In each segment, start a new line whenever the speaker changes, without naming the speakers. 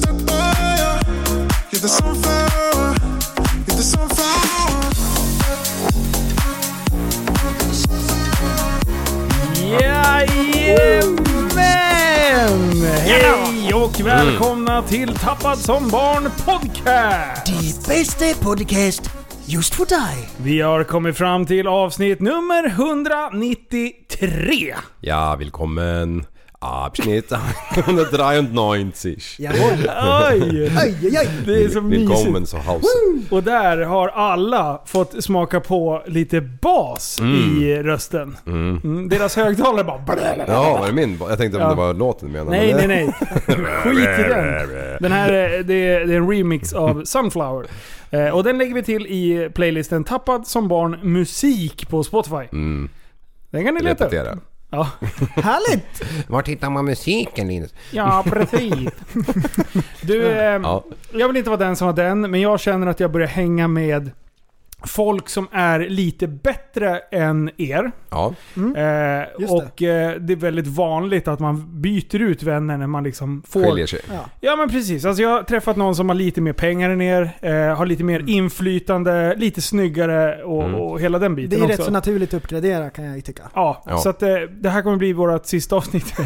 step by you, you're the sunflower. You're the sunflower.
Jajamän! Mm. Hej och välkomna till Tappad som barn podcast!
Die beste Podcast just för dig.
Vi har kommit fram till avsnitt nummer 193.
Ja, willkommen. Abschnitt 193.
Jawohl.
Oj!
Aj, aj, aj.
Det är så
Willkommen
mysigt.
zu Hause.
Och där har alla fått smaka på lite bas i rösten. Mm, Deras högtalare bara...
Ja, var det min? Jag tänkte om
Ja.
det var låten du menade.
Nej,
men
nej,
det-
nej. Skit i den. Den här eh, det är, det är en remix av Sunflower. Eh, och den lägger vi till i playlisten Tappad som barn musik på Spotify.
Mm,
Den kan ni leta upp.
repetera.
Ja.
Härligt!
Var hittar man musiken Linus?
ja, precis. Du, eh,
Ja.
jag vill inte vara den som var den, men jag känner att jag börjar hänga med folk som är lite bättre än er.
Ja.
Eh,
Just det.
och eh, det är väldigt vanligt att man byter ut vänner när man liksom får
Skiljer sig.
Ja men precis. Alltså jag har träffat någon som har lite mer pengar än er, eh, har lite mer inflytande, lite snyggare och,
Mm.
och hela den
Det
biten
är ju
också.
rätt så naturligt att uppgradera kan jag ju tycka.
Ja,
Ja.
så att, eh, det här kommer bli vårt sista avsnitt.
Ja.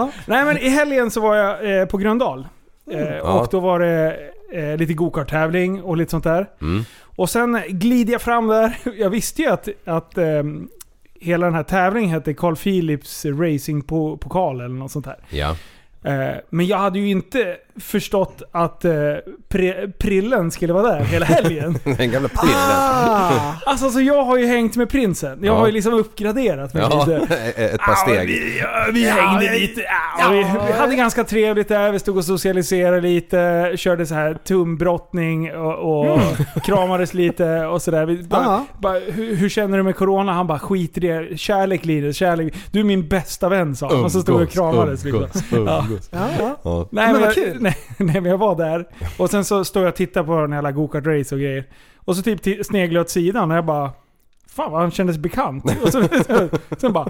Mm.
Nej men i helgen så var jag eh, på Gröndal. Eh,
Ja.
Och då var det eh, lite gokart-tävling och lite sånt där.
Mm.
Och sen glider jag fram där. Jag visste ju att, att eh, hela den här tävlingen hette Carl Philips Racing-pokal eller något sånt där.
Ja.
Eh, Men jag hade ju inte förstått att eh, pre- prillen skulle vara där hela helgen.
Den gamla prillen.
Ah,
alltså så jag har ju hängt med prinsen. Jag
Ja.
har ju liksom uppgraderat mig
Ja,
lite.
ett par steg.
Vi, ja, vi hängde lite. Ja, vi, vi hade ganska trevligt där. Vi stod och socialiserade lite. Körde så här tumbrottning och, och kramades lite och sådär. Vi Bara,
Ja.
bara, hur, hur känner du med Corona? Han bara skit i det. Kärlek Linus, kärlek. Du är min bästa vän sa han. Och så stod vi och kramades. Liksom.
umgås, umgås.
ja, ja.
Ja.
Nej
Men
men,
vad
jag,
kul.
nej, nej men jag var där. Och sen så står jag och tittar på den här jävla gokart-race och grejer. Och så typ ti- sneglar jag åt sidan och jag bara... Fan vad han kändes bekant. Och så, så, sen bara...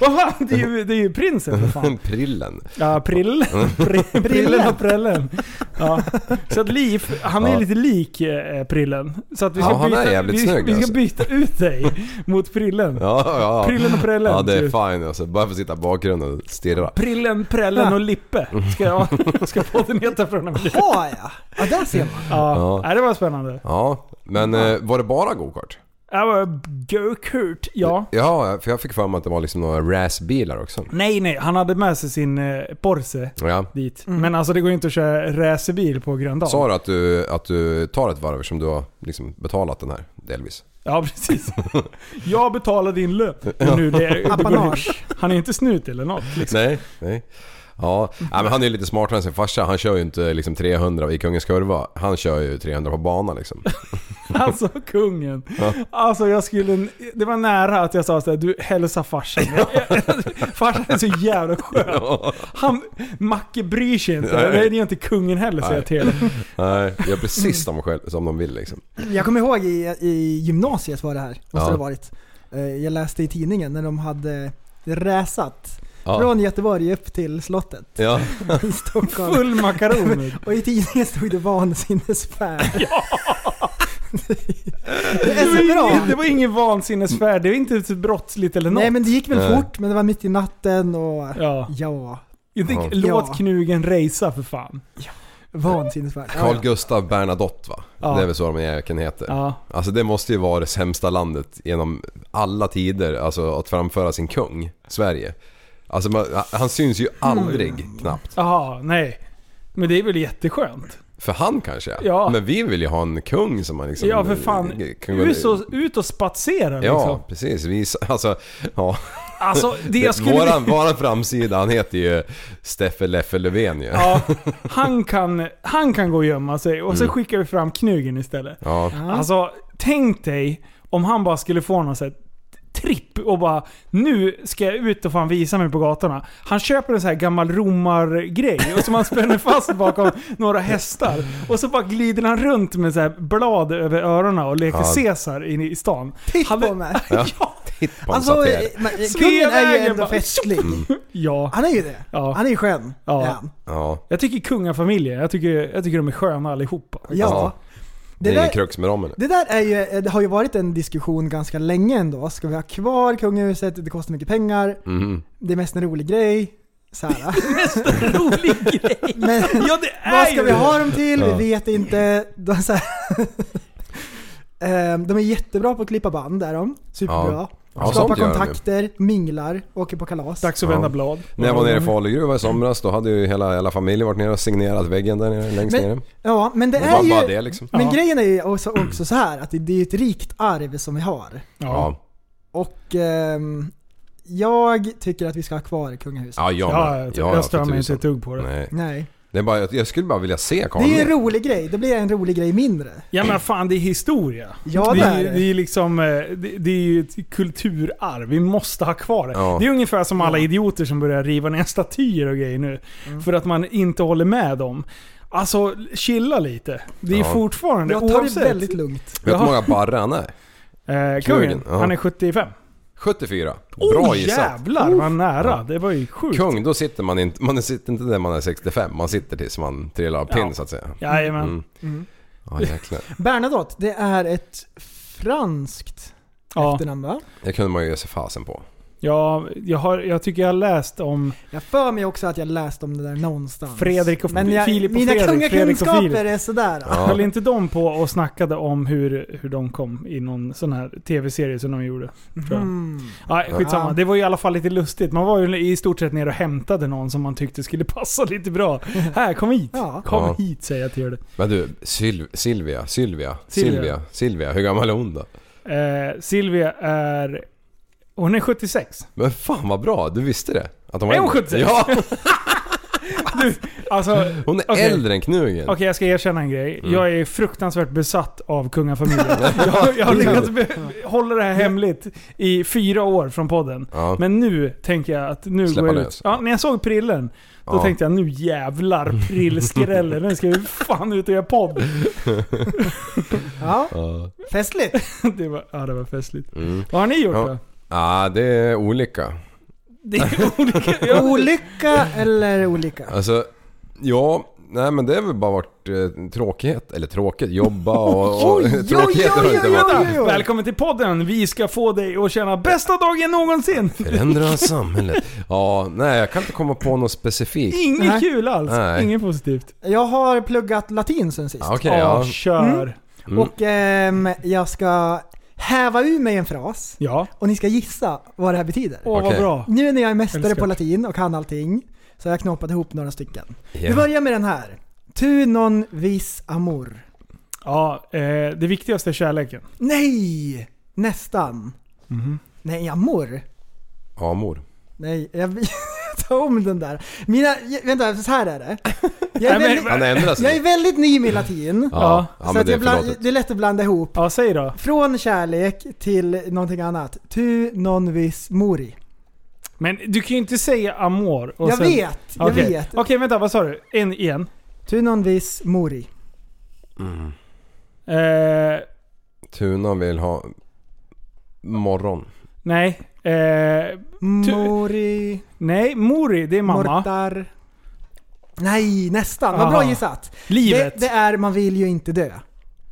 Vad fan, det är ju, det är ju prinsen för fan.
Prillen.
Ja, prill, pri, prillen och prällen. Ja. Så att Liv, han är
Ja.
lite lik eh, prillen. Så att vi ska,
Ja, han är
byta,
jävligt
vi,
snygg,
vi ska
alltså.
byta ut dig mot prillen.
Ja, ja.
Prillen och prällen.
Ja, det är
typ.
fine alltså. Bara för att sitta i bakgrunden och stirra.
Prillen, prällen och Lippe ska, jag, ska podden heta från och med nu.
Ah, ja. ja, där ser man.
Ja.
Ja.
Nej, det var spännande.
Ja, men eh, var det bara gokart?
Jag var go-kurt, ja.
Ja, för jag fick för mig att det var liksom några racebilar också.
Nej, nej. Han hade med sig sin eh, Porsche
Ja.
dit. Men alltså det går ju inte att köra racerbil på Gröndal.
Sa du att, du att du tar ett varv som du har liksom betalat den här delvis?
Ja, precis. Jag betalar din lön. Men Nu, det, det går,
Apanage.
han är inte snut eller något. Liksom.
Nej. Nej. Ja, ja, men han är ju lite smartare än sin farsa. Han kör ju inte liksom 300 i Kungens Kurva. Han kör ju 300 på banan liksom.
Alltså kungen. Alltså jag skulle... Det var nära att jag sa såhär, du hälsa farsan. farsan är så jävla skön. Han, Macke bryr sig inte.
Nej.
Det är ju inte kungen heller säger jag till honom.
Nej, gör precis som, själv, som de vill liksom.
Jag kommer ihåg i, i gymnasiet var det här. Måste det
Ja.
ha varit. Eh, Jag läste i tidningen när de hade räsat
Ja.
från Göteborg upp till slottet
Ja.
i Stockholm.
Full makaroner.
Och i tidningen stod det vansinnesfärd.
Ja.
Det
Det
är
var,
så
ingen, det
bra.
var ingen vansinnesfärd. Det var inte så brottsligt eller något.
Nej men det gick väl
Nej.
fort, men det var mitt i natten och...
Ja.
Ja.
Inte,
Ja.
Låt
Ja.
knugen racea för fan.
Vansinnesvärt. Ja,
Carl
ja.
Gustav Bernadotte va?
Ja.
Det är väl så de jäkeln heter.
Ja.
Alltså det måste ju vara det sämsta landet genom alla tider, alltså att framföra sin kung, Sverige. Alltså man, han syns ju
Mm.
aldrig knappt.
Jaha, nej. Men det är väl jätteskönt?
För han kanske?
Ja.
Men vi vill ju ha en kung som man liksom...
Ja för fan.
kan gå-
Ut och, ut och spatsera
Ja,
liksom.
precis. Vi, alltså, ja.
Alltså det jag skulle...
våran, våran framsida, han heter ju Steffe Leffe Löfven ju. Ja.
Ja, han kan, han kan gå och gömma sig och
Mm.
så skickar vi fram knugen istället. Alltså, tänk dig om han bara skulle få någon sån här tripp och bara nu ska jag ut och fan visa mig på gatorna. Han köper en sån här gammal romargrej och som han spänner fast bakom några hästar. Och så bara glider han runt med så här blad över öronen och leker
Ja.
Caesar inne i stan.
Titt
Han-
på mig.
Ja.
Ja,
Titt på
Alltså,
alltså,
eh, men, eh,
Svea
kungen är ju
vägen
ändå
bara-
festlig.
ja.
Han är ju det.
Ja.
Han är ju skön.
Ja.
Ja. Ja.
Ja.
Jag tycker kungafamiljer, jag tycker, jag tycker de är sköna allihopa.
Ja. Det
Det
är ingen
där,
krux med dem eller?
det där är ju, eh, det har ju varit en diskussion ganska länge ändå. Ska vi ha kvar kungahuset? Det kostar mycket pengar.
Mhm.
Det är mest en rolig grej. Så här.
Rolig grej!
Men
Ja det är
vad ska
ju
vi
det.
ha dem till?
Ja.
Vi vet inte. De, så här, Ehm, de är jättebra på att klippa band, är de. Superbra.
Ja,
Skapar
sånt gör de ju.
kontakter, minglar, åker på kalas.
Dags att vända
Ja.
blad.
När jag var nere i Falugruva i somras då hade ju hela, hela familjen varit nere och signerat väggen där nere, längst
Men-
nere.
Ja, men det
Det var
är ju...
bara det liksom.
Men
Ja.
grejen är ju också, också så här att det, det är ett rikt arv som vi har.
Ja.
Ja,
Och ehm, jag tycker att vi ska ha kvar kungahuset.
ja, jag
Ja,
med.
jag,
ja,
jag stör
för
mig inte
tusan.
ett dugg på det.
Nej.
Nej.
Det är bara, jag, jag skulle bara vilja se
Det är ju
Karl.
en rolig grej. Det blir en rolig grej mindre.
Ja men fan, det är historia.
Ja,
det,
det
är,
är
ju-
det.
det är ju liksom, eh, det, det är ju ett kulturarv. Vi måste ha kvar det.
Ja.
Det är ungefär som alla idioter som börjar riva ner statyer och grejer nu. För att man inte håller med dem. Alltså, chilla lite. Det är
Ja.
fortfarande,
Jag tar det
oavsett.
väldigt lugnt.
Vet du hur många barre han är?
Eh, kungen,
Kungen, ja.
han är 75.
74. Bra
oh,
gissat.
jävlar vad nära.
Ja.
Det var ju sjukt.
Kung, då sitter man inte, man sitter inte där man är 65. Man sitter tills man trillar av pinn
Ja.
så att säga.
Jajamän.
Mm. Ja jäklar.
Bernadotte, det är ett franskt
Ja.
efternamn va?
Det kunde man ju ge sig fasen på.
Ja, jag, har, jag tycker jag har läst om...
Jag för mig också att jag läste om det där någonstans.
Fredrik och-
Men jag,
Filip och
mina
Fredrik,
kungakunskaper
Fredrik och Filip.
är sådär.
Ja.
Höll inte de på och snackade om hur, hur de kom i någon sån här tv-serie som de gjorde? Tror jag.
Mm.
Nej, skitsamma.
Ja.
Det var ju i alla fall lite lustigt. Man var ju i stort sett nere och hämtade någon som man tyckte skulle passa lite bra. Här, kom hit!
Ja.
Kom
Ja.
hit säger jag till er.
Men du, Syl- Silvia, Silvia,
Silvia.
Silvia, Silvia. Hur gammal är hon då?
Eh, Silvia är... Hon är 76.
Men fan vad bra, du visste det? Att hon
Är hon
äldre.
76?
Ja!
Alltså, okej
Hon är
Okej.
äldre än Knugen.
jag ska erkänna en grej.
Mm.
Jag är fruktansvärt besatt av kungafamiljen. jag, jag har lyckats be- hålla det här hemligt i fyra år från podden.
Ja.
Men nu tänker jag att nu
Släppa
går jag ut.
lös.
Ja, när jag såg prillen, då
Ja.
tänkte jag nu jävlar prillskrällen. Nu ska vi fan ut och göra podd.
Ja,
Ja.
festligt.
Det var, ja, det var festligt.
Mm.
Vad har ni gjort
Ja.
då?
Ja, det är olika.
Det är olika. Ja.
Olycka eller olika?
Alltså, ja, nej men det har väl bara varit eh, tråkighet. Eller tråkigt, jobba och... och
Oj, oj,
tråkigheter har det inte
oj, oj,
varit.
oj, oj.
Välkommen till podden. Vi ska få dig att känna bästa dagen någonsin.
Förändra samhället. Ja, nej jag kan inte komma på något specifikt.
Inget
Nej.
kul alls.
Nej.
Inget positivt.
Jag har pluggat latin sen sist.
Ja, Okej,
Ja,
ja.
kör.
Mm.
Och ehm, jag ska häva ur mig en fras
Ja.
och ni ska gissa vad det här betyder.
Åh, vad
Okej.
bra.
Nu när jag är mästare
Älskar.
på latin och kan allting så har jag knoppat ihop några stycken. Vi
ja.
börjar med den här. Tu non vis amor.
Ja, eh, det viktigaste är kärleken.
Nej! Nästan.
Mhm.
Nej, amor.
Amor.
Nej, jag tar om den där. Mina, vänta, så här är det. Jag
Nej,
är
men-
väldigt,
Han ändrar
jag är
sig.
väldigt ny med latin.
Ja,
Ja, ja
så
men
att
det är
jag bland,
förlåtet.
det är lätt att blanda ihop.
Ja, säg då.
Från kärlek till någonting annat. Tu non vis mori.
Men du kan ju inte säga amor och
jag
sen...
vet, jag
Okej.
vet.
Okej, vänta. Vad sa du? En igen.
Tu non vis mori.
Eh,
Tuna vill ha... Morgon.
nej. Eh,
Mori,
nej, mori det är mamma.
mortar. Nej, nästan. Vad
Aha.
bra gissat.
Livet.
Det, det är man vill ju inte dö.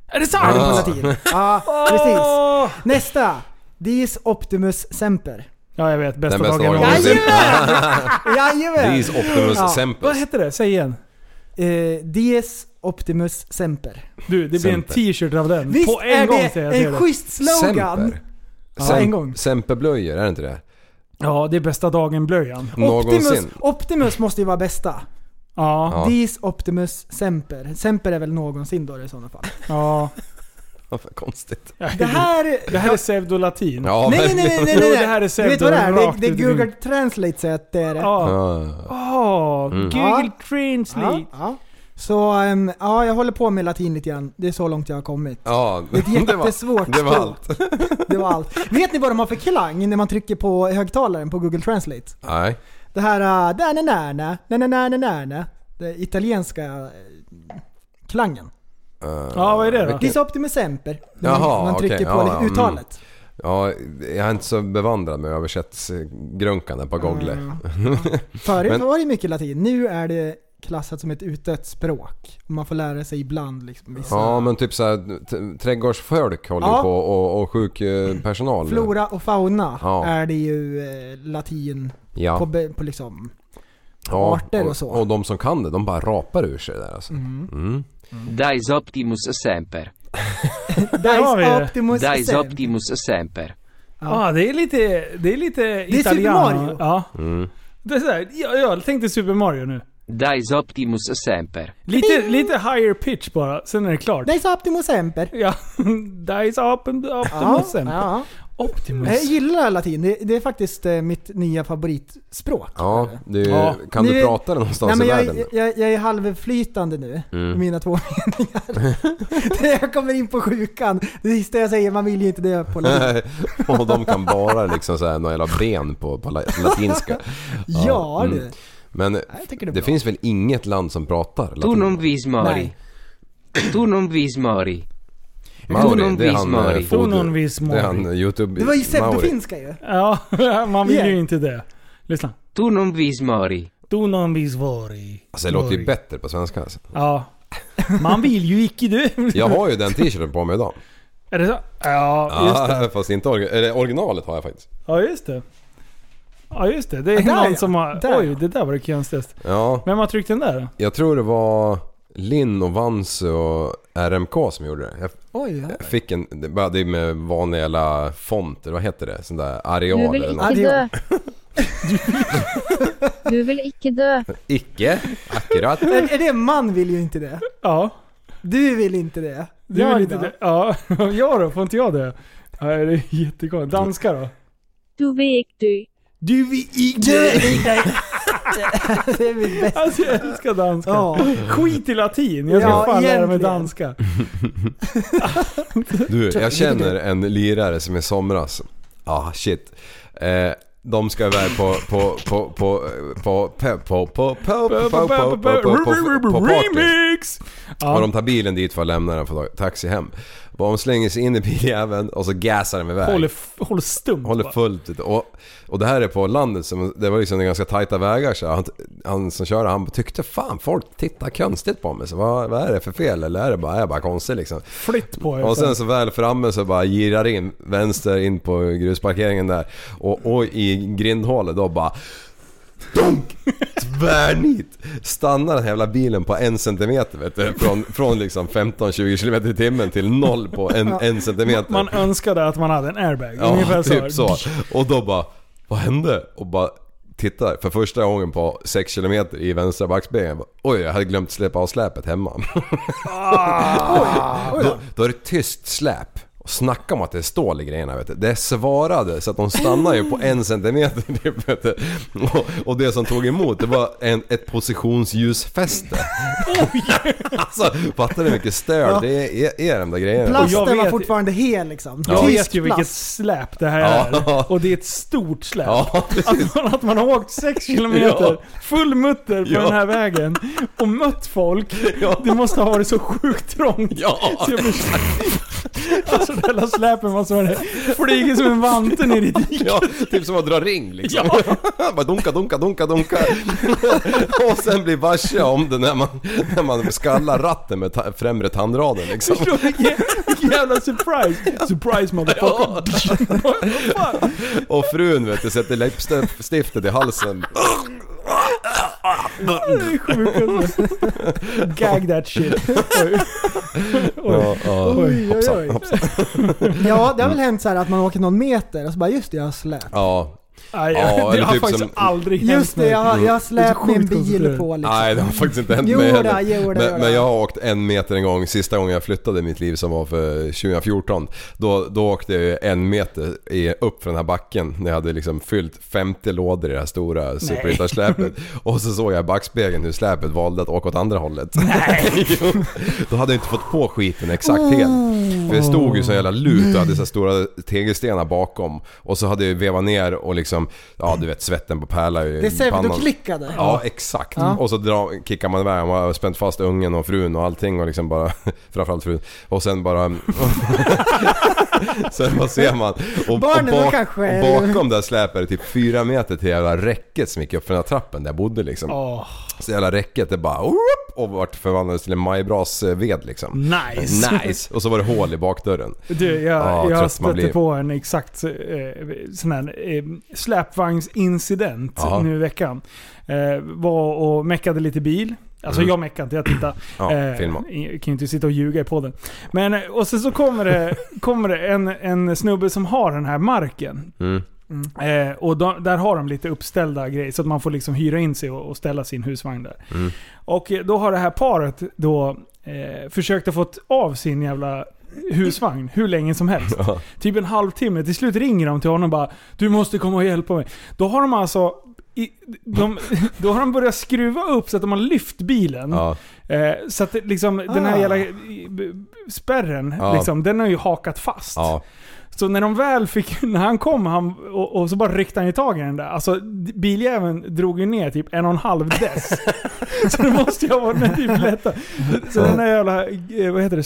Är det sant?
Är det
Ah.
på latin. Ja,
Ah.
precis. Nästa. Dis optimus semper.
Ja, jag vet. Bästa
Den bästa
dagen
dagen
någonsin.
någonsin.
Jajamän!
Dis Optimus
Ja.
Sempers.
Vad hette det? Säg igen.
Eh, Dies Optimus Semper.
Du, det blir en
Semper.
t-shirt av den.
Visst
På en
är
gång
det
säger jag
en
till dig.
schysst slogan?
Semper.
Ja, en gång.
Semperblöjor, är det inte det?
Ja, det är bästa dagen-blöjan.
Optimus,
Någonsin.
Optimus måste ju vara bästa.
Ja,
Ja.
Dies Optimus Semper. Semper är väl någonsin då i sådana fall.
ja.
Vad fan konstigt.
Det här...
Det här är pseudolatin.
Ja,
Nej, nej, nej, nej, nej, nej.
Jo, det här är
Du vet vad det är? Det,
rakt
det
ut i
Google
rymden.
Translate säger att det är det.
Ja.
Ja.
Åh,
Mm.
Google
Ja.
Translate.
ja. Så ehm, ja, jag håller på med latin lite grann. Det är så långt jag har kommit.
ja.
Det är ett
Det var,
jättesvårt
det var
språk.
allt.
Det var allt. Vet ni vad de har för klang när man trycker på högtalaren på Google Translate?
Nej.
Det här uh, da na na na na na na na na na Det italienska eh, klangen.
Ja, vad är det då?
Det är så optimus semper. när Man,
Jaha,
man trycker
okej,
på
ja, Mm.
liksom
ja,
uttalet.
Ja, jag är inte så bevandrad med översättsgrunkan på Google.
Mm. Förut
Men-
var det mycket latin. Nu är det klassat som ett utdött språk. Och man får lära sig ibland liksom vissa.
Ja, men typ såhär t- trädgårdsfolk håller
Ja.
på och, och sjukpersonal.
Flora och fauna
Ja.
är det ju eh, latin
ja.
på, be- på liksom.
ja.
arter och så.
Och de som kan det, de bara rapar ur sig det där alltså. Mm.
Dies Optimus Semper.
Där har vi
Dice
det.
optimus
Dies
semper.
Optimus Semper.
Ja, det är lite, det är lite
Super
italiano.
Mario.
Ja.
Mm.
Det är så här, jag, jag tänkte Super Mario nu.
Dies Optimus Semper.
Lite, lite higher pitch bara, sen är det klart.
Dice optimus semper.
Ja, Dice up and Optimus.
Ja, ja. Jag
Optimus.
gillar latin. Det, det är faktiskt eh, mitt nya favoritspråk.
Ja, det är, ju-
Ja.
kan du
Ni-
prata det någonstans
Nej,
i
men
världen?
jag, jag, jag är halvflytande nu, i mina två meningar. När jag kommer in på sjukan, det sista jag säger, man vill ju inte dö på latin.
Nej, och de kan bara liksom såhär några jävla ben på, på la- latinska.
Ja du.
mm. Men
jag tycker det är
det
bra.
finns väl inget land som pratar
Tu non
latin?
vis mori.
Nej.
Tu non vis mori.
Mauri,
Tonon
det är han,
Vismari.
eh, Fodu.
Tonon Vismari.
Det är han, eh, youtube
Det var ju
Mauri.
pseudofinska ju.
Ja, man vill ju
Yeah.
inte det. Lyssna.
Tu non vis mori.
Do non be svårig.
Alltså det låter ju bättre på svenska alltså.
Ja. Man vill ju icke dö.
Jag har ju den t-shirten på mig idag.
Är det så? Ja, just det.
Ah, fast inte orgi- eller originalet har jag faktiskt.
Ja, just det. Ja, just det. Det är
Ja, Ah, där
någon
ja.
som har...
Där
Oj,
ja.
det där var det konstigaste.
Ja,
Vem har tryckt den där då?
jag tror det var Linn och Vans och RMK som gjorde det. Jag
Oj, ja.
jag fick en, det bara- det är med vanliga jävla font, eller vad heter det? Sån där
Du
areal
vil
eller något.
ikke dø. Du vil ikke dø.
Icke, akkurat.
Är, är det man vill ju inte det.
Ja.
Du vill inte det.
Du
Jag
vill inte
då?
dö. Ja, jag då? Får inte jag det? Ja, det är jättekonstigt. Danska då?
Du vil ikke dø.
Du vill inte
Du vill inte. Det är mitt bästa.
Alltså jag älskar danska.
Ja.
Skit i latin, jag ska
Ja,
fan lära mig
egentligen.
danska.
Du, jag känner en lirare som i somras. Ah shit. Eh, de ska iväg på... på... på... på... på... på... på... på... på... på... på... på... på... på... på... party.
Remix!
Och
Ja,
de tar bilen dit för att lämna den för taxi hem. Och de slänger sig in i biljäveln och så gasar de iväg.
håller, f- håller stumt
Håller
bara.
fullt ute. och, och det här är på landet, som, det var liksom ganska tajta vägar så han, han som körde han tyckte fan folk tittar konstigt på mig. Så vad, vad är det för fel? Eller är det bara, är jag bara konstig liksom?
Flytt på er.
Och sen så väl framme så bara girar in vänster in på grusparkeringen där. Och, och i grindhålet då bara... Dunk! Tvärnit! Stannar den här jävla bilen på en centimeter vet du. Från, från liksom 15-20 km i timmen till noll på en, en centimeter.
Man önskade att man hade en airbag.
ja,
Ungefär så.
typ så. Och då bara... Vad hände? Och bara tittar för första gången på 6 km i vänstra backspegeln. Bara, Oj, jag hade glömt släppa av släpet hemma. Då, då är det tyst släp. Och snacka om att det står i grejerna vet du. Det svarade så att de stannar ju på en centimeter typ, vet du. Och, och det som tog emot det var en, ett positionsljusfäste. alltså fattar du hur mycket stöd det är, är, är de där grejerna?
Och jag
Plasten var
vet-
fortfarande hel liksom.
Jag vet
Tysk
ju vilket
plast.
släp det här
Ja.
är. Och det är ett stort släp.
Ja, precis.
Att man, att man har åkt 6 km
Ja.
full mutter på
Ja.
den här vägen och mött folk.
Ja.
Det måste ha varit så sjukt trångt.
Ja.
Så jag förstår. Alltså det där släpen man som flyger som en vante ner i diket.
Ja, typ som att dra ring liksom. Bara dunka, dunka, dunka, dunka. och sen blir varse om det när man, när man skallar ratten med ta- främre tandraden liksom.
Förstår du? Vilken vilken jävla surprise! Surprise motherfucker!
Och frun vet du sätter läppstiftet i halsen.
Sjukaste. Gag that shit. Oj. Oj.
Ja, ja.
Oj, oj, oj.
Ja, det har väl hänt så här att man åker någon meter och så bara just det, jag har släp.
Ja.
Nej,
Ja,
det
eller
har
typ
faktiskt
som-
aldrig hänt
Just det,
mig.
jag, har- jag har
Det är
släp
så
min
sjukt
bil
koncentrerat.
på liksom.
Nej det har faktiskt inte hänt mig
Jo då,
heller.
jo då, jo då.
men, men jag har åkt en meter en gång, sista gången jag flyttade i mitt liv som var för 2014. Då, då åkte jag ju en meter i, upp för den här backen när jag hade liksom fyllt 50 lådor i det här stora superyttarsläpet. Och så såg jag i backspegeln hur släpet valde att åka åt andra hållet. Nej. då hade jag inte fått på skiten exakt helt.
Oh.
För det stod ju så jävla lut och hade så här stora tegelstenar bakom. Och så hade jag vevat ner och liksom, ja du vet svetten på pärlar ju
Det är
i
säkert
pannan.
du klickade.
Ja, exakt. Och så dra, kickar man iväg. Man har spänt fast ungen och frun och allting och liksom bara... Framförallt frun. Och sen bara... sen vad ser man? Och,
Barnen,
och,
de kanske är-
och bakom det här släpet är det typ fyra meter till jävla räcket som gick upp för den här trappen där jag bodde liksom.
Åh,
Så jävla räcket det bara... whoop, Och vart förvandlades till en majbrasved liksom.
nice.
Nice! Och så var det hål i bakdörren.
Du, jag,
Ja,
jag
trött man
stötte
blir.
på en exakt eh, sån här eh, släpvagnsincident
Ja.
nu i veckan. Eh, var och meckade lite bil. Alltså jag meckade inte, jag tittade.
Mhm. Ja,
Eh,
filma.
Jag kan ju inte sitta och ljuga i podden. Men, eh, och sen så kommer det, kommer det en, en snubbe som har den här marken.
Mm.
Eh, och då, där har de lite uppställda grejer, så att man får liksom hyra in sig och, och ställa sin husvagn där.
Mm.
Och eh, då har det här paret då eh, försökt att få av sin jävla husvagn hur länge som helst.
Ja.
Typ en halvtimme. Till slut ringer de till honom och bara Du måste komma och hjälpa mig. Då har de alltså i, de, då har de börjat skruva upp så att de har lyft bilen.
Ja.
Eh, så att det liksom, den här
Ah.
jävla i- b- spärren,
Ja.
liksom, den har ju hakat fast.
ja.
Så när de väl fick, när han kom han, och, och så bara ryckte han i tag i den där. Alltså d- biljäveln drog ju ner typ en och en halv dess. så det måste ju ha varit något typ lättare. Så den där jävla, eh, vad heter det,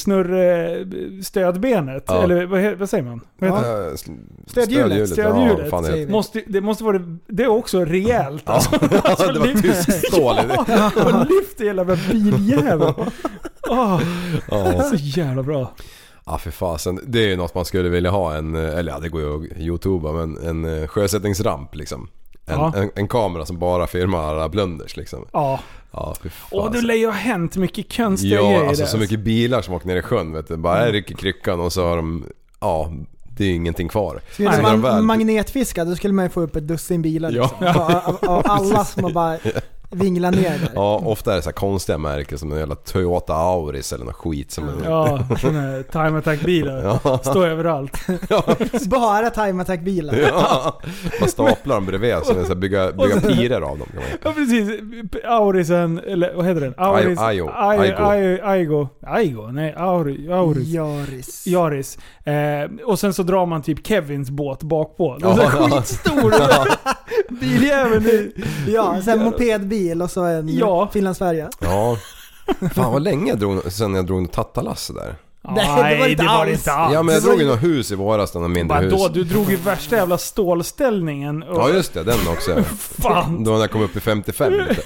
snurrstödbenet.
Ja.
Eller vad, he- vad säger man? Vad heter det?
Eh, s-
Stödhjulet,
Ja,
stödhjulet, typ.
fan, det
säger vi.
Måste, det måste vara det är också rejält. Alltså,
Ja, det var tyst stål. i det.
Ja, och lyft hela den där biljäveln. Åh, Så jävla bra.
Ja för fasen, det är ju något man skulle vilja ha en, eh, eller ja det går ju att youtuba men en eh, sjösättningsramp liksom. En,
Ja.
en, en kamera som bara filmar alla blunders liksom.
Ja.
Ja för fasen.
Och det lär ju ha hänt mycket konstiga
Ja
grejer
alltså
där.
så mycket bilar som åker ner i sjön vet du. Bara här rycker kryckan och så har de, ja det är ju ingenting kvar.
Skulle
Så när de väl-
man magnetfiska då skulle man ju få upp ett dussin bilar
Ja.
liksom. Av, av, av alla som har bara vinglar ner där.
Ja ofta är det så här konstiga märken som en jävla Toyota Auris eller något skit som...
Ja, sån här time attack-bilar. Står överallt.
Bara time attack bilar.
Ja. Man staplar dem bredvid så det är så här, bygga, bygga pirer av dem. kan man göra.
Ja precis. Aurisen, eller vad heter den? Auris,
Aio-
Ai-
Aigo.
Ai- Aigo. Aigo? Nej, Auri, Auris.
Jaris.
Jaris. Eh, och sen så drar man typ Kevins båt bakpå. Den
Ja,
är så
ja.
skitstor! Biljäveln är-
Ja, sen mopedbil och så en
Ja.
Finland-Sverige.
Ja. Fan vad länge jag drog, sen jag drog en tattalass där.
Nej, det var inte alls.
Ah,
Ja men jag
Det var
drog ju
ju-
något hus i våras, något mindre hus.
Vadå? Du drog ju värsta jävla stålställningen. Och,
Ja just det, den också.
Fan!
Då när jag kom upp i 55 lite.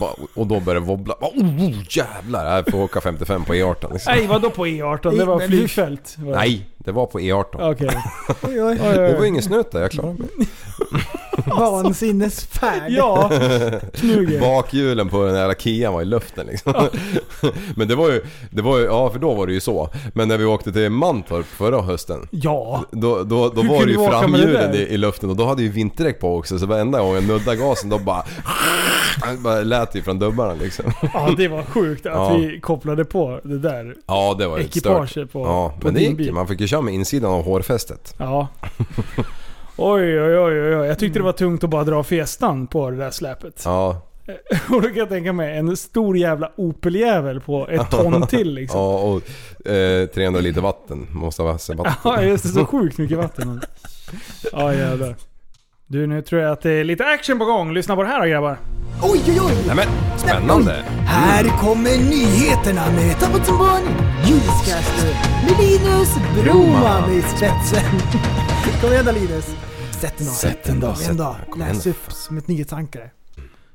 Bara- Och då började det wobbla. Bara, Oh, oh, jävlar! Jag får åka 55 på E18 liksom.
Nej, vadå på E18? Det var
Men-
flygfält. var det?
Nej, det var på E18.
Okej.
Oj, oj.
Oj, oj,
Det
oj.
var ingen snut där, jag klarade mig.
Vansinnesfärd.
Ja, knuger.
Bakhjulen på den där jävla Kian var i luften liksom. Men det var ju, det var ju, ja för då var det ju så. Men när vi åkte till Mantorp förra hösten.
Ja.
Då, då, då
Hur
var
kunde
det
du
ju
åka med det
framhjulen i,
där?
i luften och då hade ju vinterdäck på också så varenda gång jag nuddade gasen då bara... bara lät det ju från dubbarna liksom.
ja, det var sjukt att
Ja.
vi kopplade på det där.
Ja det var ju
Ekipage
stört.
på-
Ja,
på
men det
din
gick ju.
bil.
Man fick ju köra med insidan av hårfästet.
Ja. Oj, oj, oj, oj, oj. Jag tyckte det var tungt att bara dra festan på det där släpet.
Ja,
Och då kan jag tänka mig en stor jävla Opel-jävel på ett ton till liksom.
ja och eh, 300 liter vatten måste ha vatten.
Ja, just det. Så sjukt mycket vatten. Ja, jävlar. Du, nu tror jag att det är lite action på gång. Lyssna på det här då grabbar.
Oj, oj, oj.
Nej men spännande!
Här kommer nyheterna med Tappat som barn, Newscaster, med Linus Broman i spetsen. Kom igen då Linus. Sätt den då.
Sätt den
Kom
då,
igen
sätt den.
då.
Kom igen
Läs
då.
upp som ett nyhetsankare.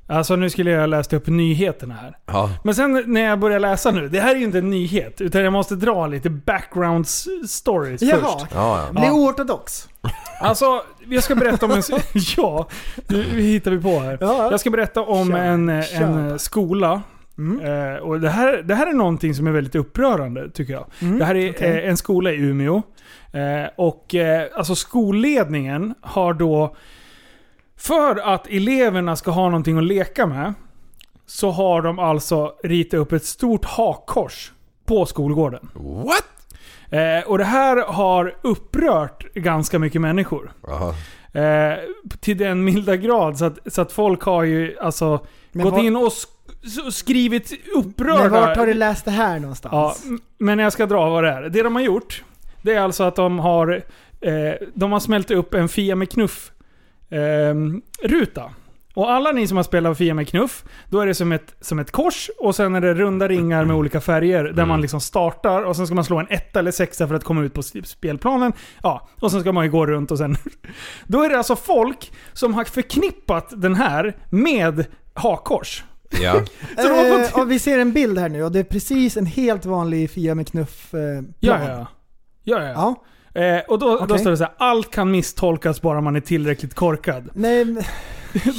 Alltså nu skulle jag ha läst upp nyheterna här.
Ja.
Men sen när jag börjar läsa nu, det här är ju inte en nyhet, utan jag måste dra lite background s- stories
Jaha.
först.
Ja, ja.
Bli oortodox.
Alltså, jag ska berätta om en... ja, nu hittar vi på här.
Ja.
Jag ska berätta om
Kör.
en, eh, en
Kör.
eh, skola.
Mm.
Eh, och det, här, det här är någonting som är väldigt upprörande tycker jag.
Mm,
Det här är
okej.
eh, en skola i Umeå. Eh, och eh, alltså skolledningen har då, för att eleverna ska ha någonting att leka med, så har de alltså ritat upp ett stort hakkors på skolgården.
What?
Eh, och det här har upprört ganska mycket människor.
Jaha.
Eh, till den milda grad så att, så att folk har ju alltså
Men
gått
var-
in och sk- s- skrivit upprörda...
Men vart har du läst det här någonstans?
ja, m- Men jag ska dra vad det är. Det de har gjort, det är alltså att de har, eh, de har smält upp en Fia med knuff ehm, ruta. Och alla ni som har spelat Fia med knuff, då är det som ett, som ett kors och sen är det runda ringar med olika färger där man liksom startar och sen ska man slå en etta eller sexa för att komma ut på s- spelplanen. Ja, och sen ska man ju gå runt och sen... Då är det alltså folk som har förknippat den här med hakkors.
Ja.
Så de har fått-
Eh, och vi ser en bild här nu och det är precis en helt vanlig Fia med knuff eh,
Ja,
plan.
ja, ja. ja, ja.
ja.
Eh, och då, då
Okej.
står det så här, allt kan misstolkas bara man är tillräckligt korkad.
Nej, men-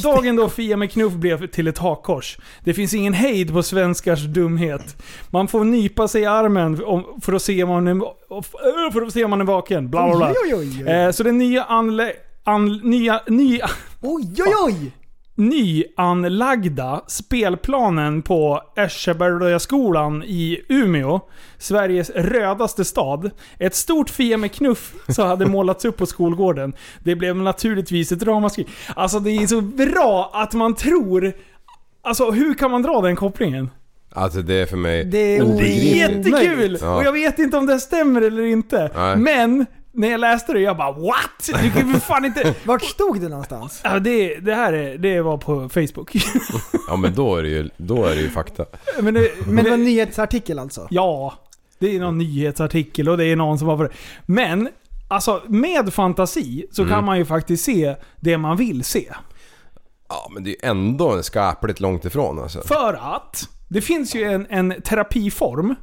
Dagen då Fia med knuff blev till ett hakkors. Det finns ingen hejd på svenskars dumhet. Man får nypa sig i armen om- för att se om man är, för att se om man är vaken. Bla bla bla.
oj, oj, oj.
Eh, så den nya anle... An, nya, nya,
Oj, oj, oj!
nyanlagda spelplanen på Ersebergaskolan i Umeå, Sveriges rödaste stad. Ett stort fia med knuff som hade målats upp på skolgården. Det blev naturligtvis ett ramaskri. Alltså det är så bra att man tror... Alltså hur kan man dra den kopplingen?
Alltså det är för mig
Det är
obegripligt.
jätte-
Jättekul!
Ja.
Och jag vet inte om det stämmer eller inte.
Nej.
Men när jag läste det, jag bara what? Du kan ju för fan inte...
Vart stod det någonstans?
Ja, det, det här är, det var på Facebook.
Ja men då är det ju, då är det ju fakta.
Men det,
Men det var en nyhetsartikel alltså?
Ja, det är någon nyhetsartikel och det är någon som var för det. Men, alltså med fantasi så kan man ju faktiskt se det man vill se.
Ja men det är ju ändå skapligt långt ifrån alltså.
För att, det finns ju en, en terapiform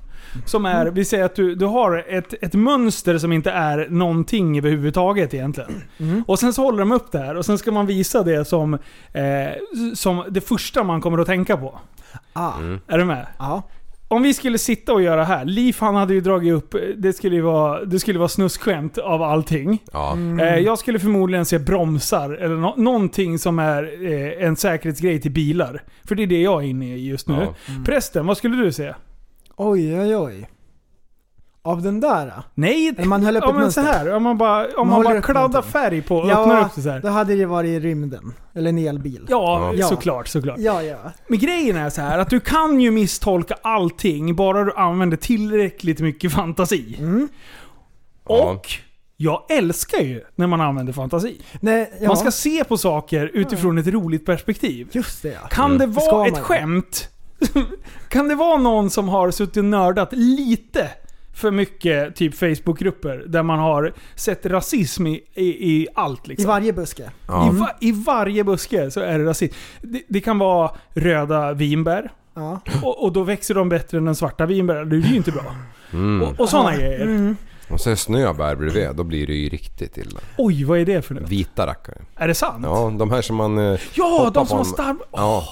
som är, vi säger att du, du har ett, ett mönster som inte är någonting överhuvudtaget egentligen.
Mm.
Och sen så håller de upp det här och sen ska man visa det som, eh, som det första man kommer att tänka på.
Ah.
Är du med?
Ja.
Om vi skulle sitta och göra här, Liv han hade ju dragit upp, det skulle ju vara, det skulle vara snuskskämt av allting.
Ja.
Eh, jag skulle förmodligen se bromsar eller nå- någonting som är eh, en säkerhetsgrej till bilar. För det är det jag är inne i just nu.
Ja.
Mm.
Prästen, vad skulle du se?
Oj, oj, oj. Av den där? Om
Nej,
Eller man höll upp
ja,
ett
men så
mönster.
här, om man bara, om man
håller
bara
upp
kladdar
någonting.
färg på och öppnar upp det så här.
då hade det varit i rymden. Eller en elbil.
Ja,
Ja.
såklart, såklart.
ja. ja.
Men grejen är så här att du kan ju misstolka allting bara du använder tillräckligt mycket fantasi.
Mm.
Och jag älskar ju när man använder fantasi.
Nej, ja.
Man ska se på saker utifrån ett roligt perspektiv.
Just Mm. det ja.
Kan det
Ska man
vara ett
ju.
skämt? kan det vara någon som har suttit och nördat lite för mycket typ Facebookgrupper där man har sett rasism i, i, i allt
I Mm.
liksom?
varje buske.
Ja.
I, va- I varje buske så är det rasism. Det, det kan vara röda vinbär.
Ja.
Och, och då växer de bättre än den svarta vinbären. Det är ju inte bra.
Mm.
Och, och sådana grejer.
Mm.
Och sen snöbär bredvid, då blir det ju riktigt illa.
Oj, vad är det för något?
Vita rackare.
Är det sant?
Ja, de här som man... eh,
Ja,
hoppar
de som
på
har
en-
starb...
Ja.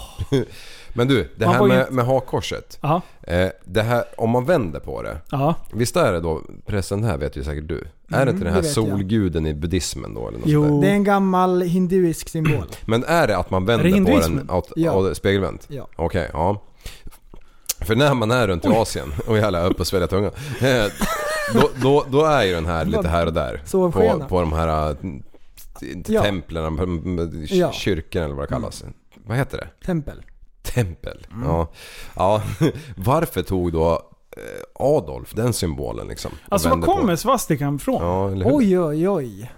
Men du, det
Man
här
var ju
med,
inte-
med hakkorset.
Ja.
Eh, det här, om man vänder på det.
Ja.
Visst är det då, pressen här vet ju säkert du. Är
Mm,
det inte den här
det vet jag.
solguden i buddhismen då eller något
Jo.
sånt där?
Det är en gammal hinduisk symbol.
Men är det att man
Är det
vänder på
hinduismen?
den åt,
Ja.
åt spegelvänt?
Ja.
Okej, ja. För när man är runt i Asien, och jävlar jag höll på att svälja tungan. Eh, Då, då, då är ju den här lite här och där. På,
Sovskena.
på de här eh, t-
Ja.
templen, m- m- k-
Ja.
kyrkorna eller vad det kallas. Vad heter det?
Tempel.
Tempel. Ja. ja. Varför tog då eh, Adolf den symbolen liksom? och
Alltså var
vände på-
kommer svastikan ifrån?
Ja, eller hur?
Oj, oj, oj.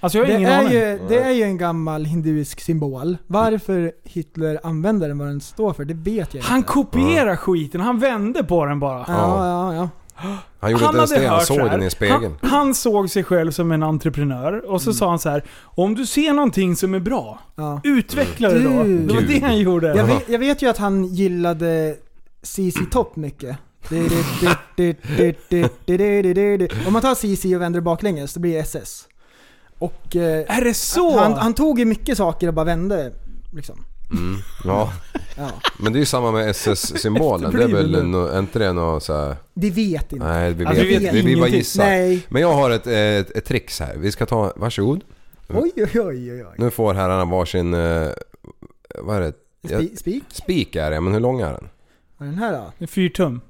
Alltså jag har
Det
ingen
är,
aning.
ju, det är ju en gammal hinduisk symbol. Varför Hitler använder den, vad den står för, det vet jag
Han
inte.
kopierar skiten, han vände på den bara.
Ja, ja, ja.
Han gjorde inte ens det, han såg den i spegeln.
Han, han såg sig själv som en entreprenör och så sa han så här: Om du ser någonting som är bra,
Mm. Ja.
utveckla det då.
Du.
Det var det han gjorde.
Jag vet, jag vet ju att han gillade CC Topp mycket. Om man tar CC och vänder det baklänges, då blir det SS. Och eh,
Är det så?
han, han tog ju mycket saker och bara vände. Liksom.
Ja.
Ja.
Men det är ju samma med SS-symbolen. Det är väl,
Efterbliven.
nå- är inte det något så här...
Det vet inte.
Nej, vi vet,
Alltså, vi vet
vi, vi, bara
ingenting.
gissar.
Nej.
Men jag har ett, ett, ett trix här. Vi ska ta, varsågod.
Oj, oj, oj, oj. oj.
Nu får herrarna varsin, eh, vad är det? Jag,
Spi- Spik?
spik är det, men hur lång är den?
Vad är den här då?
En Fyrtum.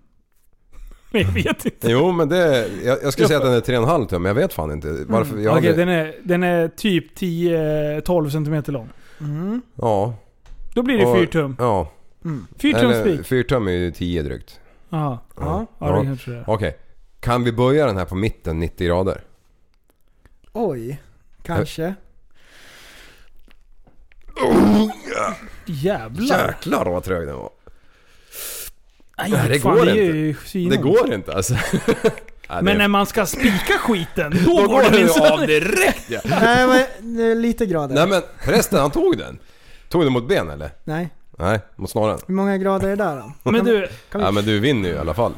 Nej, Jag vet inte.
Jo men det, jag, jag skulle säga att den är 3,5 tum, men jag vet fan inte. Varför, jag
Mm. Okej,
hade,
den, är, den är typ 10-12 cm lång.
Ja.
Då blir det
och-
fyrtum.
Ja. Eller,
Fyrtumspik.
Fyrtum är ju 10 drygt.
Jaha.
Ja.
Ja, det kanske det är.
Okej. Kan vi böja den här på mitten 90 grader?
Oj. Kanske.
Jävlar.
Jäklar vad trög den var.
Nej,
Nej, det
fan,
går
är
inte.
ju svinont.
Det går inte alltså. Nej,
Men
det,
när man ska spika skiten, då,
då
går det minsann.
av direkt ja.
Nej, men, eh, lite grader.
Nej men förresten, han tog den. Tog den mot ben eller?
Nej.
Nej, mot snaren.
Hur många grader är det där då?
Men du,
Ja men du vinner ju i alla fall.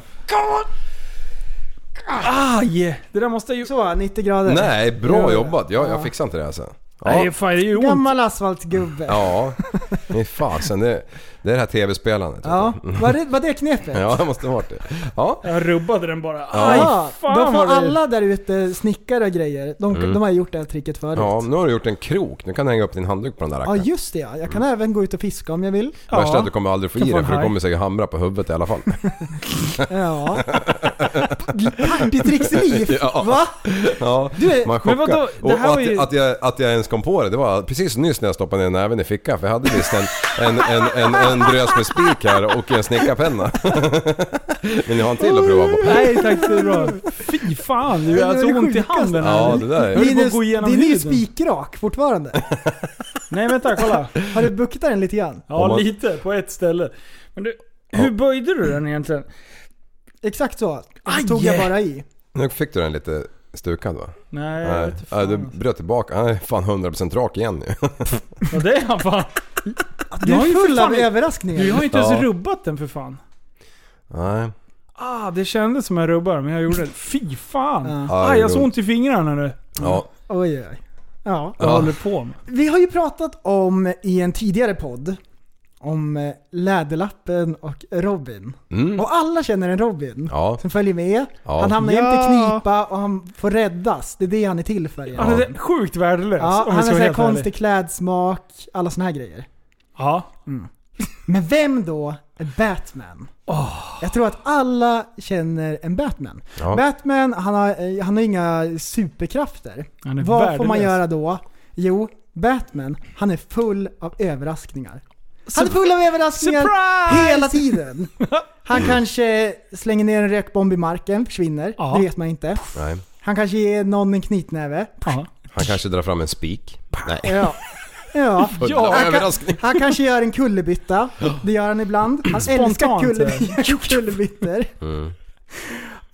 aj! Det där måste ju...
Så, 90 grader.
Nej, bra
Ja.
jobbat. Jag,
Ja.
jag fixar inte det här sen.
Nej,
Ja,
fan, det är ju ont.
Gammal asfaltgubbe.
ja. men fasen. Det, det är det här TV-spelandet.
Ja, var det, var det knepet?
ja, det måste ha varit det. Ja,
Jag rubbade den bara.
Ja,
Aj, fan
då får
vad det-
alla där ute snickare och grejer, de, de har gjort det här tricket förut.
Mm. ja,
Ja,
nu har du gjort en krok. Nu kan du hänga upp din handduk på den där rackaren.
just det ja. Jag
Mm.
kan även gå ut och fiska om jag vill.
Värsta
Ja.
är att du kommer aldrig få
Kan
i
få
den för
en
du
haj.
kommer säkert hamra på huvudet i alla fall.
Ja. Partytricksliv!
Ja.
Va?
Ja,
Du är-
man
men vadå?
chockar.
Det
Och
här var
att,
ju-
att, jag, att jag ens kom på det, det var precis nyss när jag stoppade ner näven i fickan. För jag hade visst en, en, en, en, en drös med spik här och en snickarpenna. Vill ni ha en till att prova på?
Nej tack, det är bra. Fy fan, du har så
Det är det
alltså ont i
sjukaste.
handen
Ja,
här.
det där är...
Höll på
Din
att gå
är,
igenom
din är ju
huden.
spikrak fortfarande.
Nej vänta, kolla.
Har du buktat den lite grann?
Ja,
Om man-
lite. På ett ställe. Men du, hur böjde du den egentligen?
Exakt så. Och
Aj!
så tog jag bara i.
Nu fick du den lite stukad va?
Nej, jag
Nej,
vet inte
Nej,
fan.
du bröt tillbaka. Han är fan 100% rak igen nu.
Ja, det är han fan.
Du
Jag har ju
är
för
full
fan
av
inte-
överraskningar.
Du har ju inte ens
Ja.
rubbat den för fan.
Nej.
Ah, det kändes som jag rubbade men jag gjorde det. Fy fan.
Ja.
Aj, jag har så ont i fingrarna nu.
Ja.
Oj, oj. Ja.
Jag
Ja.
håller på med.
Vi har ju pratat om i en tidigare podd om eh, Läderlappen och Robin.
Mm.
Och alla känner en Robin.
Ja.
Som följer med.
Ja.
Han hamnar
Ja.
inte i knipa och han får räddas. Det är det han är till för.
Han
Ja.
är sjukt värdelös
Ja,
om jag ska
han har
vara
såhär
helt
konstig
ärlig.
klädsmak, alla såna här grejer.
Ja.
Men vem då är Batman? Jag tror att alla känner en Batman.
Ja.
Batman, han har, eh, han har inga superkrafter.
Han är
Vad får
värdelös.
man göra då? Jo, Batman, han är full av överraskningar. Han är full av överraskningar
Surprise!
hela tiden. Han kanske slänger ner en rökbomb i marken, försvinner.
Ja.
Det vet man inte.
Nej.
Han kanske ger någon en knytnäve.
Ja.
Han kanske drar fram en spik. Nej.
Ja. Ja.
Ja,
han, kan,
överraskning.
han kanske gör en kullerbytta. Det gör han ibland. Han älskar
Spontant,
kuller, kullerbyttor.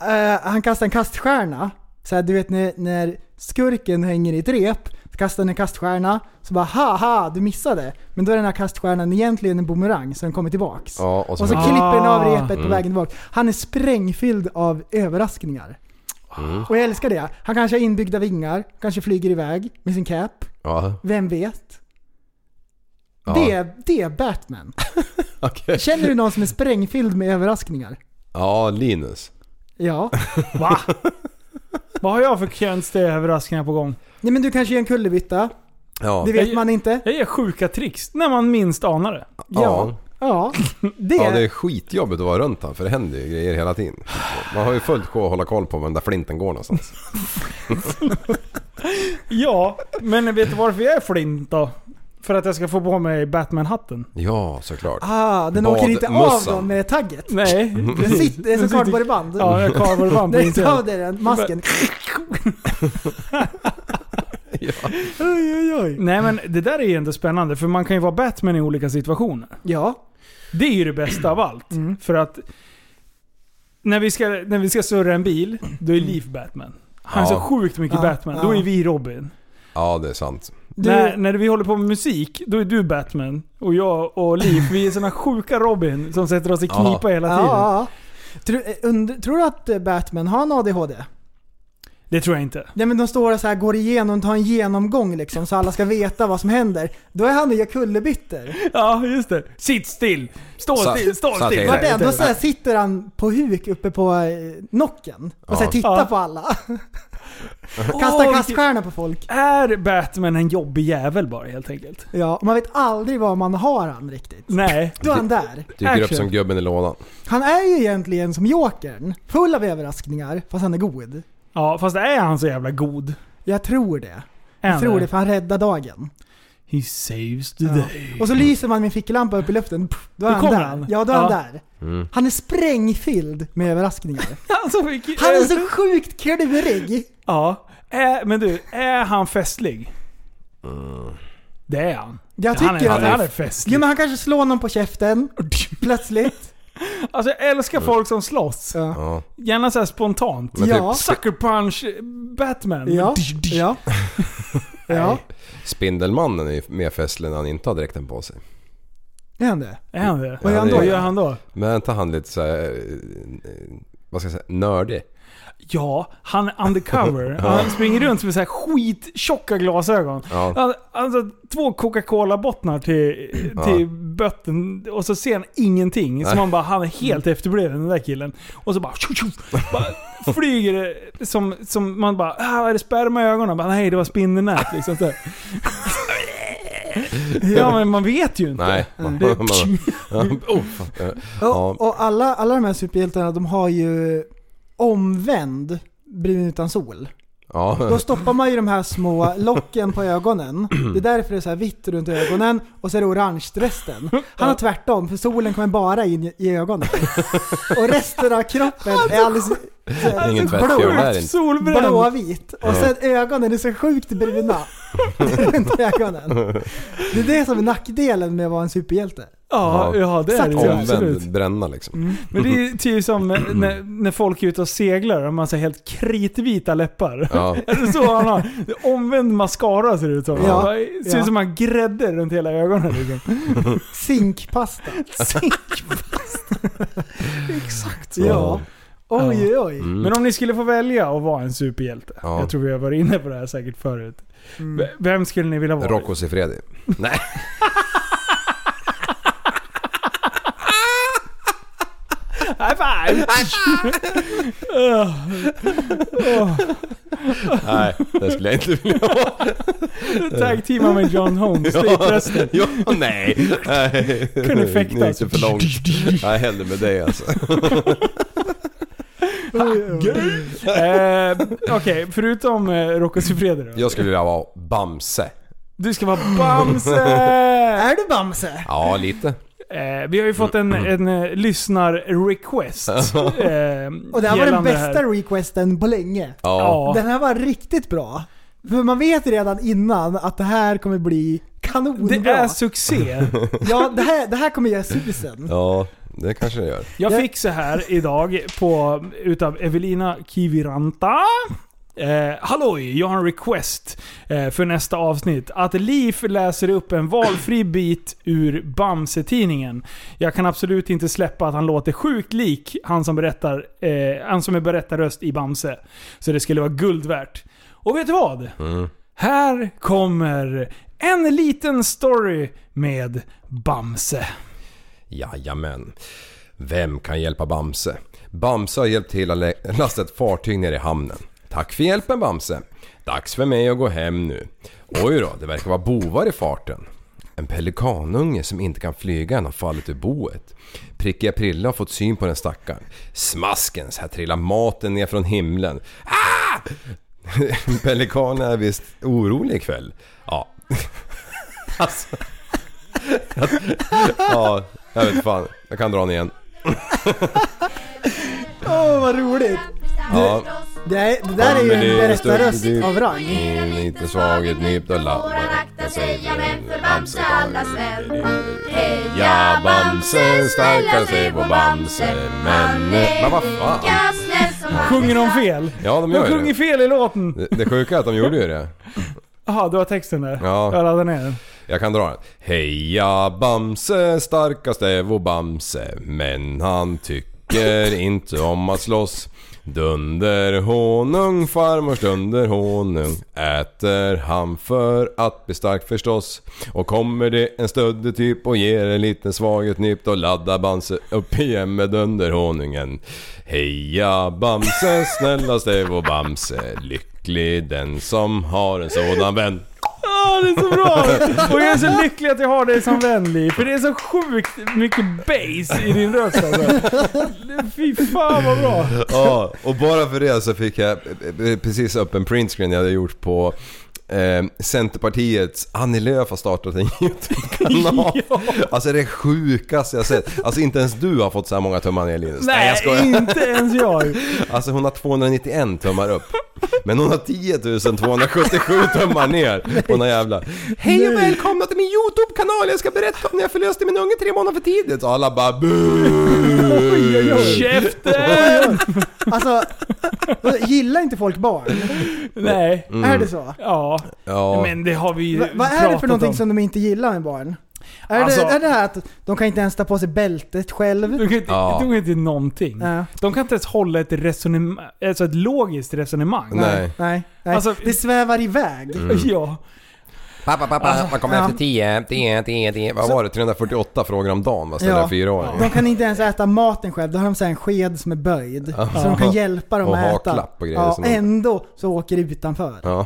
Eh, han kastar en kaststjärna. Så här, du vet när, när skurken hänger i ett rep, så kastar han en kaststjärna. Så bara haha, du missade. Men då är den här kaststjärnan egentligen en boomerang, så den kommer tillbaks.
Ja, och så-
och så
Ah.
klipper den av repet på
Mm.
vägen tillbaka. Han är sprängfylld av överraskningar. Och jag älskar det. Han kanske har inbyggda vingar, kanske flyger iväg med sin cap.
Ja.
Vem vet?
Ja.
Det, det är Batman.
Okej.
Känner du någon som är sprängfylld med överraskningar?
Ja, Linus.
Ja.
Va? Vad har jag för konstiga överraskningar på gång?
Nej men du kanske gör en kullerbytta.
Ja.
Det vet man inte.
Jag ger sjuka tricks när man minst anar det.
Ja.
Ja. Det,
Ja, det är skitjobbigt att vara runt han för det händer ju grejer hela tiden. Man har ju fullt sjå att hålla koll på var den där flinten går någonstans.
Ja, men vet du varför jag är flint då? För att jag ska få på mig Batman-hatten.
Ja, såklart.
Ah, den åker inte av
Badmössan.
då med tagget.
Nej.
Den sitter, det är som kardborreband.
Ja, jag karvar varm på
Den tar av
insidan.
dig den, masken. Oj, oj, oj.
Nej men det där är ju ändå spännande för man kan ju vara Batman i olika situationer.
Ja.
Det är ju det bästa av allt. För att när vi ska, när vi ska surra en bil, då är Leaf Batman. Han är
Ja.
så sjukt mycket
Ja,
Batman. Då
ja.
är vi Robin.
Ja, det är sant.
Du-
När, när vi håller på med musik, då är du Batman. Och jag och Liv, vi är såna sjuka Robin som sätter oss i
Ja.
knipa hela
Ja,
tiden.
ja. Tror, eh, und, tror du att eh, Batman har en ADHD?
Det tror jag inte.
Nej men de står och så här går igenom, tar en genomgång liksom så alla ska veta vad som händer. Då är han och gör kullerbyttor.
Ja, just det. Sitt still! Stå
Så-
still! Stå
så att
still!
jag-
Nej,
Vartenda
inte.
så här sitter han på huk uppe på eh, nocken och så här
Ja.
tittar
Ja.
på alla.
Åh,
Kastar
vilket-
kaststjärna på folk.
Är Batman en jobbig jävel bara helt enkelt?
Ja, och man vet aldrig var man har han riktigt.
Nej.
Då är han där.
Dyker upp
Action.
som gubben i lådan.
Han är ju egentligen som Jokern. Full av överraskningar, fast han är god.
Ja, fast är han så jävla god?
Jag tror det.
Är han
Jag tror
det?
det, för han räddar dagen.
He saves the
Ja.
day.
Och så lyser man med en ficklampa upp i luften. Pff, Då är
Mm. Då
han
kommer
där.
han.
Ja, då är han
Ja.
där. Han är sprängfylld med överraskningar.
Alltså, vilken-
Han är så sjukt klurig.
Ja. Är, men du, är han festlig? Det är han.
Jag
han, är,
tycker
han, är,
att...
festlig.
Jo men han kanske slår någon på käften plötsligt.
Alltså jag älskar folk som slåss.
Ja.
Ja.
Gärna såhär spontant.
Men
Ja.
Sucker punch eh, Batman.
Ja. Ja. ja.
Spindelmannen är ju mer festlig när han inte har dräkten på sig.
Är han det?
Är han det?
Vad gör han då?
Vad gör han då?
Men är inte han lite såhär... Vad ska jag säga? Nördig?
Ja, han är undercover. Han springer runt med så här skittjocka glasögon.
Ja.
Han- Alltså två Coca-Cola-bottnar till, till bötten och så ser han ingenting. Så
Nej.
man bara, han är helt efterbliven den där killen. Och så bara, tjup, tjup, bara flyger det som, som man bara, ah, är det sperma i ögonen? Bara, Nej, det var spindelnät liksom. Så här. ja, men man vet ju inte.
Nej. Man, man, man, oh, fan. ja.
Och, och alla, alla de här superhjältarna de har ju omvänd brun utan sol. Då
ja.
stoppar man ju de här små locken på ögonen. Det är därför det är så här vitt runt ögonen och så är det orange resten. Han har tvärtom, för solen kommer bara in i ögonen. Och resten av kroppen är alldeles så här
Ingen
blå,
tvättfjol här inte.
Solbränd.
blåvit. Och sen ögonen är så sjukt bruna runt ögonen. Det är det som är nackdelen med att vara en superhjälte.
Ja, ja, det är det ju absolut.
Omvänd bränna liksom.
Men det är ju typ som när, när folk är ute och seglar och man ser helt kritvita läppar.
Ja.
Är det så han har? Det är Omvänd mascara ser det ut som.
Ja.
Ja. Ser ut
Ja.
som han har grädde runt hela ögonen. Liksom.
Zinkpasta.
Exakt
Ja. Oj, oj, oj.
Men om ni skulle få välja att vara en superhjälte.
Mm. Ja.
Jag tror vi har varit inne på det här säkert förut.
Mm.
V- Vem skulle ni vilja vara?
Rocco Siffredi. Nej.
High five!
Nej, det skulle jag inte vilja ha.
Tag-teama med John Holmes. Det är
Ja,
prästen.
ja, nej. nej.
Kunde fäktas.
Nu gick det för långt. Nej, hellre med dig alltså.
Eh, Okej, förutom eh, Rocco Siffredi då.
Jag skulle vilja vara Bamse.
Du ska vara Bamse!
Är du Bamse?
Ja, lite.
Eh, vi har ju fått en, en eh, lyssnar-request. eh,
Och det här var den
gällande det
bästa
här.
requesten på länge.
Ja.
Ja.
Den här var riktigt bra. För man vet redan innan att det här kommer bli kanonbra.
Det är succé.
Ja, det här, det här kommer göra susen.
Ja, det kanske det gör.
Jag
Jag-
fick så här idag på, utav Evelina Kiviranta. Eh, halloj, jag har en request eh, för nästa avsnitt. Att Liv läser upp en valfri bit ur Bamse-tidningen. Jag kan absolut inte släppa att han låter sjukt lik han som, berättar, eh, han som är berättarröst i Bamse. Så det skulle vara guld värt. Och vet du vad? Här kommer en liten story med Bamse.
Jajamän. Vem kan hjälpa Bamse? Bamse har hjälpt hela lä- lastet fartyg nere i hamnen. Tack för hjälpen Bamse. Dags för mig att gå hem nu. Oj då, det verkar vara bovar i farten. En pelikanunge som inte kan flyga än har fallit ur boet. Prickiga Prilla har fått syn på den stackaren. Smaskens, här trillar maten ner från himlen. Ah! Pelikanen är visst orolig ikväll. Ja. alltså. ja, jag vet fan. Jag kan dra den igen.
Åh, vad roligt!
Ja.
Det, är, det där är ju
men det
en
är
berättarröst
stort- det-
av rang.
Mm, Inte svag, ett nypt och lapp. Akta sig, ja men för Bamse kallas väl. Heja Bamse, starkast är vår Bamse. Men... Men vad fan?
Sjunger de fel?
Ja, de
De
gör ju
sjunger
det.
fel i låten!
Det- Det sjuka är att de gjorde ju det.
Jaha, du har texten där?
Ja.
Jag laddar ner den.
Jag kan dra den. Heja Bamse, starkast är vår Bamse. Men han tycker inte om att slåss. Dunder honung, farmors dunder honung. Äter han för att bli stark förstås. Och kommer det en stöddig typ och ger en liten svaghet nyp. Då laddar Bamse upp igen med dunder honungen. Heja Bamse, snällast är vår Bamse. Lycklig den som har en sådan vän.
Åh, Ah, det är så bra! Och jag är så lycklig att jag har dig som vän Li, för det är så sjukt mycket bass i din röst alltså. Fy fan vad bra!
Ja, och bara för det så fick jag eh, precis upp en printscreen jag hade gjort på eh, Centerpartiets Annie Lööf har startat en YouTube-kanal. Alltså det är det sjukaste jag sett. Alltså inte ens du har fått så här många tummar ner Linus. Nej, jag skojar.
inte ens jag!
Alltså hon har 291 tummar upp. Men hon har 10 277 tummar ner på någon jävla... Hej och välkomna till min YouTube-kanal! Jag ska berätta om när jag förlöste min unge tre månader för tidigt. Så alla bara bu.
Käften!
Alltså, gillar inte folk barn?
Nej.
Är det så?
Ja.
Ja.
Men det har vi ju
Va, vad är det
pratat
för någonting
om.
som de inte gillar med barn? Är,
Alltså-
det, är det här att de kan inte ens ta på sig bältet själv?
De kan inte,
Ja.
de kan inte någonting.
Mm.
Ja.
De kan inte ens hålla ett resonemang, alltså ett logiskt resonemang.
Nej. Mm.
Nej, nej.
Alltså-
det svävar iväg.
Ja.
Pappa, pappa,
Ah,
man kommer efter tio, tio, tio, tio. Vad var det? 348 frågor om dagen man ställer
Ja.
fyraåringar.
De kan inte ens äta maten själv. Då har de så här en sked som är böjd. Så de kan hjälpa dem
Och
att äta.
haklapp och grejer
ja,
som de-
ändå så åker det utanför.
Ja.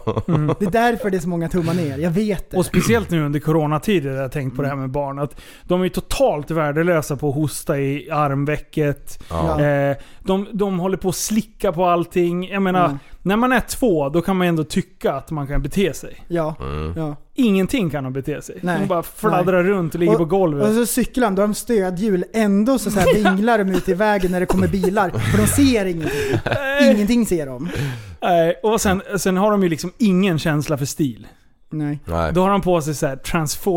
Det är därför det är så många tummar ner. Jag vet det.
Och speciellt nu under coronatider har jag tänkt på det här med barn. Att de är totalt värdelösa på att hosta i armvecket.
Ja.
Eh, de, de håller på att slicka på allting. Jag menar,
Mm.
när man är två då kan man ändå tycka att man kan bete sig.
Ja. ja.
Ingenting kan de bete sig.
Nej.
De bara fladdrar runt och ligger på
Och
golvet.
så cyklar de, då har de stödhjul. Ändå så, så här vinglar de ut i vägen när det kommer bilar. För de ser ingenting. Ingenting ser de.
Nej, och sen, sen har de ju liksom ingen känsla för stil.
Nej.
Nej.
Då har de på sig så här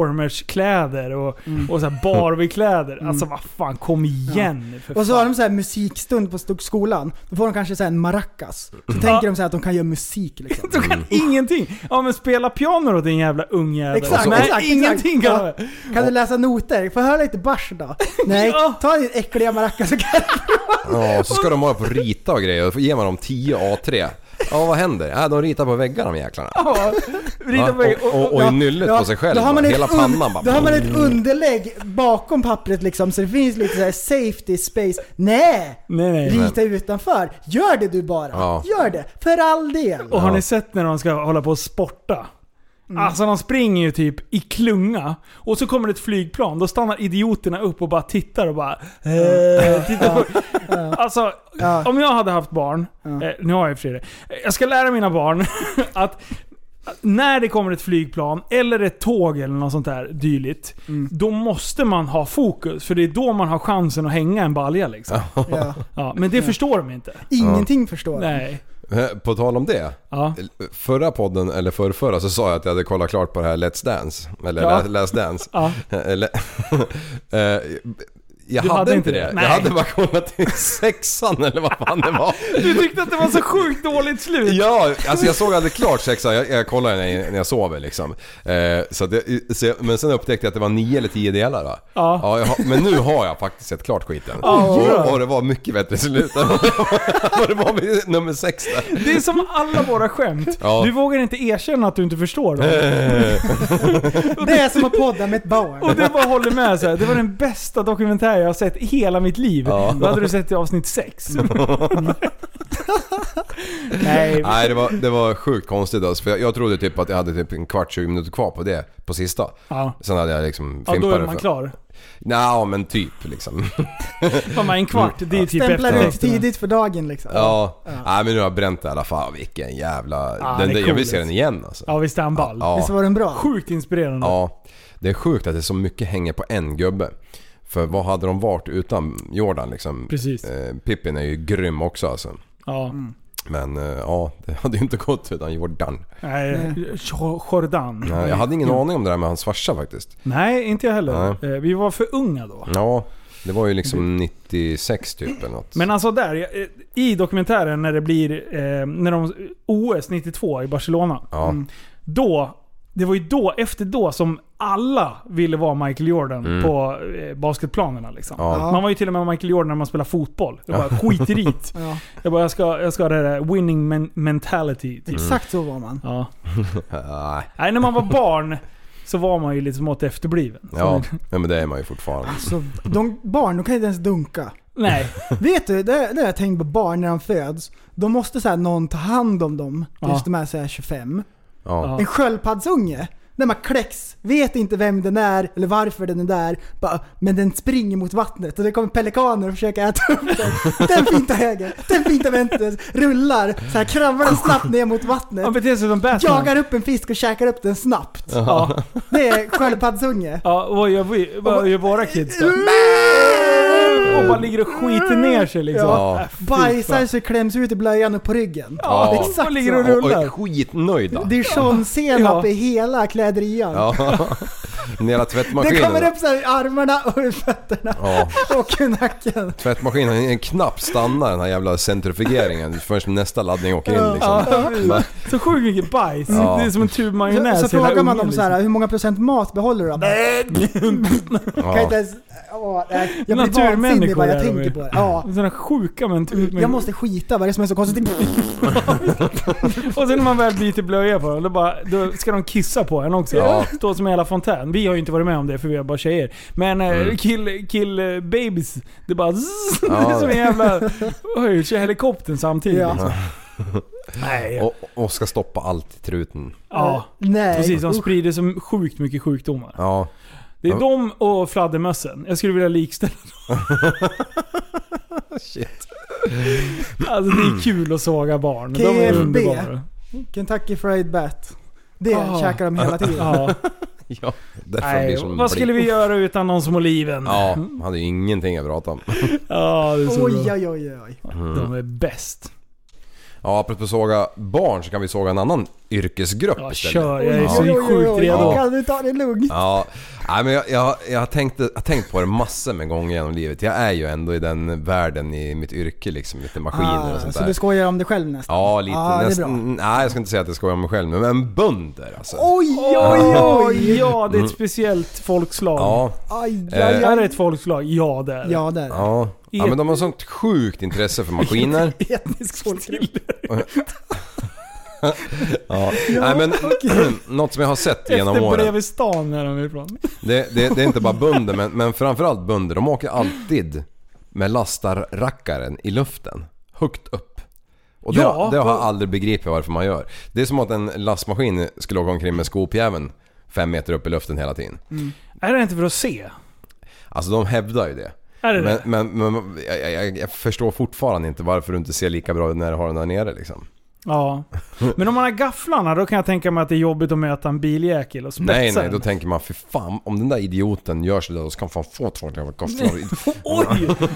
transformers-kläder och,
Mm.
och så här Barbie-kläder. Alltså vad fan, kom igen nu för
Och så
fan.
har de så här musikstund på sk- skolan. Då får de kanske så här en maracas. Så tänker de så här att de kan göra musik liksom.
De kan ingenting! Ja men spela piano då din jävla ungjävel.
Exakt,
Nej,
exakt,
ingenting
exakt.
kan de.
Kan du läsa noter? Får jag höra lite bars då? Nej,
Ja.
ta din äckliga maracas så kan
Ja, så ska de hålla på och rita och grejer. Då ger man dem 10 A3. Ja, vad händer? Ja, de ritar på väggarna de jäklarna.
Ja,
Ja,
vrida på väggen.
och, och, och i nyllet på sig själv.
Då har man,
Hela
ett, un-
pannan bara...
då har man ett underlägg bakom pappret liksom, så det finns lite så här safety space. Nej!
Nej, nej.
Rita utanför. Gör det du bara.
Ja.
Gör det. För all del.
Och har ni sett när de ska hålla på och sporta? Alltså de springer ju typ i klunga och så kommer det ett flygplan. Då stannar idioterna upp och bara tittar och bara... Eh, tittar på. Alltså,
Ja.
om jag hade haft barn, eh, nu har jag i och för sig det. Jag ska lära mina barn att när det kommer ett flygplan eller ett tåg eller något sånt där dylikt. Då måste man ha fokus för det är då man har chansen att hänga en balja liksom.
Ja.
Ja, men det förstår de inte.
Ingenting förstår jag.
Nej.
Eh, På tal om det.
Ja.
Förra podden, eller förrförra, så sa jag att jag hade kollat klart på det här Let's Dance. Eller
Ja.
Lä- Let's Dance.
Ja.
Eller, eh, jag
Du
hade, inte det.
Nej.
Jag hade bara kollat till sexan eller vad fan det var.
Du tyckte att det var så sjukt dåligt slut.
Ja, alltså jag såg aldrig klart sexan. Jag, jag kollar när jag, när jag sover liksom. Eh, så att det, så jag, men sen upptäckte jag att det var nio eller tio delar då.
Ja.
jag har, men nu har jag faktiskt sett klart skiten.
ja.
och, och det var mycket bättre slut än vad det var- vad det var med nummer sex där.
Det är som alla våra skämt.
Ja.
Du vågar inte erkänna att du inte förstår dem.
Det är som att podda med ett barn.
Och du bara håller med så här. Det var den bästa dokumentär jag har sett i hela mitt liv.
Ja.
Då hade du sett i avsnitt 6. Nej.
Nej, det var, det var sjukt konstigt alltså. För jag, jag trodde typ att jag hade typ en kvart, 20 minuter kvar på det, på sista.
Ja.
Sen hade jag liksom
Ja,
fimpat
då är
det
man
för-
klar.
Nja, men typ liksom.
Fan, man en kvart, det är typ
Stämplar ut
eftertexterna.
tidigt för dagen liksom.
Ja. Nej, men nu har jag bränt det i alla fall. Vilken jävla...
Ja,
den,
det är
jag vill
cool,
se den igen alltså.
Ja visst är han ball.
Ja.
Visst var den bra?
Sjukt inspirerande.
Ja, det är sjukt att det är så mycket hänger på en gubbe. För vad hade de varit utan Jordan liksom?
Precis.
Mm.
Eh, Pippin är ju grym också alltså.
Ja.
Men eh, ja, det hade ju inte gått utan Jordan.
Nej, Jo- Jordan.
Ja, Jag hade ingen aning om det där med hans farsa faktiskt.
Nej, inte jag heller. Eh, Vi var för unga då.
Ja, det var ju liksom 96 typ eller något.
Men alltså där, eh, i dokumentären när det blir eh, när de, OS 92 i Barcelona.
Ja.
Då, det var ju då, efter då som alla ville vara Michael Jordan på eh, basketplanerna. Liksom.
Mm. Ja.
Man var ju till och med Michael Jordan när man spelade fotboll. Jag bara, skit i det.
Ja.
Jag bara, jag ska, jag ska ha det där winning men- mentality.
Mm.
Typ.
Exakt så var man.
Ja.
Nej,
Nej, när man var barn så var man ju lite smått efterbliven.
ja, ja, men det är man ju fortfarande.
Så de, barn, de kan inte ens dunka.
Nej.
Vet du, det, det har jag tänkt på barn när de föds. De måste så här, någon ta hand om dem tills
Ja.
de är så här 25.
Ja.
Ja.
En sköldpaddsunge. När man kläcks, vet inte vem den är eller varför den är där. Bara, men den springer mot vattnet och det kommer pelikaner och försöker äta upp den. Den fintar höger, den fintar vänster, rullar, så här kravlar den snabbt ner mot
Han
vattnet.
beter sig som Batman.
Jagar upp en fisk och käkar upp den snabbt.
Ja.
Det är sköldpaddsunge.
Ja, och vad gör, vi, vad gör våra kids då? Och bara ligger och skiter ner sig liksom.
Ja.
Äh, fy
Bajsar
fan.
sig, kläms ut i blöjan och på ryggen.
Ja,
Ja.
exakt
Exakt
och ligger och
så.
Och,
rullar.
och skitnöjda.
Dijonsenap
Ja.
i hela kläderian.
Ja. Den hela
Det kommer
tvättmaskinen.
upp så här i armarna och i fötterna
Ja.
och i nacken.
Tvättmaskinen hinner knappt stanna den här jävla centrifugeringen förrän nästa laddning åker in liksom.
Ja, precis. så sjukt mycket bajs.
Ja.
Det är som en tub
Så,
majonnäs.
så
hela liksom.
frågar man
ungen,
dem så här, hur många procent mat behåller du? Kan inte ens, åh, nej. jag blir
Naturmänniskor
vansinnig bara jag
är de
tänker
ju.
på det. Ja.
Liksom. Sådana sjuka men typ.
Mm. Jag måste skita, vad är det som är så konstigt?
Och sen när man väl byter blöja på dem, då, bara, då ska de kissa på en också.
Ja.
Stå som en jävla fontän. Vi har ju inte varit med om det för vi är bara tjejer. Men mm. kill, kill eh, babies, det bara zzz, Det är
Ja.
som en jävla... Oj, kör helikoptern samtidigt.
Ja.
Liksom. Nej. Ja,
Och, och ska stoppa allt i truten.
Nej.
precis. De sprider så sjukt mycket sjukdomar.
Ja.
Det är
Ja.
de och fladdermössen. Jag skulle vilja likställa
Shit.
dem. Alltså det är kul att såga barn. De är
KFB.
underbara.
Oh, Kentucky Fried Bat. Det
Ah.
käkar de hela tiden.
Ja.
Ja. Därför blir det
Nej,
som
vad skulle
blir.
vi göra utan någon som oliven?
Ja, han hade ju ingenting att prata om.
Ja, det är så
Oj,
bra.
oj, oj, oj.
Mm.
De är bäst.
Ja, apropå såga barn så kan vi såga en annan yrkesgrupp
Ja,
istället.
kör. Jag är
Oj,
så
oj, oj, oj,
sjukt
oj.
redo.
Kan du ta det lugnt?
Ja, nej, men jag, jag, jag, har tänkt, jag har tänkt på det massor med gånger genom livet. Jag är ju ändå i den världen i mitt yrke liksom, lite maskiner och sånt
Ah, så
där.
du skojar om dig själv nästan?
Ja, lite.
Ja, det är
nästan, nej, jag ska inte säga att jag skojar om mig själv nu, men bönder alltså.
Oj, oj,
Ja,
oj!
ja, det är ett speciellt folkslag.
Mm. Ja,
Aj,
Eh,
aj,
Är det
aj.
ett folkslag? Ja, det är det.
Ja, där.
ja. ja, men de har sånt sjukt intresse för maskiner.
Etnisk folkgrupp.
Ja. Nej, men, något som jag har sett genom
Efter
åren.
bredvid stan är de ifrån.
Det, det, det är inte bara bönder, men, men framförallt bönder. De åker alltid med lastarrackaren i luften. Högt upp. Och det,
Ja,
har- det har jag
och-
aldrig begripit varför man gör. Det är som att en lastmaskin skulle åka omkring med skopjäveln fem meter upp i luften hela tiden.
Är det inte för att se? Alltså,
Alltså de hävdar ju det.
Är det
men
det?
men, men jag, jag- jag, jag förstår fortfarande inte varför du inte ser lika bra när du har den där nere liksom.
ja. Men om man har gafflarna, då kan jag tänka mig att det är jobbigt att möta en biljäkel och spetsa
Nej nej,
den.
då tänker man för fan om den där idioten gör sig då ska han fan få två jävla gafflar.
Oj! Oj,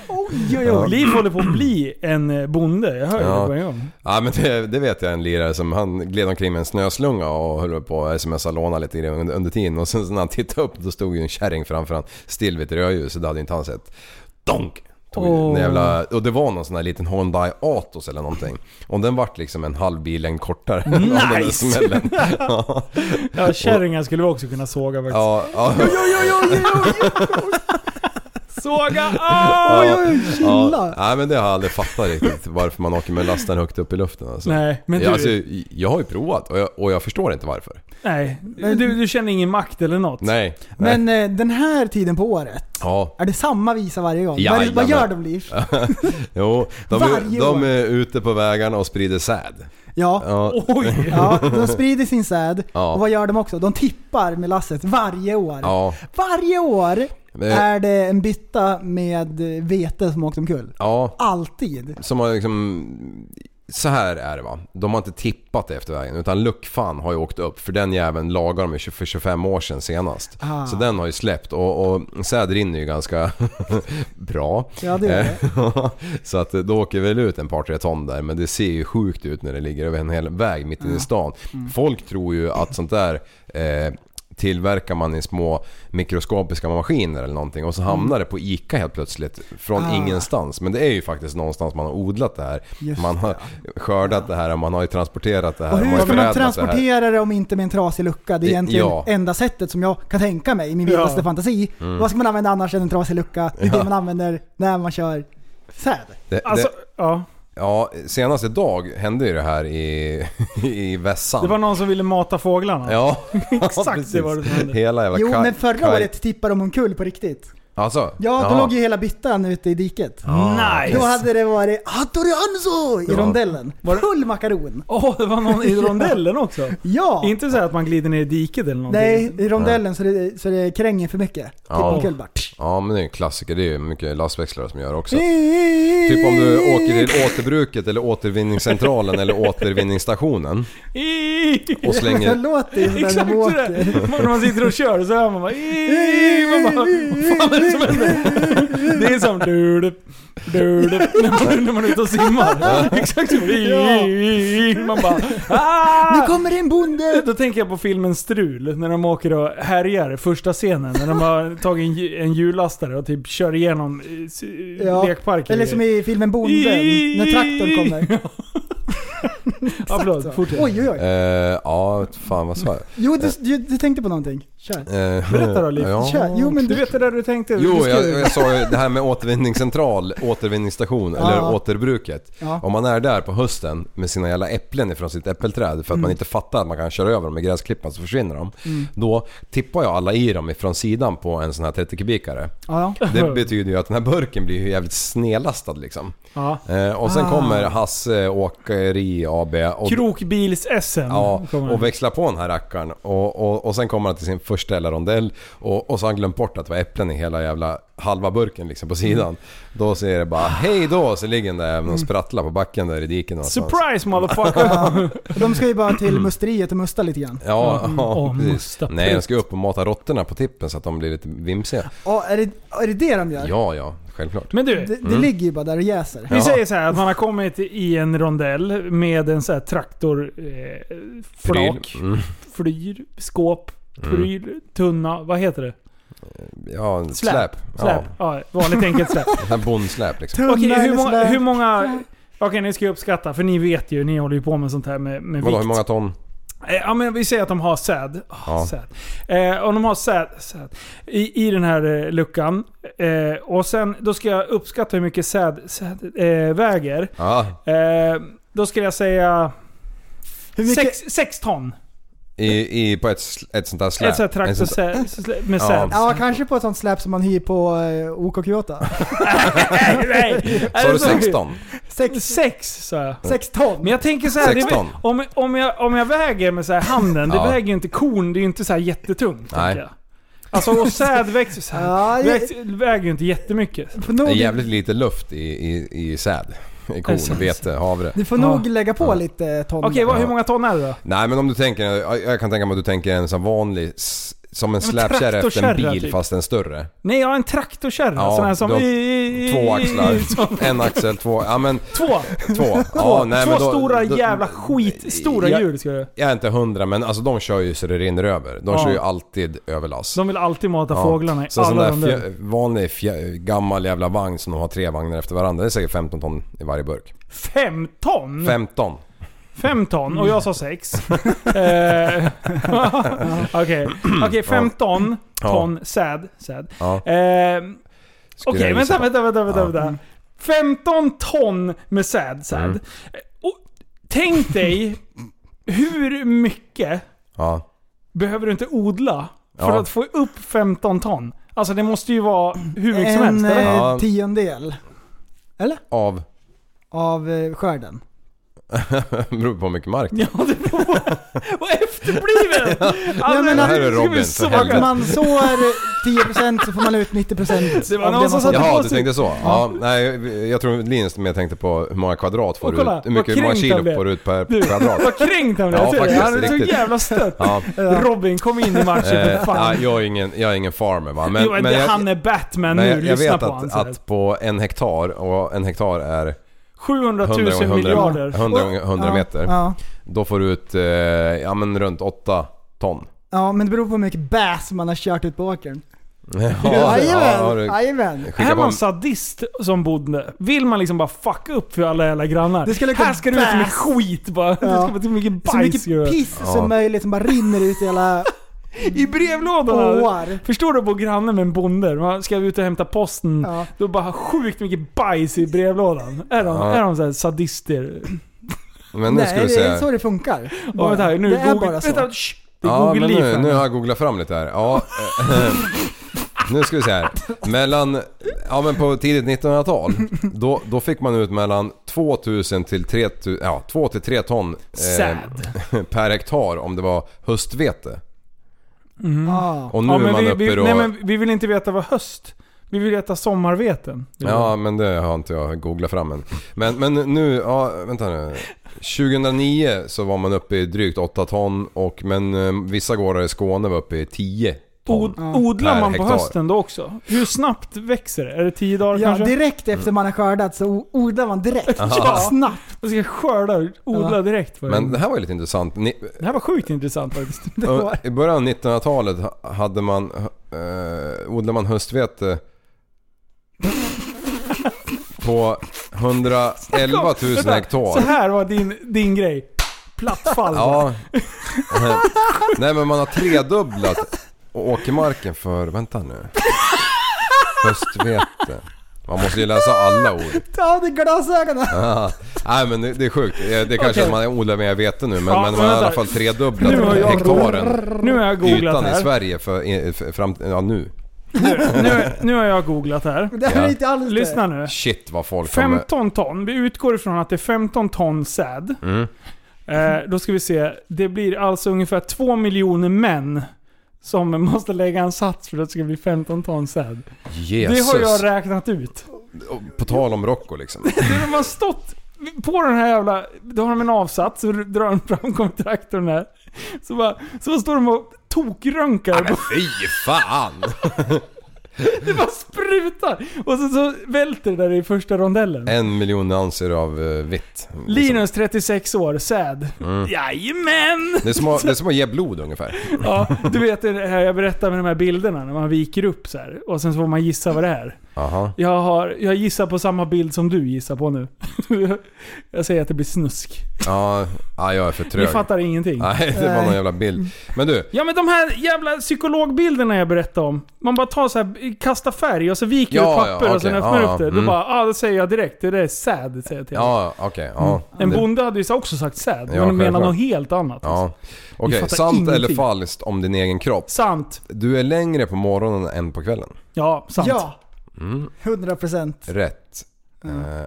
oj, oj. Liv håller på att bli en eh, bonde. Jag hör ju
Ja.
det på en gång.
Ja men det, det vet jag en lirare som han gled omkring med en snöslunga och höll på att smsa låna lite grann under, under tiden och sen när han tittade upp då stod ju en kärring framför han still vid ett rödljus och det hade inte han sett. Donk! Tog ju
Åh.
den jävla, och det var någon sån där liten Hyundai Atos eller någonting. Och den vart liksom en halv billängd kortare av den där
Nice!
smällen. ja,
Ja, kärringar skulle vi också kunna såga faktiskt.
ja, ja,
Såga! Ah!
ja,
chilla.
Nej men det har jag aldrig fattat riktigt varför man åker med lasten högt upp i luften alltså.
Nej, men du...
jag, alltså, jag har ju provat och jag, och jag förstår inte varför.
nej. Du, du känner ingen makt eller något?
Nej. nej.
Men eh, den här tiden på året,
ja.
är det samma visa varje gång? Vad,
Jajamän.
vad gör de Liv?
Jo, de,
Varje
är,
år.
de är ute på vägarna och sprider säd.
Ja.
Ja,
Oj!
ja, de sprider sin säd.
Ja.
Och vad gör de också? De tippar med lasset varje år.
ja,
Varje år
Men-
är det en bytta med vete som åkt omkull.
ja.
Alltid.
Som har liksom så här är det va. De har inte tippat efter vägen utan luckfan har ju åkt upp för den jäveln lagade de ju för 25 år sedan senast.
Ah.
Så den har ju släppt och, och säd rinner ju ganska bra.
Ja, det gör det.
Eh, så att då åker väl ut en par tre ton där men det ser ju sjukt ut när det ligger över en hel väg mitt inne i stan. Folk tror ju att sånt där eh, tillverkar man i små mikroskopiska maskiner eller någonting och så hamnar det på ICA helt plötsligt från
Ah.
ingenstans. Men det är ju faktiskt någonstans man har odlat det här.
Just
man har skördat det här och man har ju transporterat det här.
Och hur ska man
förädlat det här.
transportera det om inte med en trasig lucka? Det är
Det-
egentligen
ja. Mm.
enda sättet som jag kan tänka mig i min vildaste
Ja.
fantasi. Vad ska man använda annars än en trasig lucka? Det är det man använder när man kör säd.
Det,
Alltså,
det,
ja.
ja, senast idag hände ju det här i, i Vässan.
Det var någon som ville mata fåglarna.
Ja,
Exakt det
precis.
var det som hände.
Hela jävla
Jo,
kaj-
men förra
kaj-
året tippade de omkull på riktigt.
Alltså?
Ja, då låg ju hela byttan ute i diket. Mm.
Nice!
Då hade det varit Hattori Hanzo i
Ja.
rondellen.
Var det-
Full makaron.
Åh, det var någon i rondellen också.
Ja!
Inte så här att man glider ner i diket eller någonting.
Nej, i rondellen så det, så det kränger för mycket. Typ
Ja.
omkull bara.
Ja men det är en klassiker, det är ju mycket lastväxlare som gör också. Typ om du åker till återbruket eller återvinningscentralen eller återvinningsstationen och
Det
slänger...
låter ju när
Exakt
de åker.
sådär. När man sitter och kör så hör man bara... "Ii", Man bara Vad fan är det som händer? Det är som... Du, du, du, du, när, man, när man är ute och simmar. Exakt så. "Ii", Man bara... "Ah!"
Nu kommer det en bonde!
Då tänker jag på filmen Strul, när de åker och härjar, första scenen. När de har tagit en, ju- en hjullastare och typ kör igenom eh, s-
Ja,
lekparker.
Eller som i filmen Bonden,
Ii-
när traktorn kommer.
Ja, förlåt.
Exakt så.
Fortsätt.
Oj, oj, oj.
Eh, ja, fan vad sa jag?
Jo, du, du, du tänkte på någonting. Kör.
Eh,
Berätta då, Liv.
ja.
Kör. Jo, men
Du vet det där du tänkte?
Jo,
Du skrev-
jag, jag sa ju det här med återvinningscentral, återvinningsstation eller
Ja.
återbruket.
Ja.
Om man är där på hösten med sina jävla äpplen ifrån sitt äppelträd för att
Mm.
man inte fattar att man kan köra över dem med gräsklippan så försvinner de. Då tippar jag alla i dem ifrån sidan på en sån här 30-kubikare.
Ja, ja.
Det betyder ju att den här burken blir ju jävligt snedlastad liksom.
Ja.
Eh, och
Ah.
sen kommer Hasse Åkeri AB och,
Krokbils-SM.
ja,
kommer
och växlar på den här rackaren. Och, och, och sen kommer han till sin första jävla rondell och, och så har han glömt bort att det var äpplen i hela jävla halva burken liksom på
Mm.
sidan. Då ser det bara hej då så ligger den där även och sprattlar på backen där i diken någonstans.
Surprise motherfucker!
De ska ju bara
Mm.
till musteriet och musta lite grann.
Ja, ja
Mm. Åh,
precis.
musta
Nej, de
prutt.
ska upp och mata råttorna på tippen så att de blir lite vimsiga.
Ja, är det är det, det de gör?
Ja, ja, självklart.
Men du,
Det, det ligger ju bara där och jäser.
vi säger så här att man har kommit i en rondell med en så här traktor... Eh, flak,
Pryl. Mm.
flyr, skåp, pryl, tunna, vad heter det?
Ja, släp.
Släp. Släp. Ja, vanligt enkelt släp.
Ja, bondsläp liksom.
Tunna
Okej, hur,
eller
många,
slät.
hur många... Okej, ni ska ju uppskatta, för ni vet ju, ni håller ju på med sånt här med, med
Vadå, hur
vikt.
många ton?
Eh, Ja, men vi säger att de har säd. Oh,
Ja.
säd. Eh, om de har säd, säd. I, i den här eh, luckan. Eh, och sen, då ska jag uppskatta hur mycket säd, säd eh, väger.
Ja,
Eh, då skulle jag säga...
Hur mycket-
Sex, sex ton.
i, i, på ett, sl- ett sånt där släp.
Ett sånt här
En
traktor
sån-
sä, slä, med
Ja.
säd.
Ja, kanske på ett sånt släp som man hyr på eh, OK Kyoto.
Nej, nej. Är
Sa
det
du
så?
16?
Sex,
Sex, sa jag.
sex ton.
Men jag tänker så här, det är, väl-
16.
om, om, jag, om jag väger med så här handen, det
Ja.
väger ju inte korn, det är ju inte så här jättetungt.
Nej.
tänker Jag. Alltså och säd växer så här.
Ja, jag-
växt, väger ju inte jättemycket.
Du får
Det är
nog,
jävligt lite luft i, i, i säd. I
så-
korn, vete, havre.
du får
Ja.
nog lägga på lite eh, ton.
Okej, vad, hur många ton är det då?
Nej men om du tänker, jag jag kan tänka mig att du tänker en sån vanlig, s- som en
Ja, men
släpkärra efter en
traktorkärra
bil
typ.
fast en större.
Nej, jag har en traktorkärra. sån här som...
du har två axlar. En axel, två, ja men
Två!
två.
Två,
Ja, nej,
två
men då-
stora
då-
jävla skitstora
Jag-
hjul ska jag
Jag är inte hundra men alltså de kör ju så det rinner över. De
Ja.
kör ju alltid överlast.
De vill alltid mata
Ja.
fåglarna i
Så en sån
alla
där
de där.
fjä, vanlig fjä, gammal jävla vagn som de har tre vagnar efter varandra. Det är säkert 15 ton i varje burk.
Fem ton?
15.
Fem ton och jag sa sex. Eh, Okej, Okej, fem ton.
Ja.
Ton säd. säd.
Ja,
Eh,
skulle
Okej,
jag gissa
vänta,
på.
vänta, vänta, vänta,
Ja.
vänta. 15 ton med säd, säd.
Mm.
Eh, Och, tänk dig hur mycket
Ja.
behöver du inte odla för
Ja.
att få upp 15 ton? Alltså det måste ju vara hur mycket som helst.
En
Eller?
Ja.
eh, tiondel
Av?
av eh, skörden.
beror på hur mycket mark det är.
Ja, det var... Vad efterbliven! Alltså,
men
det
här
är
skulle
Robin,
vi
för
såga.
helvete.
Att man sår 10% så får man ut 90%
Det var
av
någon
det
som sa-
man sår.
Jaha, du
måste-
tänkte så. Ja, nej, jag tror Linus mer tänkte på hur många kvadrat får
Och
du
kolla,
ut, hur, mycket,
vad
hur många
kränkt
kilo
han blev.
får du ut per
Du,
kvadrat.
Vad kränkt han blev.
Ja,
Jag ser det.
faktiskt,
han är så
riktigt.
jävla stött.
Ja.
Robin, kom in i matchen
Eh,
för fan.
nej, jag, är ingen, jag är ingen farmer va. Men,
jo,
men
det,
jag,
han är Batman
men
nu,
jag, jag
lyssna
vet
på honom.
att, att på en hektar, och en hektar är
700 000
100 gånger 100,
miljarder.
100, gånger 100
Ja,
meter.
Ja.
Då får du ut, eh, ja men runt 8 ton.
ja, men det beror på hur mycket bass man har kört ut på åkern.
Ja, ja,
Jajamän,
du-
jajamän.
skicka
Är
på en-
man sadist som bodde? Vill man liksom bara fucka upp för alla jävla grannar?
Det ska lukta
här ska du ut med
bäs.
skit bara. Det ska vara så mycket
Så
bajs. gör
mycket
du.
piss
Ja.
som möjligt som bara rinner ut i hela
I brevlådan.
åar.
Förstår du att bo granne med en bonde? Man ska ut och hämta posten.
Ja.
Då bara sjukt mycket bajs i brevlådan. Är de,
Ja.
är de så här sadister?
Men nu ska
Nej,
vi
det är
se.
så det funkar.
Och vänta, här, nu
det är
Google-
bara så.
Vänta, shh, det är
Ja,
Google
men nu,
Leaf
nu
nu,
har jag googlat fram lite här. Ja, eh, nu ska vi se här. Mellan, ja men på tidigt 1900-tal, då, då fick man ut mellan 2000 till 3000, ja 2 till 3 ton eh,
Sad.
per hektar om det var höstvete.
Ja.
Och nu
Ja,
är man
men vi,
uppe
vi,
då...
nej, men vi vill inte veta vad höst. Vi vill veta sommarveten.
Ja, men det har inte jag googlat fram än. Men, men nu, ja, vänta nu. 2009 så var man uppe i drygt 8 ton och men eh, vissa gårdar i Skåne var uppe i 10 ton.
Od, odlar
Per
man på
hektar.
hösten då också? Hur snabbt växer det? Är det tio dagar
Ja,
kanske?
direkt efter man har skördat så odlar man direkt.
Ja.
Snabbt.
Jag ska skörda och odla
Ja.
direkt. För
Men
men
det här var ju lite intressant. Ni,
det här var sjukt intressant faktiskt.
ö, I början av 1900-talet ha- hade man, eh, odlade man höstvete på 111 000
Så
hektar.
här var din, din grej. Plattfall.
Ja. Nej men man har tredubblat åkermarken för, vänta nu. Höstvete. Man måste ju läsa alla ord.
Ta av dig glasögonen.
Ah, Nej men det, det är sjukt. Eh, Det är kanske att man odlar mer vete nu men,
Ja, men
men man har i
vänta.
alla fall
Nu har
tredubblat
jag-
hektaren.
Nu har jag googlat
Ytan i
här.
Sverige för, i- för fram, ja nu.
Nu, nu har jag googlat här.
Det här är inte alls det.
Lyssna nu.
Shit vad folk kommer...
15 ton. Vi utgår ifrån att det är 15 ton säd.
Mm.
Eh, då ska vi se. Det blir alltså ungefär 2 miljoner män som måste lägga en sats för att det ska bli 15 ton säd.
Jesus.
Det har jag räknat ut.
På tal om Rocco liksom.
Det de har stått på den här jävla... Då har de en avsats, så drar de fram kontraktorn här. Så bara, så bara står de och tokrönkar.
Fy fan!
Det bara sprutar! Och sen så välter det där i första rondellen.
En miljon nyanser av eh, vitt. liksom.
Linus 36 år, säd. Jajamän!
Det är, som att, det är som att ge blod ungefär.
Ja, du vet det här jag berättade med de här bilderna när man viker upp så här. Och sen så får man gissa vad det är.
Aha.
Jag, har, jag gissar på samma bild som du gissar på nu. Jag säger att det blir snusk.
Ja, ja, jag är för
Ni
trög.
fattar ingenting.
Nej, det var någon jävla bild. Men du,
Ja men de här jävla psykologbilderna jag berättade om. Man bara tar så här, kastar färg och så viker
Ja,
du papper
ja,
och sen
okej,
öppnar
ja,
upp det.
ja,
Då
mm.
bara, ah, det säger jag direkt. Det där är sad, säger jag till dig.
ja okej. ja.
Mm. En bonde hade ju så också sagt sad, men de
självklart.
menar något helt annat.
Ja. Okej,
Vi fattar
sant eller
ingenting.
falskt om din egen kropp?
Sant.
Du är längre på morgonen än på kvällen.
Ja, sant. Mm.
Ja. 100%.
Rätt. Eh,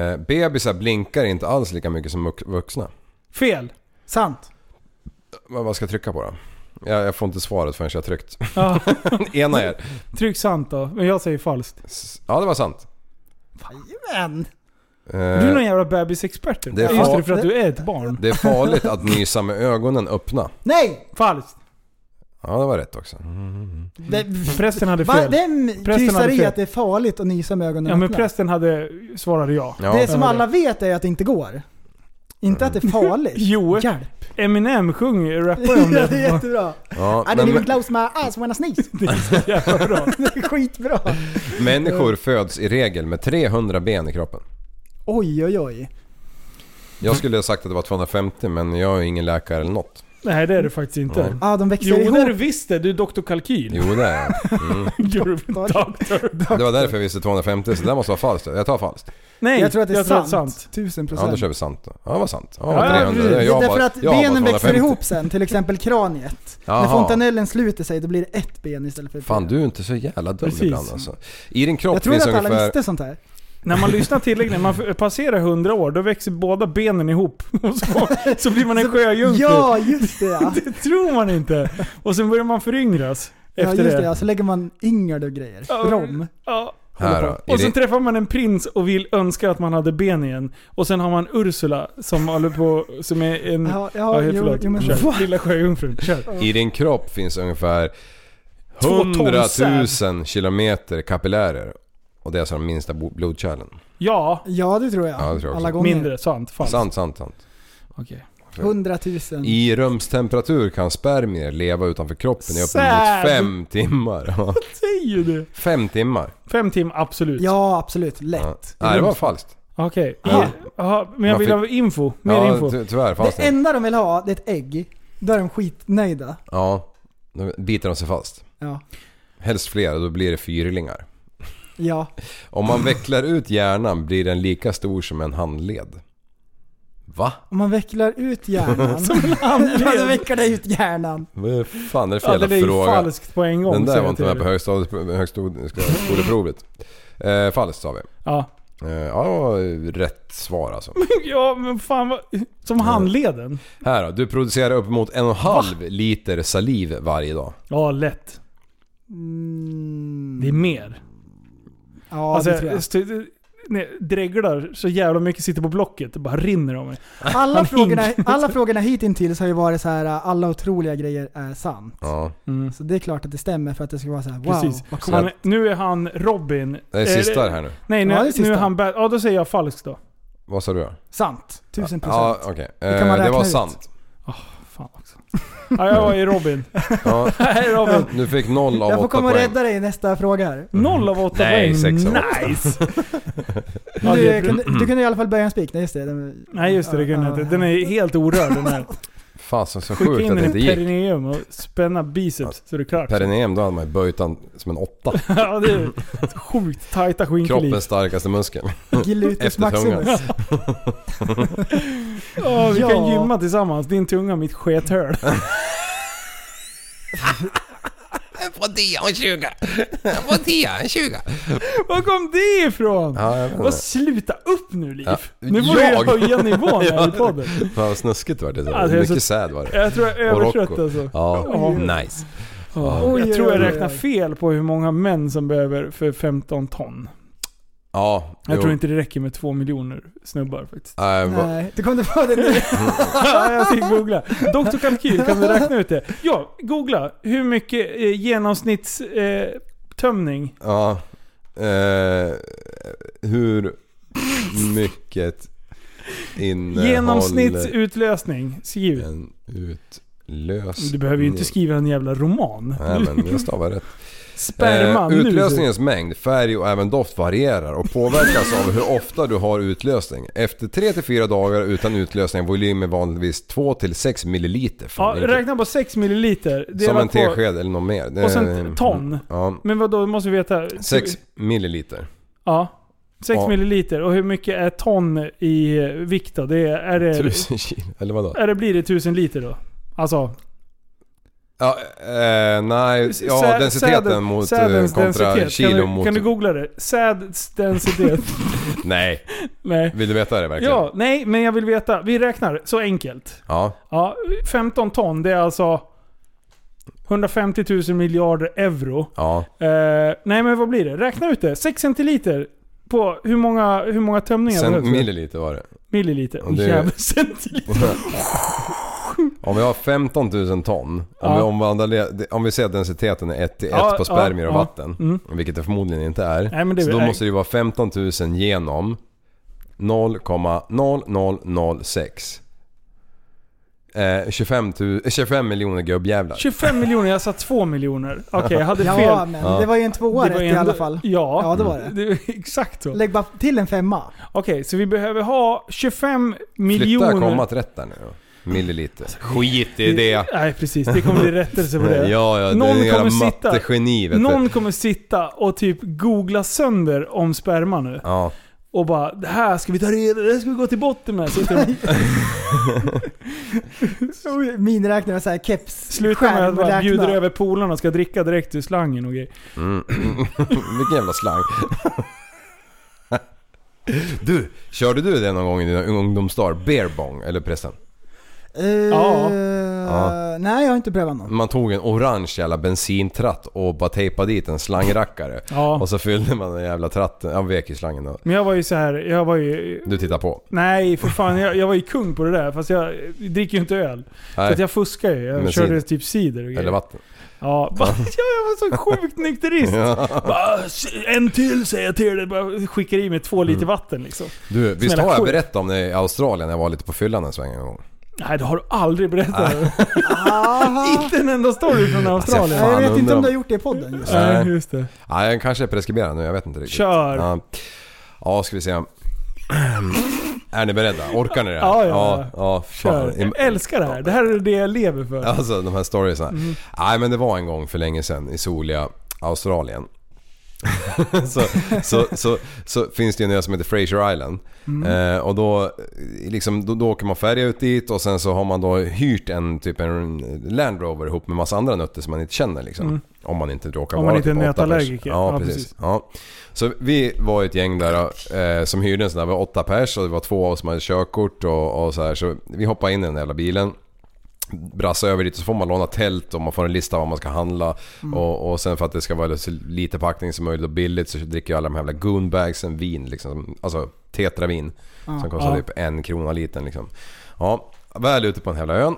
eh, bebisar blinkar inte alls lika mycket som vux- vuxna.
Fel.
Sant.
Vad vad ska jag trycka på då? Jag, jag får inte svaret förrän jag har tryckt.
Ja,
Ena er.
tryck sant då. Men jag säger falskt.
S- Ja, det var sant.
Men.
Eh,
Du är någon jävla bebisexpert.
Det är
Just
fa-
det, för att du är ett barn.
Det är farligt att nysa med ögonen öppna.
Nej!
Falskt.
Ja, det var rätt också.
Det,
Mm. Prästen hade
va,
fel.
vem
Prästen hade
kryssar i
fel.
att det är farligt att nysa med ögonen
Ja men
öppna?
prästen hade, svarade ja.
Ja.
Det som
Ja. Mm.
alla vet är att det inte går. Inte att det är farligt.
Jo.
Hjälp.
Eminem sjunger, rappar om
Ja, det
det.
är jättebra.
Ja,
I
men-
didn't even close my eyes when I sneeze.
Det är så jävla bra.
Det är skitbra.
Människor föds i regel med 300 ben i kroppen.
Oj, oj, oj.
Jag skulle ha sagt att det var 250 men jag är ingen läkare eller något.
Nej det är det faktiskt inte.
Ja.
Ja, de växer
Jo det är du
ihop.
visst det. Du är doktor Kalkyl.
Jo det är jag. Mm.
You're a doctor.
Det var därför jag visste 250 så det där måste vara falskt. Jag tar falskt.
Nej,
Jag tror att det är sant.
sant.
1000
Ja då
procent.
kör vi sant då. Ja det var sant. Ja,
Ja,
300.
precis.
Det är
det är
jag
därför
bara-
att
jag bara
benen växer
250.
ihop sen, till exempel kraniet. När
Jaha.
fontanellen sluter sig då blir det ett ben istället för
Fan
fyra.
du är inte så jävla dum
Precis.
ibland alltså. I din kropp
Jag tror
finns
att alla
ungefär...
visste sånt här.
När man lyssnar tillräckligt, när man f- passerar 100 år, då växer båda benen ihop. Och så, så blir man en
typ.
sjöjungfru.
Ja, just det ja.
Det tror man inte. Och sen börjar man föryngras
ja
efter
just det,
det.
ja. Så lägger man yngel och grejer.
Ja.
Rom.
Ja.
Här då.
Och sen
Är det,
träffar man en prins och vill önska att man hade ben igen. Och sen har man Ursula som håller på, som är en... Ja,
Ja, ja,
helt
jo,
förlåt.
jo, men,
Kör. Lilla sjöjungfrun. Kör.
I din kropp finns ungefär
Två ton
100 000
säd.
kilometer kapillärer. Och det är alltså de minsta bo- blodkärlen.
Ja.
ja, det tror jag.
Ja, det tror jag
Alla
också.
gånger.
Mindre. Sant. Falskt.
Sant, sant, sant.
Okej.
100 000.
I rumstemperatur kan spermier leva utanför kroppen i
Säd.
uppemot fem timmar. Ja,
Säger du?
fem timmar.
Fem timmar, absolut.
Ja, absolut. Lätt.
Ja. Nej, det var falskt.
Okej.
Ja.
Ja. Jaha, Men jag vill ha info. Mer
ja,
info.
ty- tyvärr fanns
Det
det.
enda de vill ha, det är ett ägg. Då är de skitnöjda.
Ja, då biter de sig fast.
Ja.
Helst flera, då blir det fyrlingar.
Ja.
Om man vecklar ut hjärnan blir den lika stor som en handled. Va?
Om man vecklar ut hjärnan. Som Man vecklar ut hjärnan.
Vad fan är det för
Ja,
jävla
det är ju
fråga?
falskt på en gång.
Den där
säger
var
jag
inte
till
med på
dig.
högstadiet- högskoleprovet. Eh, falskt sa vi.
Ja.
Eh, ja, det var rätt svar alltså.
ja, men fan vad... Som handleden.
Här då, du producerar uppemot en och en halv liter saliv varje dag.
Ja, lätt.
Mm.
Det är mer.
Ja,
alltså,
det tror jag.
st- när jag dreglar så jävla mycket sitter på blocket. Det bara rinner om mig.
Alla
han
frågorna,
hinkar.
alla frågorna hittills har ju varit så här alla otroliga grejer är sant.
Ja.
Så det är klart att det stämmer för att det ska vara så här wow,
Mm, Precis.
vad
Så
coolt.
Men nu är han Robin.
Det är
Eh,
sista det här nu.
Nej, nu,
Ja, det är
nu är
sista.
han Bat- Ja, då säger jag falskt då.
Vad sa du då?
Sant. Tusen
Ja,
procent.
okej.
Det kan man
Eh, det
räkna
var
ut.
sant.
Fan också. Ja, jag var ju Robin.
Ja,
Nej, Robin.
du fick noll av
Jag får
åtta
komma och
poäng.
rädda dig i nästa fråga här.
Noll av åtta
Nej,
poäng.
sex av åtta.
Nice! ja, det
Du
är bra.
kunde, du kunde i alla fall böja en spik. Nej just det. Den,
Nej just det, det kunde jag inte. Den är ju helt orörd den här.
Fasen så
Skicka
sjukt
in
att det
den
inte
i
gick.
perineum och spänna biceps så är det klart.
Perineum, då hade man ju böjt den som en åtta.
ja, det är sjukt tajta skinkelin.
Kroppens starkaste muskel.
Gluteus
Efter tungan.
maximus. Eh,
Ja, vi kan
Ja.
gymma tillsammans. Din tunga, mitt skethörn.
På tian 20. På tian 20.
Var kom det ifrån?
Ja, jag vet
Vad
inte.
sluta upp nu Liv.
Ja,
Nu får jag
jag.
höja nivån här i podden.
Fan vad snuskigt var det.
Ja, det är
Mycket
så-
sad var det.
Jag tror jag är
Och Rocco.
övertrött alltså.
Ja,
Oj,
nice.
Ja, jag tror jag
oj, oj.
räknar fel på hur många män som behöver för 15 ton.
Ja,
Jag
jo.
tror inte det räcker med två miljoner snubbar faktiskt.
Nej, va-
Nej, du kom inte på det nu.
Ja, jag fick googla. Doktor Kalkyl, kan du räkna ut det? Ja, googla. Hur mycket eh, genomsnittstömning? Eh, tömning?
Ja. Eh, hur mycket innehåller
Genomsnittsutlösning. Skriv.
en utlösning?
Du behöver ju inte skriva en jävla roman.
Nej men jag stavar rätt.
Sperma
Eh,
nu.
utlösningens mängd, färg och även doft varierar och påverkas av hur ofta du har utlösning. Efter 3-4 dagar utan utlösning är volymen vanligtvis 2-6 milliliter.
Ja,
Fan, det är inte-
räkna på 6 milliliter.
Som
dela
en
på-
tesked Eh, mm. eller något mer. Det-
Och sen ton.
Ja,
Men vad då måste vi veta?
6 milliliter.
Ja. 6
Ja.
milliliter. Och hur mycket är ton i eh, vikt då? Det är, är, det,
1000 kilo, eller vadå?
är det, blir det 1000 liter då? Alltså,
Ja, eh, nej, ja
Sä-
densiteten
säden-
mot eh,
sädens
kontra
densitet.
kilo
kan du,
mot...
Kan du googla det? Säds densitet.
Nej,
nej.
vill du veta det verkligen?
Ja, nej, men jag vill veta. Vi räknar så enkelt.
Ja,
Ja, 15 ton, det är alltså 150 000 miljarder euro.
ja.
Eh, nej, men vad blir det? Räkna ut det. 6 centiliter på hur många, hur måga tömningar
Sen
behövs det?
milliliter var det.
Milliliter.
Och det-
Jävlar, centiliter.
Om vi har 15 000 ton, om,
Ja.
vi omvandlar, det- om vi säger att densiteten är 1 till 1
Ja,
på spermier
ja,
och
ja.
vatten, vilket det förmodligen inte är.
Nej, men det
så då
är-
måste det ju vara 15 000 genom 0,0006. Eh, 25, tu- eh, 25 miljoner gubbjävlar.
25 miljoner, jag sa 2 miljoner. Okej, jag hade fel.
Ja, men det var ju en tvåa
Det var
rätt i
ändå-
alla fall.
Ja,
Ja, det var det.
Exakt så.
Lägg bara till en femma.
Okej, så vi behöver ha 25 miljoner...
Flytta kommat rätt där nu då. Milliliter. Skit i
Nej precis, det kommer bli rättelse på det.
Ja, ja, det
Någon
är en jävla
kommer sitta-
mattegeni vet du.
Någon kommer sitta och typ googla sönder om sperma nu.
Ja.
Och bara det här ska vi ta reda det här ska vi gå till botten med. Så det-
Oj, Miniräknare och så här keps.
Sluta med att bara
skärmräkna.
bjuder över polarna och ska dricka direkt ur slangen och grejer.
Vilken jävla slang. Du, körde du det någon gång i dina ungdomsdagar? Beer bong, eller pressen?
Eh,
Ja.
Nej, jag har inte prövat någon.
Man tog en orange jävla bensintratt och bara tejpade dit en slangrackare.
Ja.
Och så fyllde man den jävla tratten, ja vek i slangen då.
Men jag var ju så här, jag var ju...
Du tittar på.
Nej för fan, jag, jag var ju kung på det där. Fast jag dricker ju inte öl. Så att
Nej,
jag fuskar ju. Jag
Men
körde
cider.
typ cider och
eller
grejer.
vatten.
Ja, bara, ja, jag var så sjukt nykterist. Bara, en till säger jag till dig. Bara skickar i mig två liter
Mm.
vatten liksom.
Du, visst
Snälla,
har jag
sjuk.
berättat om det i Australien när jag var lite på fyllan en sväng en gång?
Nej, det har du aldrig berättat. inte en enda story från Australien.
Ah. Alltså, Fan,
jag vet inte
undrar
om
om-
du har gjort det i podden just.
Nej.
Nej, just det.
Nej, den kanske är preskriberad nu, jag vet inte riktigt.
Kör.
Ja, ja ska vi se. är ni beredda? Orkar ni det här?
Ja, ja,
ja.
ja.
ja fan.
Kör. Jag älskar det här. Det här är det jag lever för. Mhm.
Alltså de här storiesna. Nej men det var en gång för länge sedan i soliga Australien. så, så, så, så finns det ju en ö som heter Fraser Island.
Mm.
Eh, och då, eh, liksom, då, då åker man färja ut dit och sen så har man då hyrt en typ en Land Rover ihop med massa andra nötter som man inte känner liksom. Om man inte råkar
Mm. Om
vara
man inte är
typ åtta pers.
nötallergiker.
Ja,
Ja,
precis.
precis.
Ja. Så vi var ett gäng där eh, som hyrde en sån där, vi var åtta pers och det var två av oss som hade körkort och, och så här. Så vi hoppade in i den där jävla bilen brassa över dit och så får man låna tält och man får en lista vad man ska handla.
Mm.
Och, och sen för att det ska vara så lite packning som möjligt och billigt så dricker jag alla de här jävla goonbagsen vin liksom. Alltså tetravin. Som kostar
Ja.
typ en krona liten liksom. Ja, väl ute på den här jävla ön.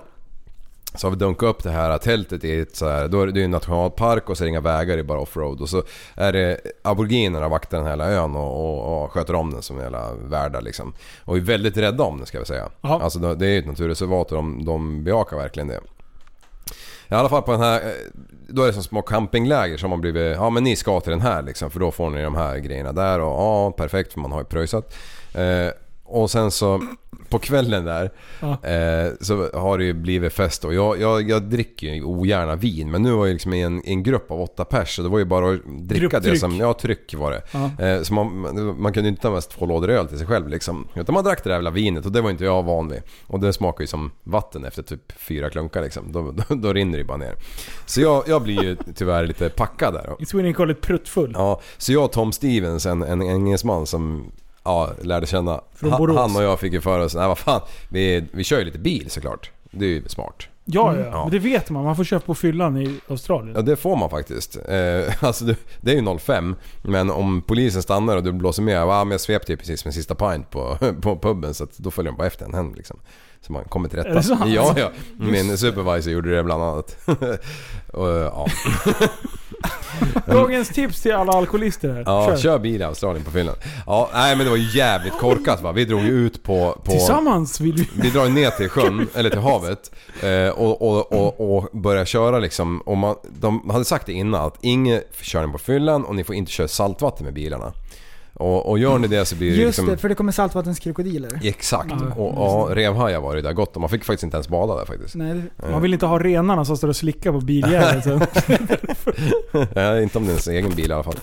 Så har vi dunkat upp det här tältet i ett så här, då är det, det är en nationalpark och så är det inga vägar, det är bara offroad. Och så är det aboriginerna vaktar den här hela ön och, och, och sköter om den som jävla värdar liksom. Och är väldigt rädda om den ska vi säga.
Ja.
Alltså det det är ju ett naturreservat och de, de bejakar verkligen det. I alla fall på den här, eh, då är det som små campingläger som har blivit, ja men ni ska till den här liksom för då får ni de här grejerna där och ja perfekt för man har ju pröjsat. Eh, och sen så på kvällen där eh, så har det ju blivit fest och jag, jag, jag dricker ju ogärna vin men nu var jag liksom i en, i en grupp av åtta pers så det var ju bara att dricka det
Grupptryck.
som, ja tryck var det. Eh, så man, man, man kunde inte ta med sig två lådor öl till sig själv liksom. Utan man drack det där jävla vinet och det var inte jag van vid. Och det smakar ju som vatten efter typ fyra klunkar liksom. Då, då, då rinner det bara ner. Så jag, jag blir ju tyvärr lite packad där.
I Sweden call it pruttfull.
Ja, så jag och Tom Stevens, en, en engelsman som ja, lärde känna.
Från
han-
Borås.
han och jag fick ju för oss, nej vad fan, vi, vi kör ju lite bil såklart. Det är ju smart.
Ja, ja.
Ja.
Men det vet man. Man får köpa på fyllan i Australien.
Ja det får man faktiskt. Eh, alltså det, det är ju 05 men om polisen stannar och du blåser med, ja men jag svepte ju precis min sista pint på, på puben så att då följer de bara efter en hem liksom. Så man kommer till rätta.
Är det sant?
Ja, ja. Min supervisor gjorde det bland annat. och, ja.
Dagens tips till alla alkoholister här.
ja,
Kör.
kör bil i Australien på Finland. Ja, nej men det var ju jävligt korkat va. Vi drog ju ut på... på
Tillsammans vill vi...
vi drar ner till sjön, eller till havet eh, och, och, och, och börjar köra liksom. Och man, de hade sagt det innan att ingen körning på fyllan och ni får inte köra saltvatten med bilarna. Och, och gör ni det så blir det
Just
liksom...
det, för det kommer saltvattenkrokodiler.
Exakt. Och, ja, revhajar var det där gott om. Man fick faktiskt inte ens bada där faktiskt.
Nej, det-
Man vill inte ha renarna som står och slickar på biljäveln sen.
Nej, inte om det är ens egen bil i alla fall.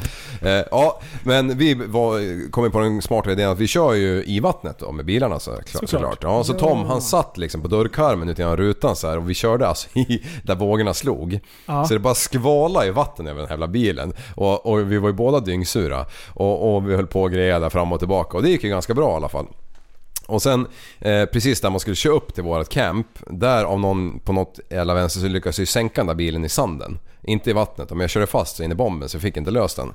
Eh, ja, men vi var, kom ju på den smarta idén att vi kör ju i vattnet då med bilarna så, såklart.
Såklart.
såklart. Ja, så Tom han satt liksom på dörrkarmen ute genom rutan så här och vi körde alltså i, där vågorna slog.
Ja.
Så det bara skvala i vatten över den här jävla bilen. Och, och vi var ju båda dyngsura. Och, och vi höll på och grejade där fram och tillbaka och det gick ju ganska bra i alla fall. Och sen eh, precis där man skulle köra upp till vårat camp, där av någon på något jävla vänster så lyckades jag ju sänka den där bilen i sanden. Inte i vattnet, men jag körde fast så in i bomben så jag fick inte löst den.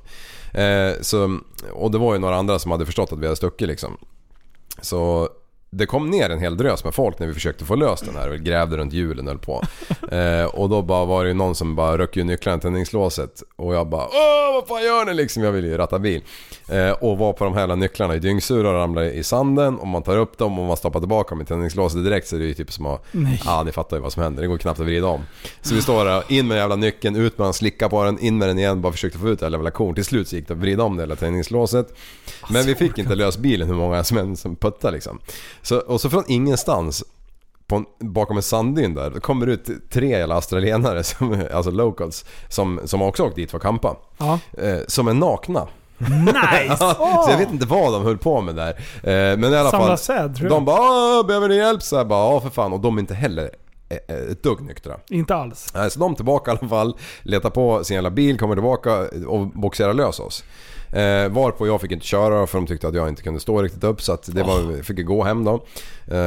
Eh, så, och det var ju några andra som hade förstått att vi hade stuckit liksom. Så det kom ner en hel drös med folk när vi försökte få lös den här och grävde runt hjulen och höll på. Eh, och då bara var det ju någon som bara röck ju nycklarna i tändningslåset och jag bara Åh vad fan gör ni liksom? Jag vill ju ratta bil. Eh, och var på de här jävla nycklarna i dyngsura och ramlade i sanden och man tar upp dem och man stoppar tillbaka dem i tändningslåset direkt så det är ju typ som att Ja ah, ni fattar ju vad som händer, det går knappt att vrida om. Så vi står där, in med den jävla nyckeln, ut med den, slicka på den, in med den igen, bara försökte få ut det jävla korn. Till slut så gick det att vrida om det hela tändningslåset. Men vi fick inte lös bilen hur många som än som puttade liksom. Så, och så från ingenstans på en, bakom en sanddyn där, då kommer det ut tre jävla australienare, som, alltså locals, som, som har också åkt dit för att campa.
Ja.
Eh, som är nakna.
Nice!
så jag vet inte vad de höll på med där. Eh, men i alla
Samla
fall.
säd, tror jag.
de bara "Åh, behöver ni hjälp? Så jag bara ja för fan. Och de är inte heller eh, ett dugg nyktra.
Inte alls.
Nej, Eh, Så de är tillbaka i alla fall, letar på sin jävla bil, kommer tillbaka och boxerar lös oss. Eh, varpå jag fick inte köra för de tyckte att jag inte kunde stå riktigt upp så att det var, fick jag gå hem då. Eh,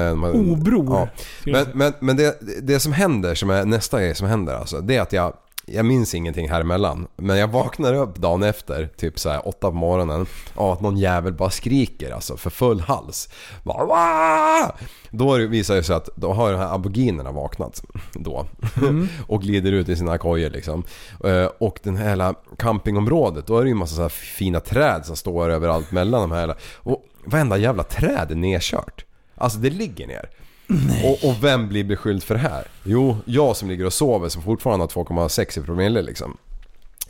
de hade-
Obror, skulle
Men,
jag säga.
men, men det, det som händer, som är nästa grej som händer alltså, det är att jag, jag minns ingenting här emellan. Men jag vaknar upp dagen efter, typ så här åtta på morgonen, av att någon jävel bara skriker alltså för full hals. Bara, "Wah!" då visar det sig att då har de här aboriginerna vaknat då och glider ut i sina kojor liksom. Eh, Och den här hela campingområdet, då är det ju en massa så här fina träd som står överallt mellan de här. hela- Och varenda jävla träd är nedkört. Alltså det ligger ner. Och, och vem blir beskylld för det här? Jo, jag som ligger och sover som fortfarande har 2,6 i promille liksom.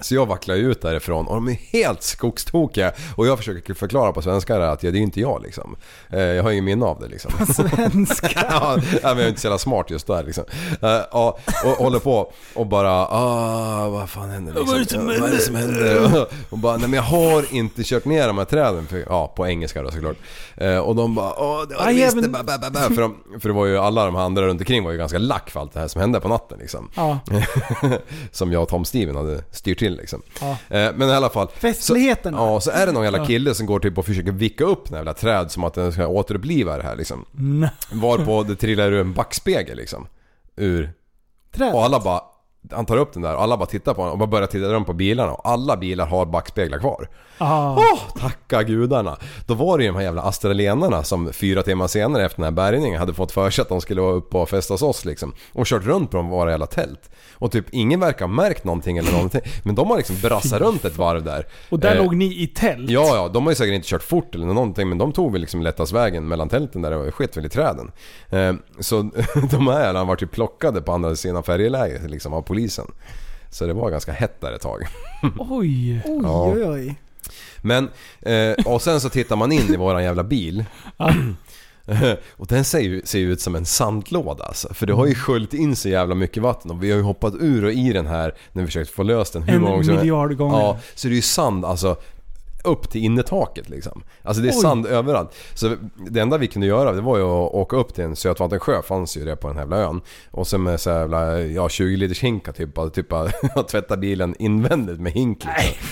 Så jag vacklar ju ut därifrån och de är helt skogstokiga och jag försöker förklara på svenska där att ja, det är ju inte jag liksom. Eh, Jag har ju ingen minne av det liksom.
Svenska.
ja, nej, men jag är inte så jävla smart just där liksom. Eh, Ja, och håller på och bara ah, vad fan händer liksom? Vad är det som händer? Och bara, nej men jag har inte kört ner de här träden, för, ja på engelska då såklart. Eh, Och de bara, åh det var det
Aj,
visst,
även-
det, ba, ba, ba, ba. För, de, för det var ju alla de här andra runt omkring var ju ganska lack för allt det här som hände på natten liksom.
Ja.
som jag och Tom Steven hade styrt till liksom. Eh, Men i alla fall.
Festligheterna.
Så, ja, så är det någon jävla kille som går typ och försöker vicka upp den här jävla träd som att den ska återuppliva det här liksom. Varpå det trillar ur en backspegel liksom. Ur
Träd.
och alla bara, han tar upp den där och alla bara tittar på honom och bara börjar titta runt på bilarna och alla bilar har backspeglar kvar.
Ah.
Åh, tacka gudarna! Då var det ju de här jävla australienarna som fyra timmar senare efter den här bärgningen hade fått för sig att de skulle vara uppe och festa hos oss liksom. Och kört runt på våra jävla tält. Och typ ingen verkar ha märkt någonting eller någonting. Men de har liksom brassat runt ett varv där.
Och där
Eh,
låg ni i tält?
Ja, ja, de har ju säkert inte kört fort eller någonting men de tog väl liksom lättast vägen mellan tälten där och sket väl i träden. Eh, Så de här jävlarna var typ plockade på andra sidan färjeläget liksom av polisen. Så det var ganska hett där ett tag.
Oj.
Oj,
Ja.
oj, oj.
Men, eh, och sen så tittar man in i våran jävla bil. Och den ser ju, ser ju ut som en sandlåda alltså. För det
Mm.
har ju sköljt in så jävla mycket vatten och vi har ju hoppat ur och i den här när vi försökt få lös den.
En
gånger som-
miljard gånger.
Ja, så det är ju sand alltså upp till innertaket liksom. Alltså det är sand överallt. Så det enda vi kunde göra det var ju att åka upp till en sötvattensjö, fanns ju det på den här jävla ön. Och sen med så här jävla, ja 20 liters hinkar typ, och typ att tvätta bilen invändigt med hink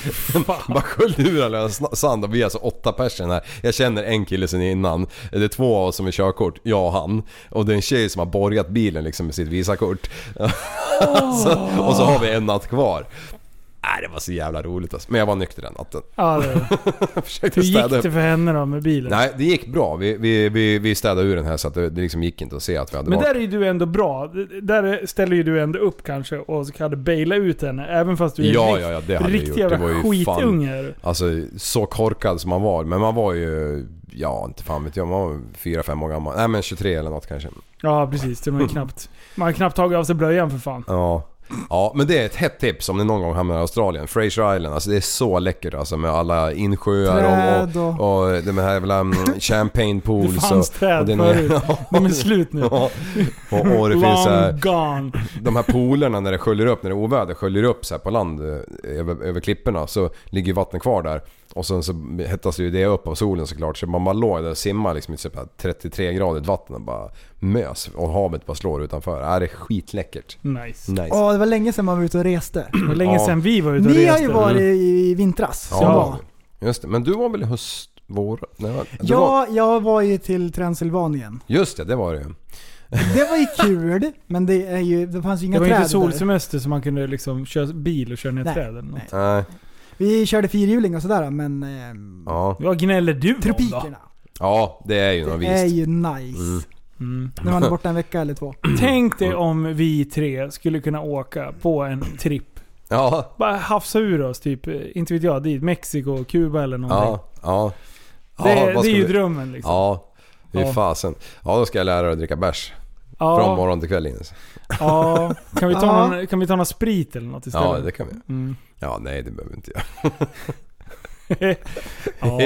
liksom. Bara sköljde ur all jävla sna- sand och vi är alltså åtta personer här. Jag känner en kille sen innan. Det är två av oss som är körkort, jag och han. Och det är en tjej som har borgat bilen liksom med sitt visakort. så, och så har vi en natt kvar. Nej, det var så jävla roligt alltså. Men jag var nykter den natten.
Ja, det.
Jag försökte
Hur gick
städa
det
upp.
för henne då med bilen?
Nej, det gick bra. Vi, vi, vi, vi städade ur den här så att det, det liksom gick inte att se att vi hade
Men
varit...
där är ju du ändå bra. Där ställer ju du ändå upp kanske och så kan du baila ut henne. Även fast du är
Ja,
en rikt-
ja, ja, det hade jag
riktig
gjort.
jävla
Det var ju
skitunge. är du.
Alltså så korkad som man var. Men man var ju... Ja, inte fan vet jag. Man var 4-5 år gammal. Nej men 23 eller något kanske.
Ja, precis. Det var ju knappt, man har knappt tagit av sig blöjan för fan.
Ja. Ja, men det är ett hett tips om ni någon gång hamnar i Australien. Fraser Island, alltså det är så läckert alltså med alla insjöar
Träd
och, och, och de här jävla mm, champagne pools.
Det fanns
och,
träd
och den-
förut. De är slut nu.
Ja. och, och det finns så här,
Long gone.
de här poolerna när det sköljer upp, när det är oväder, sköljer upp så här på land eh, över, över klipporna så ligger ju vattnet kvar där. Och sen så hettas ju det upp av solen såklart så man bara låg där och simmade liksom i typ här 33 gradigt vatten och bara mös och havet bara slår utanför. Äh, det är skitläckert.
Nice.
Nice.
Åh, det var länge sedan man var ute och reste.
Det var länge
Ja.
sedan vi var ute och
Ni har
reste.
ju varit i i vintras. som
Ja.
var.
Just det, men du var väl i höst, vår? Nej, va? Du var,
Ja, jag var ju till Transylvanien.
just det, det var det ju.
Det var ju kul, men det, är ju, det fanns ju inga
det var
träd
inte
där.
solsemester så man kunde liksom köra bil och köra ner
Nej,
träden.
nej.
Nej,
Vi körde fyrhjuling och sådär, men... ehm,
ja.
Vad gnäller du om då?
tropikerna.
ja, det är ju något
Det är
visst.
ju nice.
Mm.
När man är borta en vecka eller två.
Tänk dig om vi tre skulle kunna åka på en tripp.
Ja,
Bara hafsa ur oss typ, eh, inte vet jag, dit Mexiko, Kuba eller någonting.
ja, ja.
Det,
Ja, vad
det
ska
är ju
vi-
drömmen liksom.
Ja, hur
Ja.
fasen. Ja, då ska jag lära dig att dricka bärs. Från
Ja,
morgon till kväll Linus.
ja. Kan, vi ta
Ja.
någon, kan vi ta någon sprit eller något istället?
Ja, det kan vi göra.
Mm.
Ja, nej det behöver vi inte göra.
ja.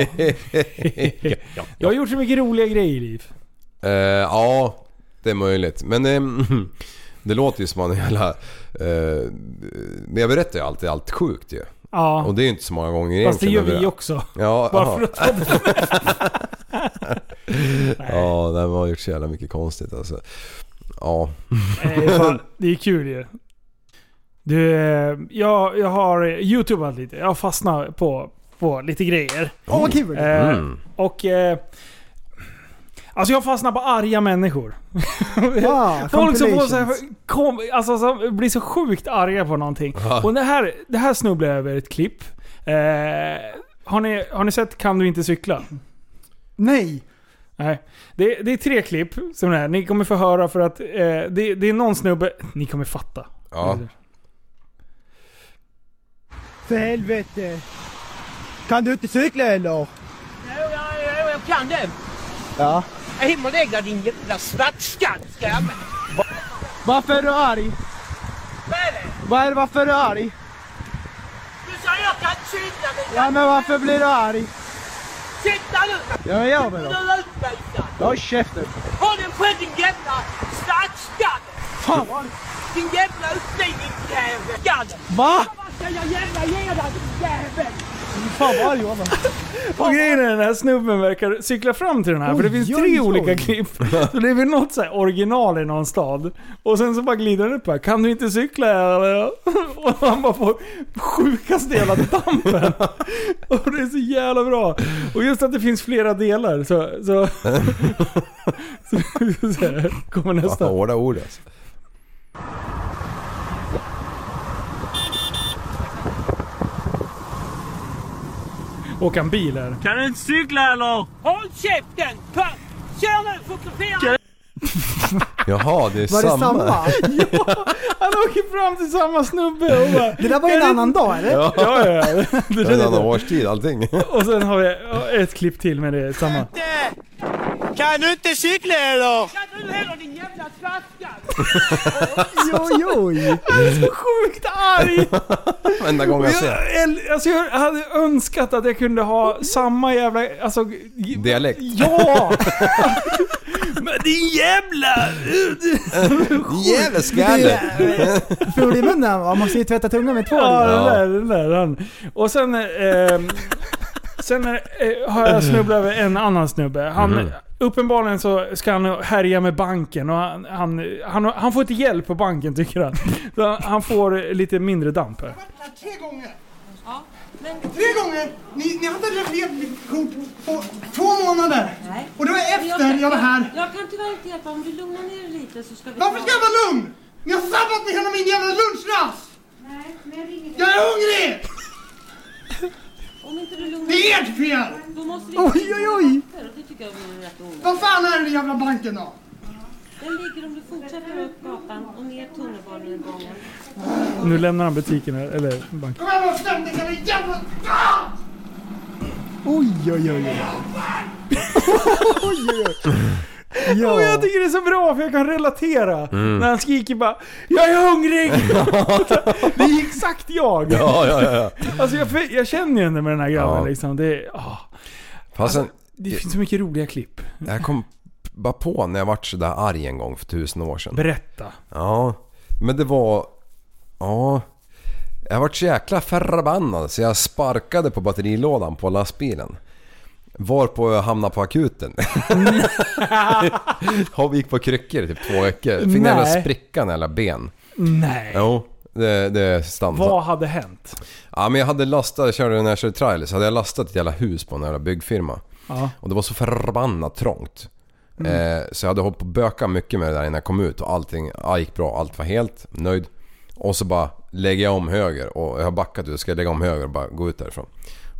Jag har gjort så mycket roliga grejer i liv.
Eh, ja, det är möjligt. Men ehm, det låter ju som man är jävla... eh, men jag berättar ju alltid allt sjukt ju. Och
Ja,
det är ju inte så många gånger
fast det gör
egentligen. men
vi också.
Ja,
Bara
aha.
för att ta det.
Ja, nej, man har gjort så jävla mycket konstigt alltså. Ja.
Nej, fan, det är kul ju. Du, eh, jag, jag har eh, youtubat lite. Jag har fastnat på, på lite grejer.
Åh vad kul!
Mm.
Eh, Och... Eh, alltså jag fastnar på arga människor.
Ah,
Folk som får så här,
compilations.
kom, alltså, som blir så sjukt arga på någonting.
Ja.
Och det här, det här snubblar jag över ett klipp. Eh, har, ni, har ni sett Kan du inte cykla?
Nej!
Nej. Det, det är tre klipp som det är. Ni kommer få höra för att eh, det, det är någon snubbe... Ni kommer fatta.
Ja.
För helvete! Kan du inte cykla eller?
Jo, jag, jag, jag kan det.
Ja.
Hem och lägg dig din jävla svartskatt ska jag med.
Varför är du arg?
Vad är det?
Vad är det, varför är du arg?
Du sa jag kan cykla men
Ja men varför blir du arg?
sitta nu!
Ja men gör mig då!
Nu utvisar!
Jag har käften!
Håll din skit din jävla svartskalle!
Fan vad...
Din jävla utbildningsjävel! Skalle!
Va?
Vad ska jag jävla ge dig din jävel?
Fan vad arg jag var.
Och grejen är den här snubben verkar cykla fram till den här, för det
Oj,
finns
oj,
tre
oj.
olika klipp. Så det är väl något så här original i någon stad. Och sen så bara glider han upp här. Kan du inte cykla eller? Och han bara får sjukaste jävla dampen. Och det är så jävla bra. Och just att det finns flera delar så... Så, så, så här, kommer
Vad
nästa.
hårda ord alltså.
Åka en bil här.
Kan du inte cykla eller? Håll käften! Fan! Kör nu! Fotografera!
Jaha, det är
Var det
samma.
samma?
Han åker fram till samma snubbe och bara...
Det där var ju en annan dag eller?
Ja,
Ja, ja, ja. Det
det är en
där-
annan årstid allting.
Och sen har vi ja, ett klipp till med det är samma.
Kan du inte cykla eller?
Kan du heller din jävla svartskalle?
Oj, oj.
Sjukt arg!
Varenda gång jag ser.
Jag, äl- alltså jag hade önskat att jag kunde ha samma jävla... Alltså, g-
Dialekt.
ja! Men din jävla...
Jävla skalle!
Ful i munnen va? Man måste ju tvätta tungan med tvål.
Ja, den
Ja.
där, den där han. Och sen... ehm, sen eh, har jag snubblat över en annan snubbe. Han,
Mhm.
Uppenbarligen så ska han härja med banken och han, han, han, han får inte hjälp på banken tycker han. Så han- han får lite mindre damp här.
Tre gånger! Tre gånger! Ni, ni hade refererat mitt kort på två månader!
Nej.
Och det var efter jag var här.
Jag kan tyvärr inte hjälpa. Om du lugnar ner dig lite så ska vi...
Varför ska jag vara lugn? Ni har sabbat med hela min jävla lunchrast!
Nej, men jag ringer.
Jag är hungrig!
Om inte du lugnar
Det är ert fel!
Då måste vi...
Oj, oj, oj.
Och Det tycker jag vore rätt onödigt.
Vad fan är den jävla banken då?
Den ligger om du fortsätter upp gatan och ner tunnelbanegången.
Nu lämnar han butiken här, eller banken.
Kom här och stäm dig hela jävla... Ah!
Oj, oj, oj. oj. oj, oj, oj.
Ja.
Ja.
jag tycker det är så bra för jag kan relatera.
Mm.
När han skriker bara Jag är hungrig! det är exakt jag.
Ja, ja, ja, ja.
Alltså jag, jag känner ju ändå med den här grabben
Ja.
liksom. Det, är- ah,
Fastän,
det finns så mycket roliga klipp.
Alltså, jag kom bara på när jag vart sådär arg en gång för tusen år sedan.
Berätta.
Ja, men det var... Ja... Jag vart så jäkla förbannad så jag sparkade på batterilådan på lastbilen. Varpå jag hamnade på akuten. jag gick på kryckor i typ två veckor. Fick en jävla
Nej.
spricka i alla ben.
Nej.
Jo, det, det stannade.
Vad hade hänt?
Ja men jag hade lastat, jag körde när jag körde trailer så hade jag lastat ett jävla hus på en jävla byggfirma.
Ja.
Och det var så förbannat trångt. Eh, så jag hade hållit på och bökat mycket med det där innan jag kom ut och allting ja, gick bra, allt var helt nöjd. Och så bara lägger jag om höger och jag har backat ut, ska jag lägga om höger och bara gå ut därifrån.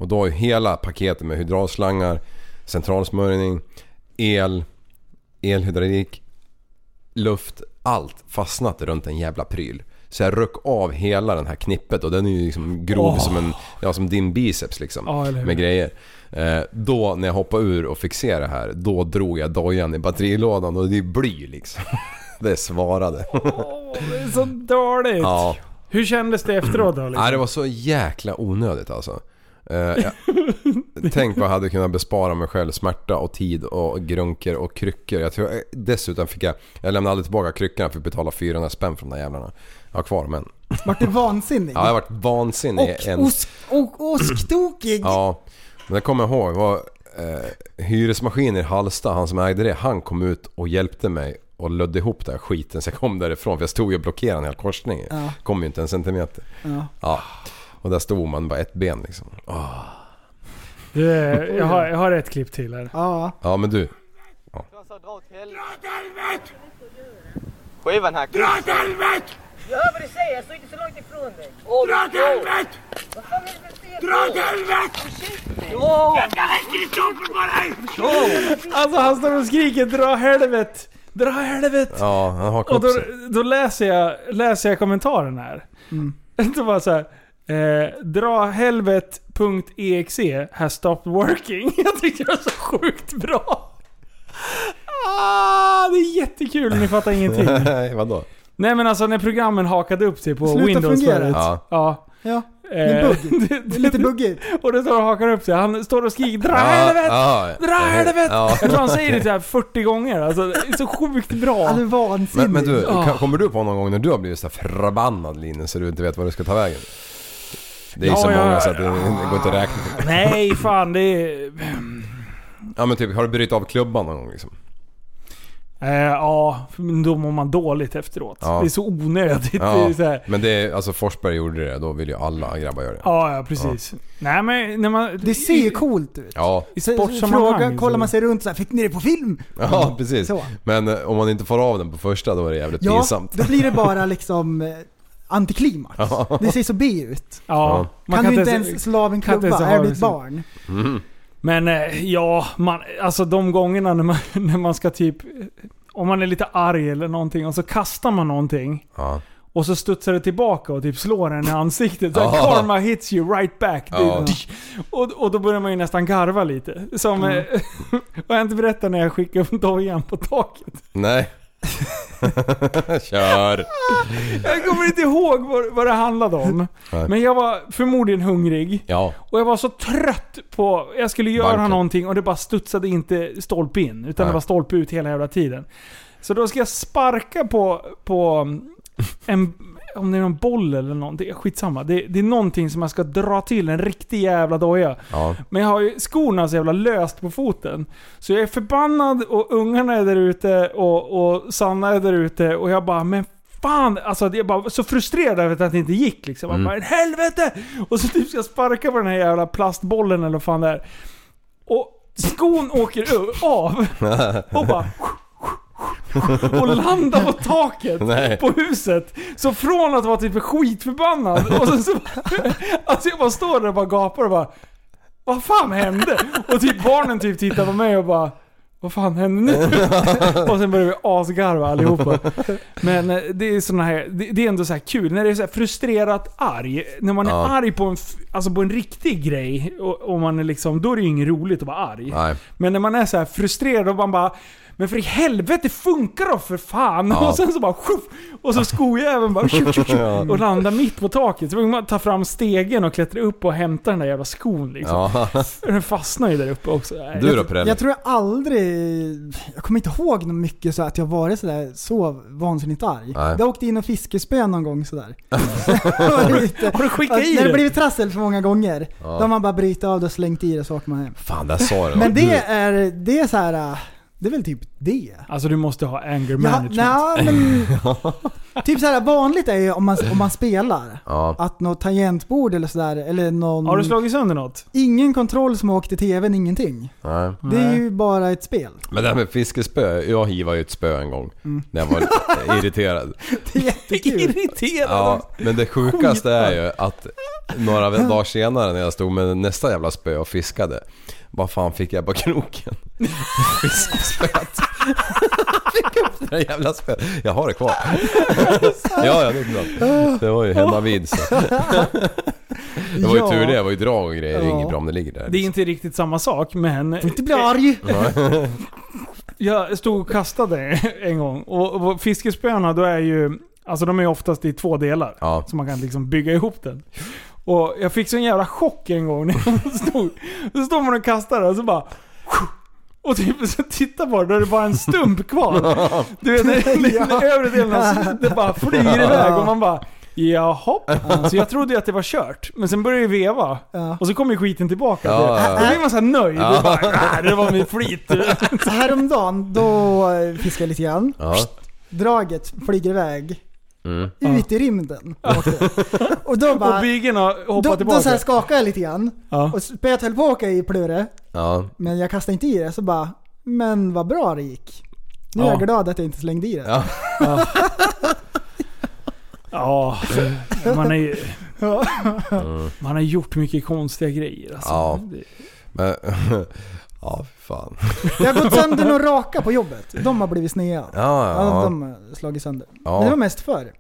Och då är hela paketet med hydraulslangar, centralsmörjning, el, elhydraulik, luft, allt fastnat runt en jävla pryl. Så jag röck av hela den här knippet och den är ju liksom grov
Åh.
som en, ja som din biceps liksom.
Ja, eller hur?
med grejer. Eh, då när jag hoppade ur och fick se det här, då drog jag dojan i batterilådan och det är bly liksom. Det svarade.
Åh, det är så dåligt.
Ja.
Hur kändes det efteråt då? Liksom?
Nej, det var så jäkla onödigt alltså. Eh, jag, tänk vad jag hade kunnat bespara mig själv smärta och tid och grunker och kryckor. Jag tror, eh, dessutom fick jag, jag lämnade aldrig tillbaka kryckorna för att betala 400 spänn för de där jävlarna. Jag har kvar dem än.
Vart du vansinnig?
Ja, jag har varit vansinnig.
Och
en-
osk, och osktokig.
Ja, men det kommer jag ihåg. Det var eh, hyresmaskiner i Hallsta, han som ägde det, han kom ut och hjälpte mig och lödde ihop den här skiten så jag kom därifrån. För jag stod ju och blockerade en hel korsning.
Ja.
Kom ju inte en centimeter.
Ja.
Ja. Och där stod man bara ett ben liksom. Ah.
Du, eh, jag, har, jag har ett klipp till här.
Ja.
Ja men du.
Skivan här. Dra åt helvete!
Hör vad du säger, jag står inte så långt ifrån dig.
Dra åt helvete! Dra åt helvete! Detta räcker inte upp för bara
Alltså han står och skriker 'Dra helvet! Dra helvet!'
Ja, han hakade
Och
upp
då,
sig.
då läser, jag, läser jag kommentaren här. Det var så här. Eh, drahelvet.exe has stopped working. Jag tyckte det var så sjukt bra. Ah, det är jättekul, ni fattar ingenting.
Nej, vadå?
Nej men alltså när programmen hakade upp sig på
Sluta
Windows
fungera.
förut.
Ja.
ja.
Ja, det
Eh,
är buggigt. Det är lite buggigt.
Och då står han och hakar upp sig. Han står och skriker 'Dra
Ja,
helvete!
ja.
Dra helvete!'
Ja.
Jag tror han säger det så här 40 gånger. Alltså, det är så sjukt bra.
Det är vansinnigt.
Men, men du,
Ja.
kan, kommer du på någon gång när du har blivit så här förbannad Linus så du inte vet vad du ska ta vägen? Det är
Ja,
så
ja,
många så att det, det går inte att räkna.
Nej, fan det är...
Ja men typ, har du brutit av klubban någon gång liksom?
Eh, ja, men då mår man dåligt efteråt.
Ja.
Det är så onödigt. Det
Ja,
är så här.
men det är, alltså Forsberg gjorde det, då vill ju alla grabbar göra det.
Ja, ja precis. Nej men när man...
Det ser ju coolt ut.
Ja,
I
Så
sportsammanhang liksom.
Fråga,
så-
kollar man sig runt så här, fick ni det på film?
ja
Mm.
precis.
Så.
Men eh, om man inte får av den på första då är det jävligt
Ja,
pinsamt.
då blir det bara liksom eh, antiklimax.
Ja.
Det ser så B ut.
Ja. Man
kan, du inte
ens-
ens slå av en
kan inte ens
klubba?
ha liksom-
Är du
en
ett
sån-
barn?
Mm.
Men eh, ja, man, alltså de gångerna när man, när man ska typ... Om man är lite arg eller någonting och så kastar man någonting.
Ja.
Och så studsar det tillbaka och typ slår en i ansiktet. Så här,
Ja.
Karma hits you right back. Det-
Ja.
Och, och då börjar man ju nästan garva lite. Som...
Mm.
Mm. jag inte berättat när jag skickade upp dojan på taket.
Nej. Kör!
Jag kommer inte ihåg vad, vad det handlade om.
Nej.
Men jag var förmodligen hungrig.
Ja.
Och jag var så trött på... Jag skulle göra
Banken.
någonting och det bara studsade inte stolpe in. Utan
Nej.
det var stolpe ut hela jävla tiden. Så då ska jag sparka på... på en, om det är någon boll eller någonting. Skitsamma. Det, det är någonting som jag ska dra till. En riktig jävla doja.
Ja.
Men jag har ju skorna så jävla löst på foten. Så jag är förbannad och ungarna är där ute och, och Sanna är där ute och jag bara men fan! Alltså jag bara var så frustrerad över att det inte gick liksom. Jag
Mm.
bara "Men helvete! Och så typ ska jag sparka på den här jävla plastbollen eller vad fan det är. Och skon åker ö- av och bara och landar på taket
Nej.
på huset. Så från att vara typ skitförbannad och sen så... Alltså jag bara står där och bara gapar och bara... Vad fan hände? Och typ barnen typ tittar på mig och bara... Vad fan hände nu? och sen börjar vi asgarva allihopa. Men eh, det är såna här... Det, det är ändå så här kul. När det är så här frustrerat arg. När man
Ja.
är arg på en, f- alltså på en riktig grej. Och, och man är liksom... Då är det ju inget roligt att vara arg.
Nej.
Men när man är så här frustrerad och man bara Men för i helvete funkar då för fan!
Ja.
Och sen så bara tjoff! Och så skojäveln bara tjoff, tjoff, tjoff,
Ja.
och landar mitt på taket. Så man ta fram stegen och klättra upp och hämta den där jävla skon liksom.
Ja.
Den fastnar ju där uppe också. Nej,
Du då
jag-
Prelle?
Jag tror jag aldrig... Jag kommer inte ihåg något mycket så att jag varit sådär så vansinnigt arg.
Nej.
Jag åkte in och fiskespö någon gång sådär. Har
Har du skickat i
När det
Alltså, det?
blivit trassel för många gånger.
Ja.
Då har man bara brutit av det och slängt i det så åker man hem.
Fan, där sa du
Men
något.
det är, det är så här. äh, Det är väl typ det.
Alltså du måste ha anger
Ja,
management.
nej, men, typ så här vanligt är ju om man, om man spelar.
Ja.
Att något tangentbord eller sådär, eller någon...
Har du slagit sönder något?
Ingen kontroll som åkte till tvn, ingenting.
Nej.
Det är ju bara ett spel.
Men det här med fiskespö, jag hivade ju ett spö en gång. När jag var lite irriterad.
Det är jättekul.
Irriterad.
Ja, men det sjukaste är ju att några dagar senare när jag stod med nästa jävla spö och fiskade. Vad fan fick jag på kroken? Fiskspöet. Fick upp det där jävla spöet. Jag har det kvar. ja, ja, det är klart. Det var ju hemma vid så. Det var ju
Ja.
tur det, det var ju drag och grejer. Det är
Ja.
inget bra om det ligger där. liksom.
Det är inte riktigt samma sak men...
Får inte bli arg.
Jag stod och kastade en gång. Och, och fiskespöna då är ju... Alltså de är ju oftast i två delar.
Ja.
Så man kan liksom bygga ihop den. Och jag fick sån jävla chock en gång när jag stod... Så står man och kastar och så bara... Och typ så titta på det, då är det bara en stump kvar. Du vet, den, den, den övre delen av det bara flyger iväg och man bara... Jaha. Så jag trodde ju att det var kört. Men sen började jag veva. Och så kom ju skiten tillbaka.
Ja, ja, ja.
Då blir man såhär nöjd.
Ja.
Och Bara, "Ah, det var min flit.
Häromdagen, då eh, fiskade jag lite grann.
Ja.
Draget flyger iväg.
Mm.
Ut i rymden. åkte. Och då bara...
Och bygeln har hoppat
då,
tillbaka.
Då så här skakade jag lite grann.
Ja.
Och spöet höll på att åka i Plure.
Ja.
Men jag kastade inte i det. Så bara, men vad bra det gick. Nu är
Ja.
jag glad att jag inte slängde i det.
Ja.
Ja, man är ju...
Ja.
Man har gjort mycket konstiga grejer alltså.
Ja.
Det-
Men... Ja, fy fan.
Det har gått sönder några raka på jobbet. De har blivit snea.
Ja, ja, ja.
De har slagit sönder.
Ja.
Men det var mest förr.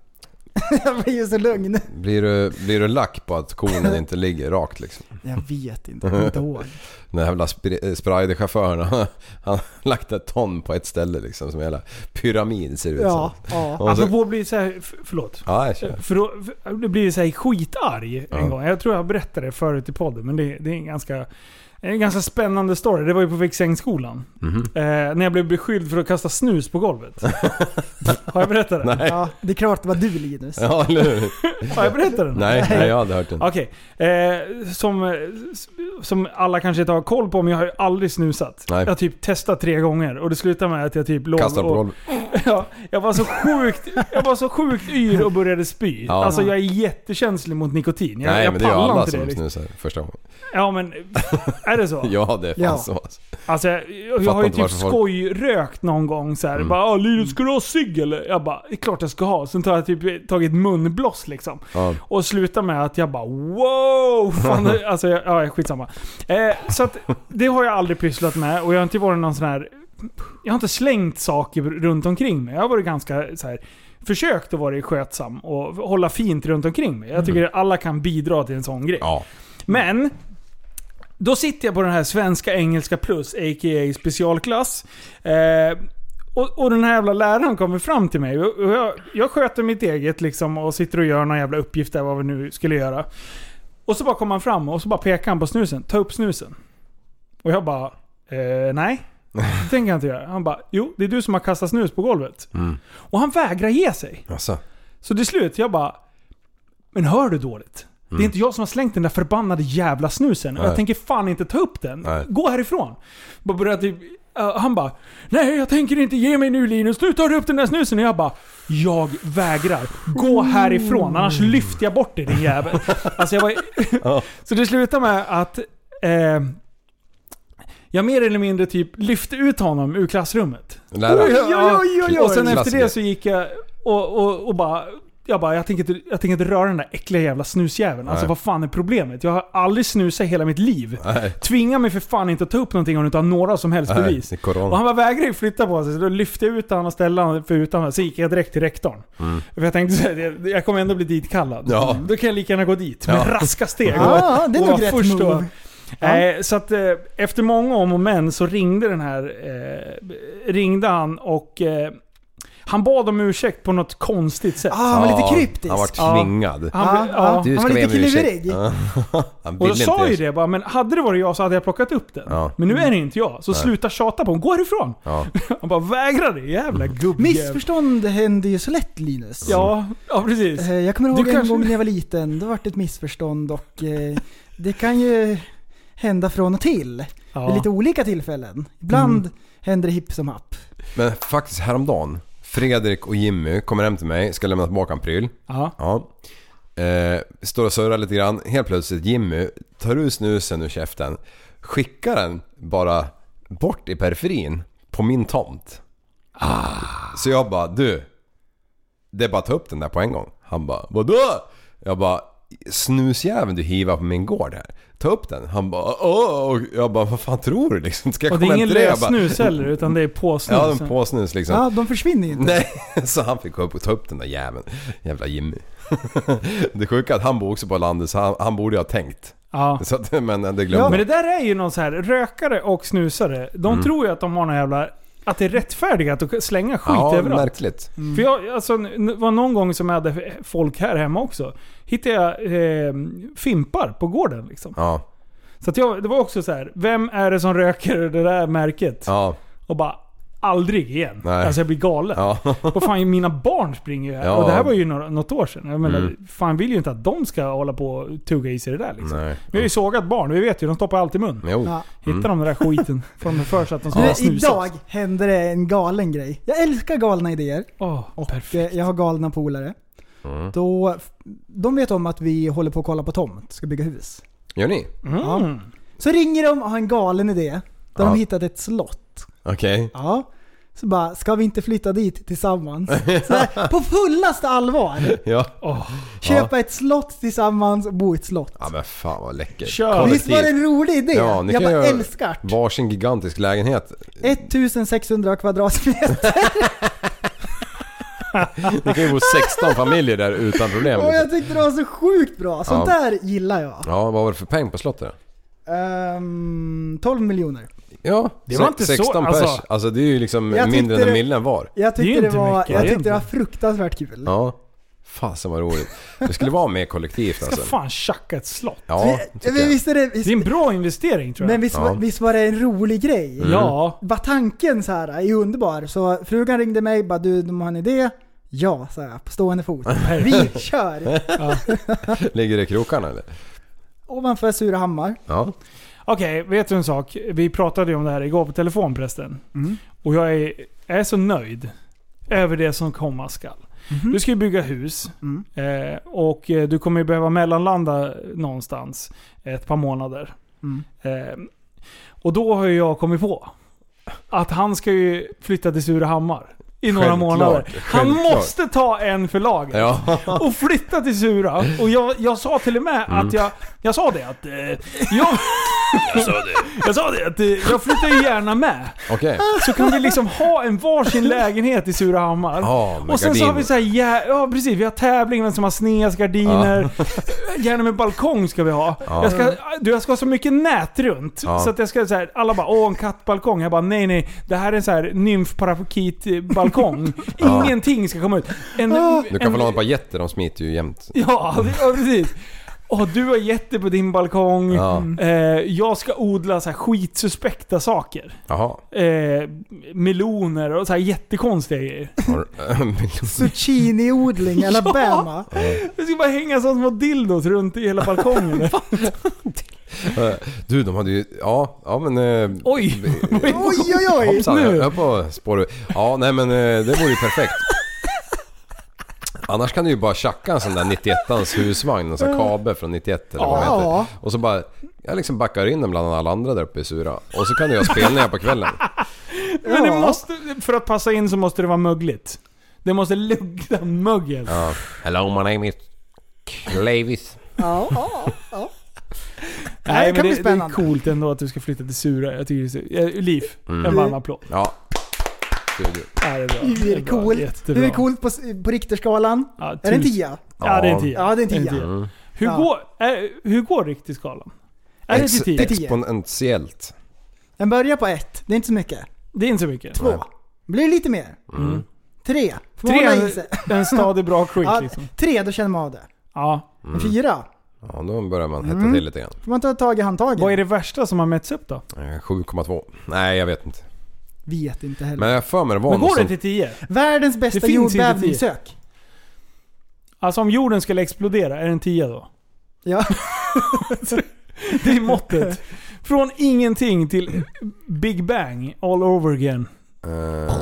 jag blir ju så lugn.
Blir du, blir du lack på att kornen inte ligger rakt liksom?
Jag vet inte, jag kommer inte ihåg.
Den här jävla spri- eh, Sprider-chauffören, han har lagt ett ton på ett ställe liksom som en jävla pyramid ser det ut
Ja,
som.
ja.
Och så-
Apropå att bli såhär, f- förlåt.
Ja, jag kör.
För då för- då blir jag såhär skitarg
Ja.
en gång. Jag tror jag berättade det förut i podden, men det, det är en ganska, en ganska spännande story. Det var ju på Viksängsskolan.
Mhm.
Eh, när jag blev beskylld för att kasta snus på golvet. Har jag berättat det?
Nej.
Ja, det är klart det var du Linus.
Ja, eller hur?
Har jag berättat den?
Nej, nej, jag har aldrig hört den.
Okej. Eh, som, eh, som alla kanske inte har koll på, men jag har ju aldrig snusat.
Nej.
Jag har typ testat tre gånger och det slutade med att jag typ låg
Kastar på
och,
golvet.
Ja, jag var så sjukt, jag var så sjukt yr och började spy.
Ja.
Alltså jag är jättekänslig mot nikotin. Jag,
Nej,
jag
men det är ju
pallar
alla
inte
som
liksom.
snusar första gången.
Ja men, är det så?
Ja, det är fan
Ja.
så alltså.
Alltså jag, jag,
Fattar
har ju
inte
typ
varför folk- Mm.
skojrökt någon gång så här. Bara "Ah, Linus, ska du ha cigg eller?” Jag bara “Det är klart jag ska ha”. Sen tar jag typ tagit munblås liksom.
Ja.
Och slutar med att jag bara wow! Fan, det- alltså, jag, ja, skitsamma. Eh, så att, det har jag aldrig pysslat med och jag har inte varit någon sån här... Jag har inte slängt saker runt omkring mig. Jag har varit ganska så här, försökt att vara skötsam och hålla fint runt omkring mig. Jag tycker att alla kan bidra till en sån grej. Men, då sitter jag på den här svenska engelska plus, a.k.a. specialklass. Eh, och, och den här jävla läraren kommer fram till mig. Och och jag, jag sköter mitt eget liksom och sitter och gör någon jävla uppgift där, vad vi nu skulle göra. Och så bara kommer han fram och så bara pekar han på snusen. Ta upp snusen. Och jag bara, eh, nej. Det tänker jag inte göra. Han bara, jo det är du som har kastat snus på golvet.
Mm.
Och han vägrar ge sig.
Alltså.
Så till slut, jag bara... Men hör du dåligt? Det
Mm.
är inte jag som har slängt den där förbannade jävla snusen. Och jag
Nej.
tänker fan inte ta upp den.
Nej.
Gå härifrån. Bara börjar typ, eh, han bara Nej, jag tänker inte ge mig nu Linus. Nu tar du upp den där snusen. Och jag bara Jag vägrar. Gå härifrån. Annars lyfter jag bort dig din jävel. alltså jag var, så det slutar med att eh, jag mer eller mindre typ lyfte ut honom ur klassrummet.
Läraren.
Oj, oj, oj, oj, oj. Och sen efter
Klassiker.
det så gick jag och, och, och bara... Jag bara, jag tänker, inte, jag tänker inte röra den där äckliga jävla snusjäveln. Alltså
Nej.
vad fan är problemet? Jag har aldrig snusat i hela mitt liv.
Nej.
Tvinga mig för fan inte att ta upp någonting om du inte har några som helst
Nej,
bevis.
det är corona.
Och han bara vägrade ju flytta på sig, så då lyfte jag ut honom och ställde honom för utan Sen gick jag direkt till rektorn.
Mm.
För jag tänkte såhär, jag kommer ändå bli ditkallad.
Ja.
Då kan jag lika gärna gå dit med
Ja.
raska steg.
Ja,
Och-
Ah, det är
och
nog
vara
rätt
först och-
move. Ja.
Nej, så att eh, efter många om och men så ringde den här... Eh, ringde han och... Eh, han bad om ursäkt på något konstigt sätt.
Ah, han var lite kryptisk.
Han var
Ja.
tvingad.
Han, blev- ja.
Du
Han
ska
var
be
lite
om ursäkt.
klurig.
Ja. Han
Och
ville
då
inte
sa ju
ursäkta.
det bara, men hade det varit jag så hade jag plockat upp den.
Ja.
Men nu är det inte jag, så
Nej.
sluta tjata på honom. Gå härifrån!
Ja.
Han bara vägrar det, jävla
Mm.
gubbjävel.
Missförstånd händer ju så lätt Linus.
Ja, ja, precis.
Eh, Jag kommer ihåg
Du
en
kanske-
gång när jag var liten, då var det ett missförstånd och eh, det kan ju hända från och till.
Ja.
Vid lite olika tillfällen. Ibland
Mm.
händer det hipp som happ.
Men faktiskt häromdagen. Fredrik och Jimmy kommer hem till mig, ska lämna tillbaka en pryl.
Ja.
Eh, står och surrar lite grann. Helt plötsligt Jimmy tar ut snusen ur käften. Skickar den bara bort i periferin på min tomt.
Ah.
Så jag bara du. Det är bara att ta upp den där på en gång. Han bara vadå? Jag bara snusjäveln du hivar på min gård här. Ta upp den. Han bara åh. Och jag bara vad fan tror du liksom? Ska jag
Och det
komma
är
hem
ingen alltså."
till dig?" Jag bara,
lössnus heller, utan det är påsnus.
Ja, en påsnus liksom.
Ah.
Ja, de försvinner ju inte.
Nej, så han fick gå upp och ta upp den där jäveln. Jävla Jimmy. Det sjuka är att han bor också på landet så han, han borde ju ha tänkt.
Ja.
Så att, men det glömde
Ja,
han.
men det där är ju någon så här rökare och snusare. De
Mm.
tror ju att de har någon jävla... Att det är rättfärdigt att slänga skit
Ja,
överallt.
märkligt.
För jag, alltså, n- var någon gång som jag hade folk här hemma också. Hittade jag eh, fimpar på gården liksom.
Ja.
Så att jag, det var också så här. vem är det som röker det där märket?
Ja.
Och bara, aldrig igen.
Nej.
Alltså jag blir galen.
Ja.
Och fan, mina barn springer ju här.
Ja.
Och det här var ju några, något år sedan. Jag menar,
Mm.
fan vill ju inte att de ska hålla på och tugga i sig det där liksom.
Nej.
Vi har ju sågat barn, vi vet ju. De stoppar allt i mun.
Jo.
Ja.
Hittar de den där skiten får de för sig att de ska
Nu,
ha snus
idag
också.
hände det en galen grej. Jag älskar galna idéer.
och
eh, jag har galna polare.
Mm.
Då, de vet om att vi håller på att kolla på tomt, ska bygga hus.
Gör ni?
Ja. Så ringer de och har en galen idé. Där
Ja.
de har hittat ett slott.
Okej.
Ja. Så bara, ska vi inte flytta dit tillsammans? Så här, på fullaste allvar!
Ja.
Köpa ett slott tillsammans och bo i ett slott.
Ja men fan vad läckert.
Kör. Visst var det en rolig idé?
Ja, ni
Jag
kan
bara
göra
älskar det.
varsin gigantisk lägenhet.
1600 kvadratmeter.
Ni kan ju bo 16 familjer där utan problem.
Och jag tyckte det var så sjukt bra. Sånt
Ja.
där gillar jag.
Ja, vad var det för peng på slottet?
Ehm, 12 miljoner.
Ja,
Det var
se-
inte så-
16 pers.
alltså-
Alltså, det är ju liksom
Jag tyckte
mindre än en
det-
mille var.
Jag tyckte det, var, jag tyckte det var fruktansvärt kul.
Ja. Fasen vad roligt. Det skulle vara mer kollektivt
Ska
alltså.
fan tjacka ett slott.
Ja, tycker jag.
Visst är det, visst,
Det är en bra investering tror jag.
men visst, var- visst var det en rolig grej?
Mm. Ja.
Bara tanken så här är ju underbar. Så frugan ringde mig bara du, de har en idé. Ja, sa jag på stående fot. Vi kör!
Ligger det i krokarna eller?
Ovanför Surahammar.
Ja.
Okej, vet du en sak? Vi pratade ju om det här igår på telefon förresten.
Mm.
Och jag är, jag är så nöjd över det som komma skall.
Mhm.
Du ska ju bygga hus
Mm.
eh, och eh, du kommer ju behöva mellanlanda någonstans ett par månader.
Mm.
Eh, och då har ju jag kommit på att han ska ju flytta till Surahammar i några
Självklart,
månader. Han
självklart.
måste ta en för laget
Ja.
och flytta till Sura. Och jag, jag sa till och med
Mm.
att jag... Jag sa det att... Eh, jag, jag sa det. Jag sa det att eh, jag flyttar ju gärna med.
Okej.
Så kan vi liksom ha en varsin lägenhet i Surahammar.
Ja, med
och sen så har
gardiner.
vi så här, ja, ja precis, vi har tävling vem som har snedast gardiner. Gärna med balkong ska vi ha.
Ja.
Jag, ska, du, jag ska ha så mycket nät runt.
Ja.
Så att jag ska så här, alla bara åh en kattbalkong. Jag bara nej nej, det här är en så här nymfparakitbalkong.
Ja.
Ingenting ska komma ut. En,
Du kan
en-
väl ha ett par getter, de smiter ju jämt.
Ja, det- ja precis. Och du har jätte på din balkong.
Ja.
Eh, jag ska odla så här skitsuspekta saker.
Jaha.
Eh, meloner och så här jättekonstiga grejer.
Har-
Zucchiniodling i Alabama.
Det ska bara hänga sådana små dildos runt i hela balkongen.
Eh, Du, de hade ju... Ja, ja men... eh,
Oj!
Oj, oj, oj!
Hoppsan, jag
Nu.
höll på att spåra ur. Ja, nej men eh, det vore ju perfekt. Annars kan du ju bara tjacka en sån där 91ans husvagn, en sån här kabe från 91 eller vad
Ja.
den heter. Och så bara, jag liksom backar in den bland alla andra där uppe i Sura. Och så kan du göra spelningar på kvällen.
Men det måste, för att passa in så måste det vara mögligt. Det måste lukta mögel.
Ja. Hello my name is Clavis.
Ja, ja, ja.
Nej,
det
men
kan
det,
bli
det är
spännande.
coolt ändå att du ska flytta till Sura. Jag tycker det är så, eh, Liv,
Mm.
en varm applåd.
Ja. Studio.
Ja, det är bra.
Hur är det
bra.
coolt?
Jättebra.
Hur är det coolt på, på Richterskalan?
Ja,
är det en
tusen.
tia?
Ja, det är en tia.
Ja, det är en tia.
Mm.
Hur,
Ja.
går, är, hur går riktskalan? Är det
Ex-
till 10?
Exponentiellt.
Den börjar på ett. Det är inte så mycket.
Det är inte så mycket.
Två. Blir det lite mer.
Mm.
Tre. Får man
Tre
hålla i
är
sig.
en stadig bra skit
Ja,
liksom.
Tre, då känner man av det.
Ja.
Mm.
Men fyra,
Ja, då börjar man hetta
Mm.
till lite grann.
får man ta tag i handtagen.
Vad är det värsta som har mätts upp då?
Eh, 7,2. Nej, jag vet inte.
Vet inte heller.
Men jag har för mig det var
Men
någon
går det
som-
till 10?
Världens
Det
bästa
finns inte
jordbävning,
tio.
sök.
Alltså om jorden skulle explodera, är det en 10 då?
Ja.
det är måttet. Från ingenting till Big Bang all over again.
Eh.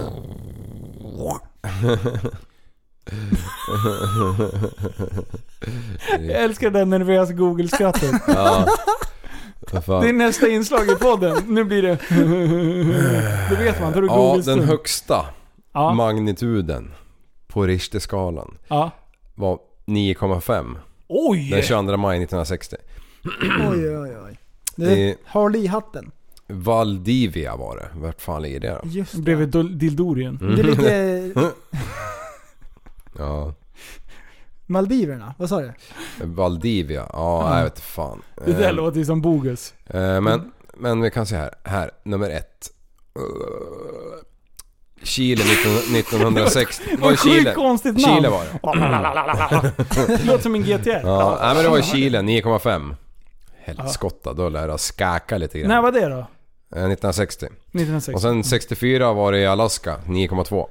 Jag älskar den nervösa Google-skrattet.
Ja. Vad fan.
Det är nästa inslag i podden. Nu blir det... Det vet man, då är det
Ja,
Google-stund.
den högsta
Ja.
magnituden på Richterskalan
Ja.
var 9,5.
Oj!
Den 22 maj 1960.
Oj, oj,
Mm.
oj.
Det är-
Du, håll i hatten.
Valdivia var det. Vart fan ligger det
Mm.
då?
Just det.
Bredvid Dol- Dildorien.
Mm.
Det ligger
Ja.
Maldiverna. Vad sa du?
Valdivia. Ja,
Ja.
jag vet fan.
Det där
Ehm,
låter ju som bogus.
Eh, Men, men vi kan se här. Här, nummer ett. Eh, Chile 19, 1960. Var det
Vad sjukt
Chile?
konstigt namn.
Chile var det.
det låter som en GTR.
Ja, nej, men det var i Chile, 9,5. Helskotta, då lär jag skaka lite grann.
När var det då?
Eh, 1960.
1960.
Och sen 64 var det i Alaska, 9,2.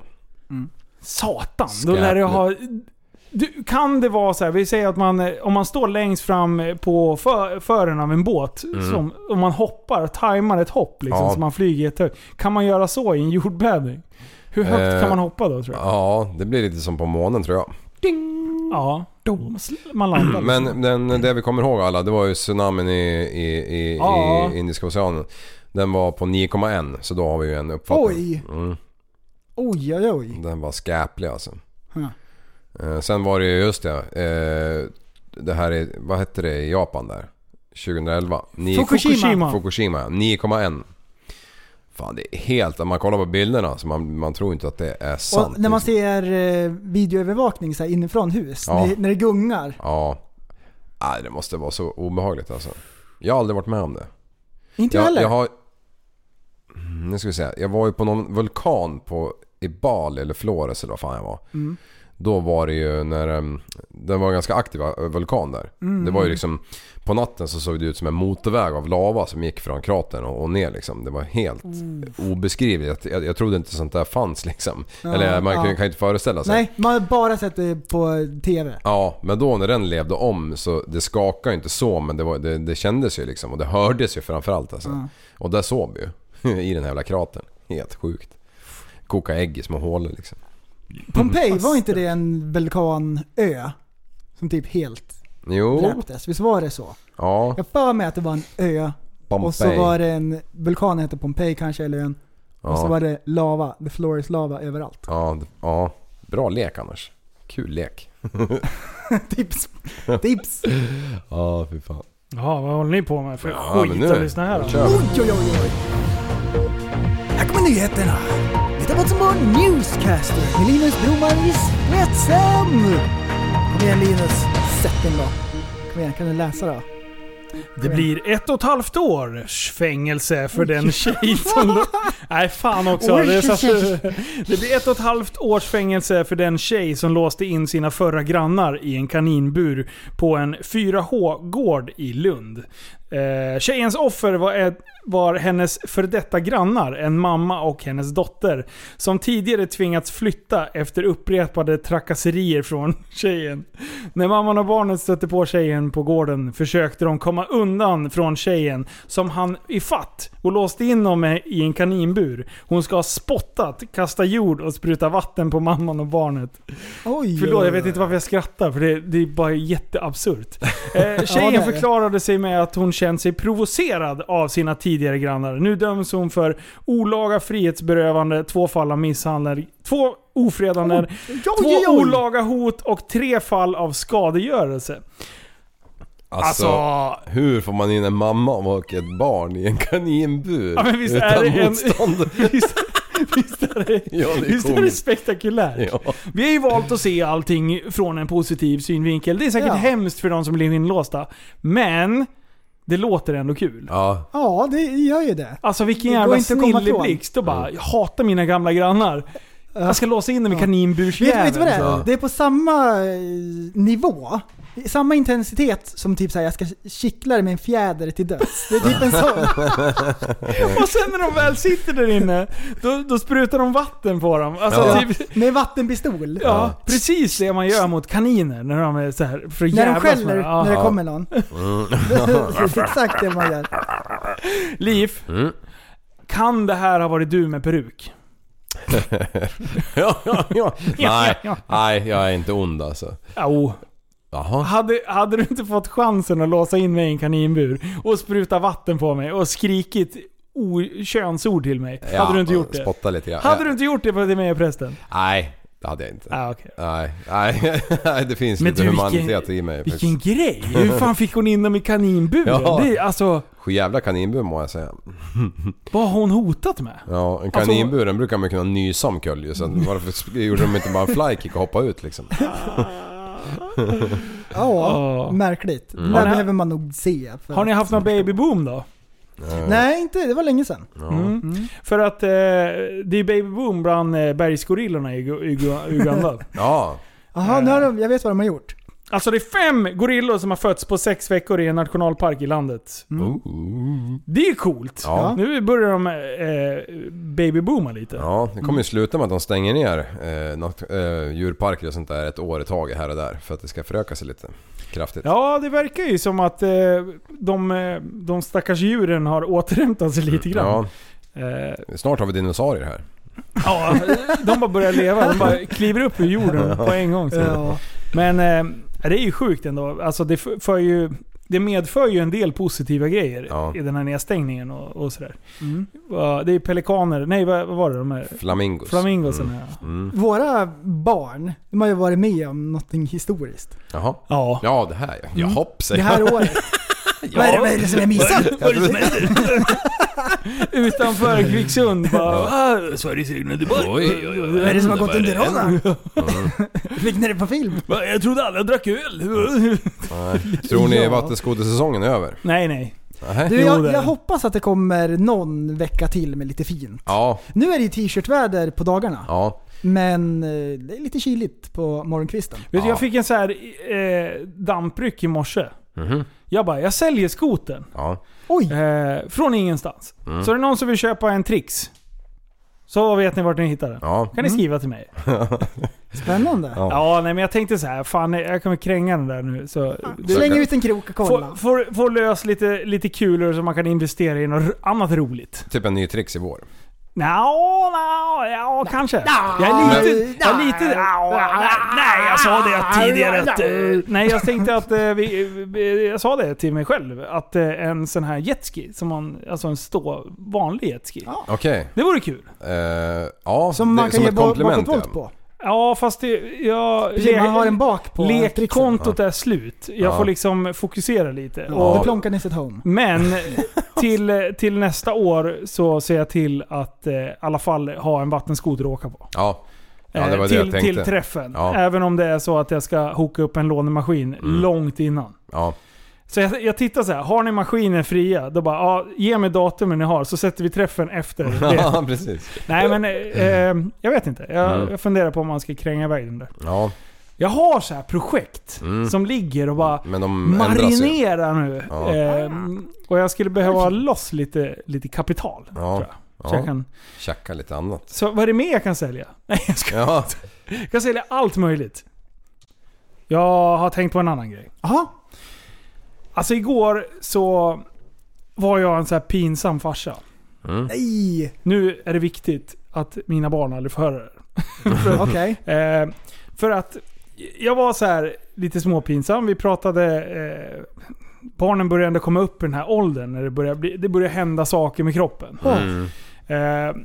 Satan, då lär du ha... Du, kan det vara så här, vi säger att man, eh, om man står längst fram eh, på för, fören av en båt,
Mm.
som, om man hoppar, tajmar ett hopp liksom,
Ja.
så man flyger jättehögt. Kan man göra så i en jordbävning? Hur högt
Eh,
kan man hoppa då tror jag?
Ja, det blir lite som på månen tror jag.
Ja, man sl- man landar. liksom.
Mm.
Mm.
Men den, det vi kommer ihåg alla, det var ju tsunamin i, i, i,
Ja.
i Indiska oceanen. Den var på 9,1 så då har vi ju en uppfattning.
Oj.
Mm.
Oj, oj, oj.
Den var skäplig alltså.
Huh.
Eh, sen var det ju, just det, eh, det här är, vad hette det i Japan där? 2011? Ni-
Fukushima.
Fukushima, 9,1. Fan det är helt, om man kollar på bilderna så man, man tror inte att det är sant.
Och när man ser eh, videoövervakning så här inifrån hus,
Ja.
när, när det gungar.
Ja. Nej, det måste vara så obehagligt alltså. Jag har aldrig varit med om det.
Inte
jag
jag heller.
Jag har... Mm, Nu ska vi se. Jag var ju på någon vulkan på, i Bali eller Flores eller vad fan jag var.
Mm.
Då var det ju när... em, Det var en ganska aktiv eh, vulkan där.
Mm.
Det var ju liksom... På natten så såg det ut som en motorväg av lava som gick från kratern och, och ner liksom. Det var helt obeskrivligt. Jag, jag trodde inte sånt där fanns liksom.
Mm. Ja,
eller man kan,
ja.
ju- kan ju inte föreställa sig.
Nej, man har bara sett det på TV.
Ja, men då när den levde om så det skakade ju inte så men det, var, det, det kändes ju liksom och det hördes ju framförallt alltså.
Ja.
Och där sov vi ju. I den här jävla kratern. Helt sjukt. Koka ägg i små hålor liksom.
Pompeji,
Mm.
var inte det en vulkanö? Som typ helt
Jo.
dräptes? Visst var det så?
Ja.
Jag för mig att det var en ö. Och så
Pompeji.
var det en vulkan, hette Pompeji kanske, eller ön. Och så
Ja.
var det lava, the floor is lava överallt.
Ja, d- ja. Bra lek annars. Kul lek.
Tips. Tips.
Ja, fy fan.
Ja, vad håller ni på med för
Ja, men
skit
nu-
att lyssna här då?
kör vi.
Oj, oj, oj, oj. Här kommer nyheterna. Lite vad som var Newscaster med Linus Broman i spetsen. Kom igen Linus, sätt den då. Kom igen, kan du läsa då?
Det blir ett och ett halvt års fängelse för den tjej som... Nej fan också.
Oj,
Det, är så
oj,
att, det blir ett och ett halvt års fängelse för den tjej som låste in sina förra grannar i en kaninbur på en 4H-gård i Lund. Eh, tjejens offer var, ett, var hennes för detta grannar, en mamma och hennes dotter, som tidigare tvingats flytta efter upprepade trakasserier från tjejen. När mamman och barnet stötte på tjejen på gården försökte de komma undan från tjejen som han i fatt och låste in dem i en kaninbur. Hon ska ha spottat, kastat jord och sprutat vatten på mamman och barnet.
Oj,
Förlåt,
oj,
jag
oj.
vet inte varför jag skrattar för det, det är bara jätteabsurt. Eh,
Ja, det är
tjejen
det.
förklarade sig med att hon känt sig provocerad av sina tidigare grannar. Nu döms hon för olaga frihetsberövande, två fall av misshandel, två ofredanden, två
oj, oj.
olaga hot och tre fall av skadegörelse.
Alltså,
Alltså-
hur får man in en mamma och ett barn i en kaninbur?
Ja, men visst
utan
är det en-
motstånd? Ja, det är
Visst är det
komiskt.
spektakulärt?
Ja.
Vi har ju valt att se allting från en positiv synvinkel. Det är säkert
Ja.
hemskt för de som blir inlåsta. Men det låter ändå kul.
Ja.
Ja, det gör ju det.
Alltså vilken
Det går
jävla
inte att komma ifrån.
snilleblixt. Då bara, jag hatar mina gamla grannar. Jag ska låsa in dem i
Vet, vet du
kaninbursjäveln.
vad det är? Det är på samma eh, nivå, samma intensitet som typ såhär, jag ska kittla dig med en fjäder till döds. Det är typ en sån.
Och sen när de väl sitter där inne, då, då sprutar de vatten på dem. Alltså,
Ja.
typ,
Med vattenpistol.
ja, precis det man gör mot kaniner när de är så här för att
När de
jävlas
skäller
med dem. Ja. Mm.
när det kommer någon. Det är Exakt det man gör.
Liv,
Mm.
kan det här ha varit du med peruk?
ja, ja, ja.
Ja, ja,
Nej, nej, jag är inte ond alltså.
Jo.
Jaha.
Hade, hade du inte fått chansen att låsa in mig i en kaninbur och spruta vatten på mig och skrikit o- könsord till mig,
Ja,
hade du inte gjort det?
Spotta lite grann.
Hade
Ja.
du inte gjort det för att det är mig och prästen?
Nej, det hade jag inte.
Ah, okej.
Nej, nej, nej, det finns lite humanitet i mig.
vilken grej! Hur fan fick hon in dem i kaninburen?
Ja.
Det är, alltså,
Jävla kaninbur må jag säga.
vad har hon hotat med?
Ja, en
Alltså-
kaninbur den brukar man kunna nysa om kulje. Så att varför sk- gjorde de inte bara en flykick och hoppa ut liksom?
Ja, märkligt.
Mm.
Det
Har
där
ni-
behöver man nog se. för
Har ni
att-
haft någon babyboom då?
Nej, inte. Det var länge sedan.
Ja.
Mm. För att eh, det är babyboom bland eh, bergsgorillorna i Ugu- Ugu- Uganda.
Ja.
Mm.
Jaha, nu har de, jag vet vad de har gjort.
Alltså det är fem gorillor som har fötts på sex veckor i en nationalpark i landet. Det är coolt.
Mm. Ja.
Nu börjar de eh, babybooma lite.
Ja, det kommer ju sluta med att de stänger ner eh, nat- eh, djurparker och sånt där ett år i taget här och där för att det ska föröka sig lite kraftigt.
Ja, det verkar ju som att eh, de, eh, de stackars djuren har återhämtat sig lite grann. Ja.
Snart har vi dinosaurier här.
Ja, de bara börjar leva. De bara kliver upp ur jorden på en gång. Så.
Ja.
Men eh, det är ju sjukt ändå. Alltså det, f- för ju, det medför ju en del positiva grejer i den här nedstängningen och, och sådär.
Mm.
Va, Det är pelikaner. Nej, vad, vad var det? De här?
Flamingos.
Flamingosen,
Mm.
ja.
Mm.
Våra barn, de har ju varit med om någonting historiskt.
Jaha.
Ja.
ja, det här ja.
Mm.
Ja, hopp
Det
säger
här
jag.
året. Vad är det- vad är det som är missat?
Vad är det som
Utanför Kvicksund bara...
Ja.
"Ah, Sveriges egna debatt.
Oj, oj, oj.
Vad är det som har gått under radarn?
Fick ni det på film?
Va, Jag trodde alla drack öl.
Nej. Tror ni
Ja.
vattenskotersäsongen är över?
Nej, nej.
Nej.
Du, jag, jag hoppas att det kommer någon vecka till med lite fint.
Ja,
Nu är det ju t-shirtväder på dagarna.
ja.
Men eh, det är lite kyligt på morgonkvisten.
Vet du, jag fick en så här eh, dampryck i morse.
Mhm.
Jag bara, jag säljer skoten.
Ja.
Eh, från ingenstans.
Mm.
Så är det någon som vill köpa en Trix. Så vet ni vart ni hittar den.
Ja.
kan ni skriva till mig.
Spännande.
Ja, nej men jag tänkte så här, fan jag kommer kränga den där nu. Så, det-
Släng ut en krok och kolla.
Får, får, får lös lite, lite kulor som man kan investera i något annat roligt.
Typ en ny trix i vår.
Nja, nja, ja kanske. Jag är lite... Jag är lite nej, jag sa det tidigare att... eh, Nej, jag tänkte att... eh, Vi, vi- jag sa det till mig själv. Att eh, en sån här jetski, som man, alltså en stå, vanlig jetski.
Okej.
Det vore kul.
Eh, ja,
Som
det,
man kan
som
ge
ett
bak-
komplement
bakåtvolt
ja.
på. Ja, fast det... Jag,
Precis, man har en bak på
Lekkontot
trixen.
är slut. Jag
Ja.
får liksom fokusera lite.
Ja.
Och-
The Plonkanis at home.
men till, till nästa år så ser jag till att eh, i alla fall ha en vattenskoter att åka på.
Ja. ja, det
Eh,
var
till,
det jag tänkte.
till träffen.
Ja.
Även om det är så att jag ska hoka upp en lånemaskin
Mm.
långt innan.
ja.
Så jag, jag tittar så här, har ni maskiner fria? Då bara, ja, ge mig datumen ni har så sätter vi träffen efter
ja,
det.
precis.
Nej men, eh, eh, jag vet inte. Jag,
Mm.
jag funderar på om man ska kränga iväg den där.
Ja.
Jag har så här projekt
Mm.
som ligger och bara
Men de ändras ju.
marinera nu.
Ja.
Ehm, och jag skulle behöva loss lite, lite kapital.
Ja.
Så jag kan-
Tjacka lite annat.
Så vad är det mer jag kan sälja? Nej jag ska
Ja.
Jag kan sälja allt möjligt. Jag har tänkt på en annan grej. Aha. Alltså igår så var jag en så här pinsam farsa.
Mm.
Nej! Nu är det viktigt att mina barn aldrig får höra det. För-
Okej.
eh, för att jag var så här lite småpinsam. Vi pratade... Eh, barnen började ändå komma upp i den här åldern. När det börjar bli, det börjar hända saker med kroppen.
Mm.
Eh,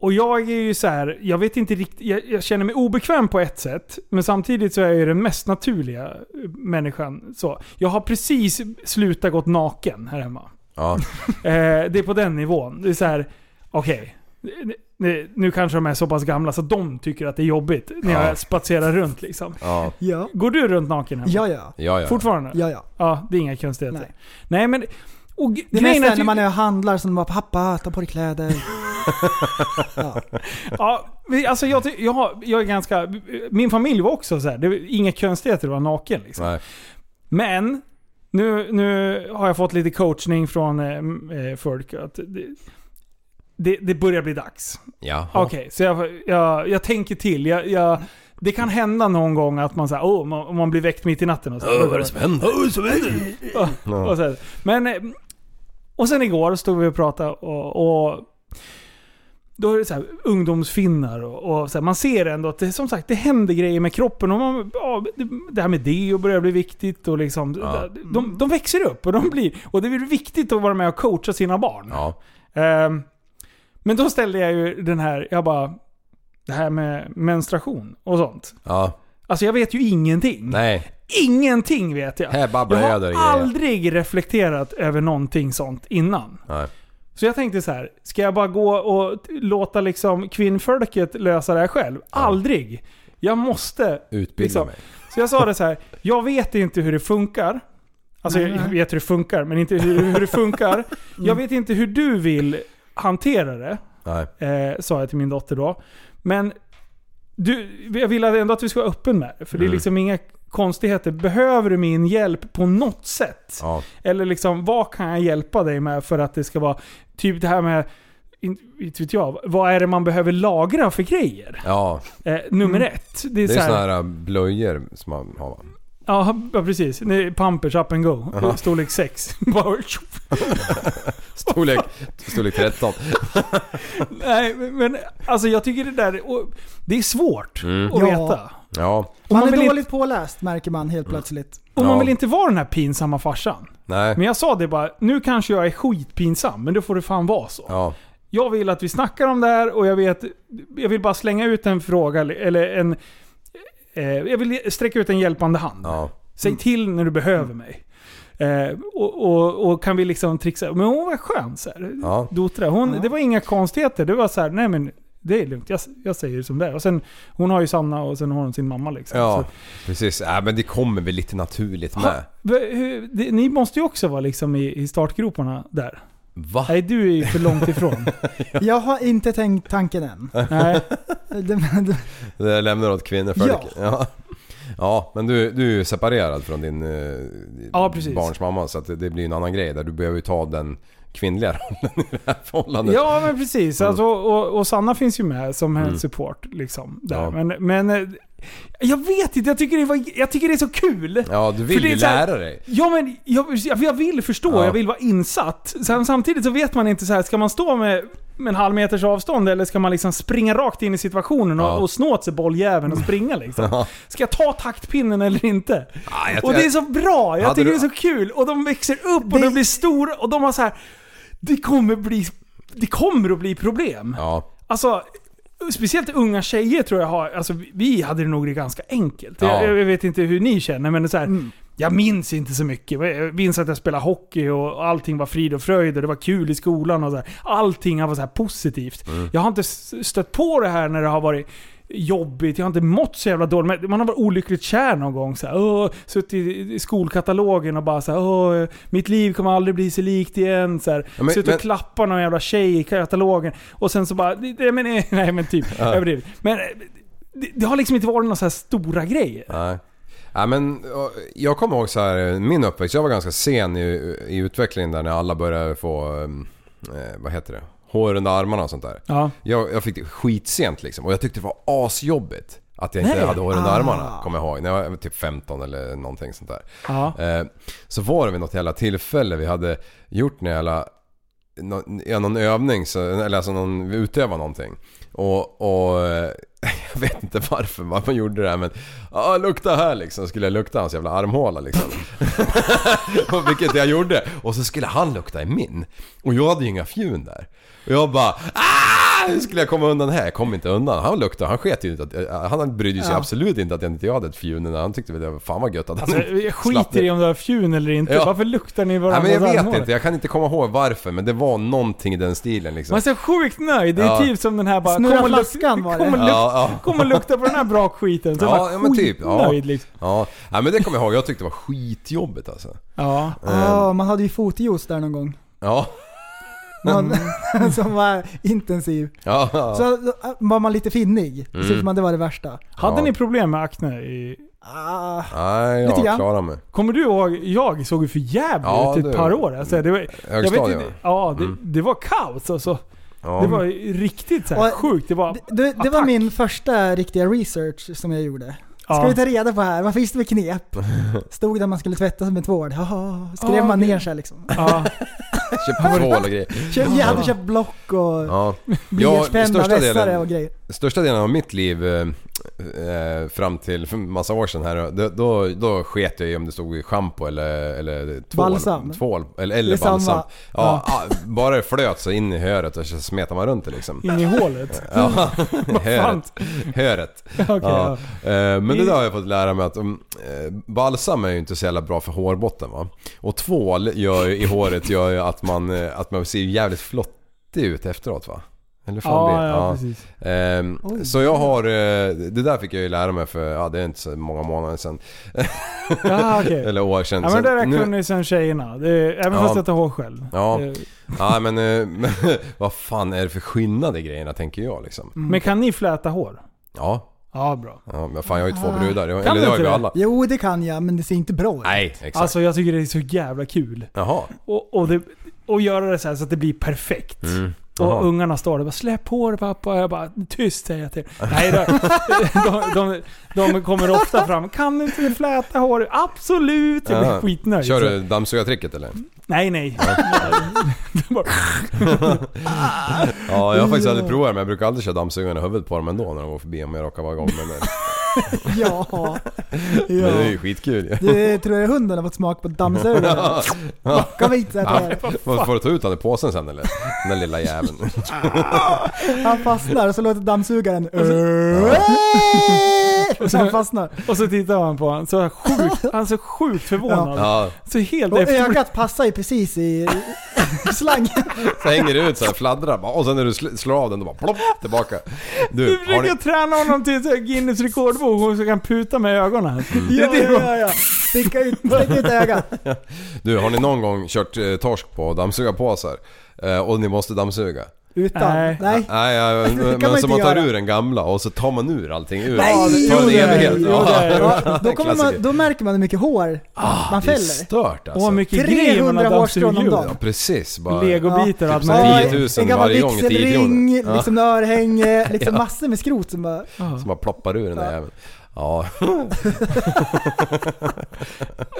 och jag är ju så här, jag vet inte riktigt, jag, jag känner mig obekväm på ett sätt. Men samtidigt så är jag ju den mest naturliga eh, människan. Så, jag har precis slutat gått naken här hemma.
Ja.
Eh, det är på den nivån. Det är så här, okej. n- n- Nu kanske de är så pass gamla så de tycker att det är jobbigt när
Ja.
jag spatserar runt liksom.
Ja.
Går du runt naken hemma?
Ja, ja.
Ja, ja.
Fortfarande?
Ja, ja.
det är inga konstigheter. Nej, men... Och g-
Det är
grejen
mest
är
är
att
när
ju-
man är och handlar som bara “Pappa, ta på dig kläder”.
Ja, men alltså jag, ty- jag, har- jag är ganska... Min familj var också så här. Det var inga konstigheter att vara naken. Liksom. Men nu, nu har jag fått lite coachning från eh, m- eh, folk. Att det, det, det börjar bli dags.
Ja.
Okej, så jag, jag, jag tänker till. Jag, jag, det kan hända någon gång att man, så här, oh, man, om man blir väckt mitt i natten. Och så,
Åh, vad är det som händer?
Åh, vad är det som händer? Och, och så här. Men... eh, Och sen igår stod vi och pratade och, och då är det så här, ungdomsfinnar och, och så här, man ser ändå att det, som sagt, det händer grejer med kroppen. Och man, ja, det- det här med deo börjar bli viktigt och liksom, de, de växer upp och de blir... Och det är väl viktigt att vara med och coacha sina barn. Ehm, men då ställde jag ju den här, jag bara... Det här med menstruation och sånt.
Ja.
Alltså jag vet ju ingenting.
Nej.
Ingenting vet jag.
Här babblar jag där
jag
i
har
grejer.
aldrig reflekterat över någonting sånt innan.
Nej.
Så jag tänkte så här, ska jag bara gå och t- låta liksom kvinnfolket lösa det här själv? Aldrig! Jag måste...
Utbilda
liksom.
mig.
Så jag sa det så här, jag vet inte hur det funkar. Alltså
Nej,
jag
nej.
vet hur det funkar, men inte hur, hur det
Mm.
funkar. Jag vet inte hur du vill hantera det,
Nej.
eh, sa jag till min dotter då. Men du, jag vill ändå att vi ska vara öppen med det. För
Mm.
det är liksom inga konstigheter. Behöver du min hjälp på något sätt?
Ja.
Eller liksom, vad kan jag hjälpa dig med för att det ska vara... Typ det här med... Inte inte vet jag. Vad är det man behöver lagra för grejer?
Ja.
Eh, nummer ett. Det är, så här,
såna här äh, blöjor som man har va?
Ja, ja, precis. Det är Pampers up and go. eh,
Jaha.
Storlek 6.
Storlek, storlek 13.
Nej, men alltså jag tycker det där... och- Det är svårt
Mm.
att
Ja.
veta.
Ja.
Och
Man,
man
är
vill Mm.
dåligt
inte-
påläst märker man helt plötsligt.
Och man
Ja.
vill inte vara den här pinsamma farsan.
Nej.
Men jag sa det bara, nu kanske jag är skitpinsam, men då får det fan vara så.
Ja.
Jag vill att vi snackar om det här och jag vet... Jag vill bara slänga ut en fråga, eller en... Eh, jag vill sträcka ut en hjälpande hand.
Ja. Mm.
Säg till när du behöver mig. Eh, och, och, och kan vi liksom trixa. Men hon var skön så här.
Ja.
Dotra. Hon, Det var inga konstigheter. Det var så här, nej men det är lugnt. Jag, jag säger som det är. Och sen, hon har ju Sanna och sen har hon sin mamma liksom.
Ja,
Så,
precis. Äh, men det kommer väl lite naturligt
ha,
med.
v- hur, det, ni måste ju också vara liksom i, i startgroparna där.
Va?
Nej, du är ju för långt ifrån.
Jag har inte tänkt tanken än. Eh,
nej.
Eh.
Det-
Det där lämnar åt kvinnor för
Ja.
ja. ja, men du, du är ju separerad från din eh,
Ja, precis.
barns mamma så att det, det blir ju en annan grej där. Du behöver ju ta den kvinnliga rollen i det här förhållandet.
Ja men precis.
Mm.
Alltså, och, och Sanna finns ju med som hennes
Mm.
support. Liksom, där.
Ja.
Men, men eh, jag vet inte, jag tycker det, var, jag tycker det är så kul.
Ja, du vill
För det är
ju
så här-
lära dig.
Ja men jag, jag jag vill förstå,
Ja.
jag vill vara insatt. Sen, samtidigt så vet man inte så här, ska man stå med, med en halv meters avstånd eller ska man liksom springa rakt in i situationen och,
Ja.
och snå åt sig bolljäveln och springa liksom?
Ja.
Ska jag ta taktpinnen eller inte?
Ah, jag-
och det är så bra, jag
Hade
tycker
du-
det är så kul. Och de växer upp och de blir stora och de har så här. Det kommer bli... Det kommer att bli problem.
Ja.
Alltså, speciellt unga tjejer tror jag har... Alltså, vi- vi hade det nog ganska enkelt.
Ja.
Jag, jag vet inte hur ni känner, men det är så här, Jag minns inte så mycket. Jag minns att jag spelade hockey och allting var frid och fröjd och det var kul i skolan. Och så här. Allting var så här positivt.
Mm.
Jag har inte s- stött på det här när det har varit jobbigt. Jag har inte mått så jävla dåligt. Men Man har varit olyckligt kär någon gång. Så här, åh, suttit i i skolkatalogen och bara så här, åh, mitt liv kommer aldrig bli så likt igen. Så här.
Ja, men-
suttit
men-
och klappar någon jävla tjej i katalogen. Och sen så bara, det- det- men, nej, nej men typ,
Ja.
överdrivet. Men eh, det, det har liksom inte varit några så här stora grejer.
Nej. Ja, men, och, jag kommer ihåg så här, min uppväxt, jag var ganska sen i, i utvecklingen där när alla började få, eh, vad heter det, hår under armarna och sånt där.
Ja.
Jag, jag fick det skitsent liksom och jag tyckte det var asjobbigt att jag inte
Nej.
hade hår under
Ah.
armarna, kommer jag ihåg. När jag var typ 15 eller någonting sånt där.
Ja.
Eh, Så var det vid något jävla tillfälle vi hade gjort när jävla någon, ja, någon övning, så, eller alltså någon, vi utövade någonting. Och, och eh, jag vet inte varför man man gjorde det här men ah, lukta här liksom, skulle jag lukta hans jävla armhåla liksom. Och Vilket jag gjorde. Och så skulle han lukta i min. Och jag hade ju inga fjun där. Och jag bara ah, hur skulle jag komma undan här? Jag kom inte undan. Han luktade, han sket ju inte att, eh, han brydde sig
Ja.
absolut inte att jag inte jag hade ett fjun. Han tyckte väl det var fan vad gött att han
Alltså, jag
slapp
skiter i om du har fjun eller inte.
Mm. Ja.
Varför luktar ni
Nej,
varandras
men jag vet
armhålor?
inte, jag kan inte komma ihåg varför men det var någonting i den stilen liksom.
Man är så sjukt nöjd. Det är
Ja.
typ som den här bara...
Snurra
kom och luk-
flaskan var det.
Kom och, luk-
Ja, ja.
kom och lukta på den här bra skiten. Så
Ja,
bara,
ja men typ. Ja.
skitnöjd liksom.
Ja. ja men det kommer jag ihåg, jag tyckte det var skitjobbigt alltså.
Ja.
Ja, man hade ju fotjuice där någon gång.
Ja.
Man, som var intensiv.
Ja. Mm. ja.
Så äh, var man lite finnig.
Mm.
Så tyckte man det var det värsta.
Hade
Ja.
ni problem med akne? I...
Ah,
Nej,
Lite
jag
grann.
klarar mig.
Kommer du ihåg? Jag såg ju för jävligt
Ja,
ut
det-
ett par år. Alltså, det var, jag vet
Högstadiet,
inte,
va?
ja, det,
Mm.
det var kaos alltså.
Ja.
Det var ju riktigt så här
Och-
sjukt. Det var...
det, det var min första riktiga research som jag gjorde. Ska
Ja.
vi ta reda på här, vad finns det för knep? Stod där man skulle tvätta sig med tvål. Haha, skrev
Ah,
man
okej.
ner sig liksom.
Ja.
Köpte tvål och grejer.
Köp, jag hade köpt block och
Ja. Jag,
blyertspenna,
största
vässare
delen,
och grejer.
största delen av mitt liv eh, eh, fram till för massa år sedan här, då, då, då sket jag i om det stod schampo eller, eller tvål.
Balsam.
Tvål, eller
Det
eller
är samma.
balsam. Ja, ah, bara det flöt så in i höret och så smetade man runt det liksom.
In i hålet.
Ja,
Vad fan?
Mm.
Mm.
höret. höret.
Okej,
ja.
ja.
Eh, Men det där har jag fått lära mig att um, eh, balsam är ju inte så jävla bra för hårbotten va. Och tvål gör ju, i håret gör ju att man, eh, att man ser jävligt flottig ut efteråt va. Eller fan
Ja,
det.
ja, precis.
Ehm,
Oj.
så jag har, eh, det där fick jag ju lära mig för, ja det är inte så många månader sedan.
Ja, okej.
Eller år sedan.
Eh. Ja men det
Så
där
nu-
kunde ju sen tjejerna. Det, även
Ja.
fast jag tar hår själv.
Ja.
Det-
ja men eh, vad fan är det för skillnad i grejerna tänker jag liksom.
Men kan ni fläta hår?
Ja.
Ja, bra.
Ja, men fan jag har ju två
Ah.
brudar. Jag,
Kan
eller
du
det har ju
inte
vi
det?
alla.
Jo, det kan jag, men det ser inte bra ut.
Nej, exakt.
Alltså jag tycker det är så jävla kul.
Jaha.
Och, och, det, och göra det så här så att det blir perfekt.
Mm.
Och
Jaha.
ungarna står där och bara “Släpp på dig pappa” och jag bara “Tyst” säger jag till dem. Nej, de, de, de, de kommer ofta fram “Kan du inte fläta håret?” “Absolut!” Jag blir
Ja.
skitnöjd.
Kör
Så-
du dammsugartricket eller?
Nej, nej.
Ja, jag har faktiskt
Ja.
aldrig provat det men jag brukar aldrig köra dammsugaren i huvudet på dem ändå när de går förbi om jag råkar vara igång med det.
Ja.
Men det
ja.
är ju skitkul ju.
Du tror jag hunden har fått smak på dammsugare? Backa vitt så här.
Ja, får får du ta ut han i påsen sen eller? Den där lilla jäveln.
Han fastnar och så låter dammsugaren...
Och
Han
så,
fastnar.
och så tittar man på honom så är han sjukt, han är så sjukt förvånad.
Ja.
Så helt
Och
efter...
ögat passar ju precis i i slangen.
Så hänger det ut så här, fladdrar bara, och sen när du sl- slår av den då bara plopp tillbaka.
Du
Du, har
försöker
ni...
träna honom till så här Guinness rekordbok och så kan puta med
Mm.
ögonen. Det
Ja,
är det man-
ja, ja. Sticka ut, stick ut ögat.
du, har ni någon gång kört eh, torsk på dammsugarpåsar? Eh, och ni måste dammsuga?
Utan. Nej.
Nej, ja,
Det kan
men
man
men så
inte
man tar
göra.
ur den gamla och så tar man ur allting ur.
Nej,
det
jo,
tar en
det är-
evighet.
jo,
Ja,
det är-
ja,
Då, kommer man,
klassiker. Ah,
då märker man hur mycket hår man
Det är
fäller.
stört alltså.
Och mycket grejer man
300
har
hårstrån om
dammsugit
dagen.
ut.
Ja precis. Bara,
Legobitar och
typ
allt
så
möjligt.
här 10 000
en gammal
varje gång i 10
vigselring,
kronor. Ja.
liksom örhänge, liksom
Ja.
massor med skrot som bara...
Som bara ploppar ur den där jäveln. Ja.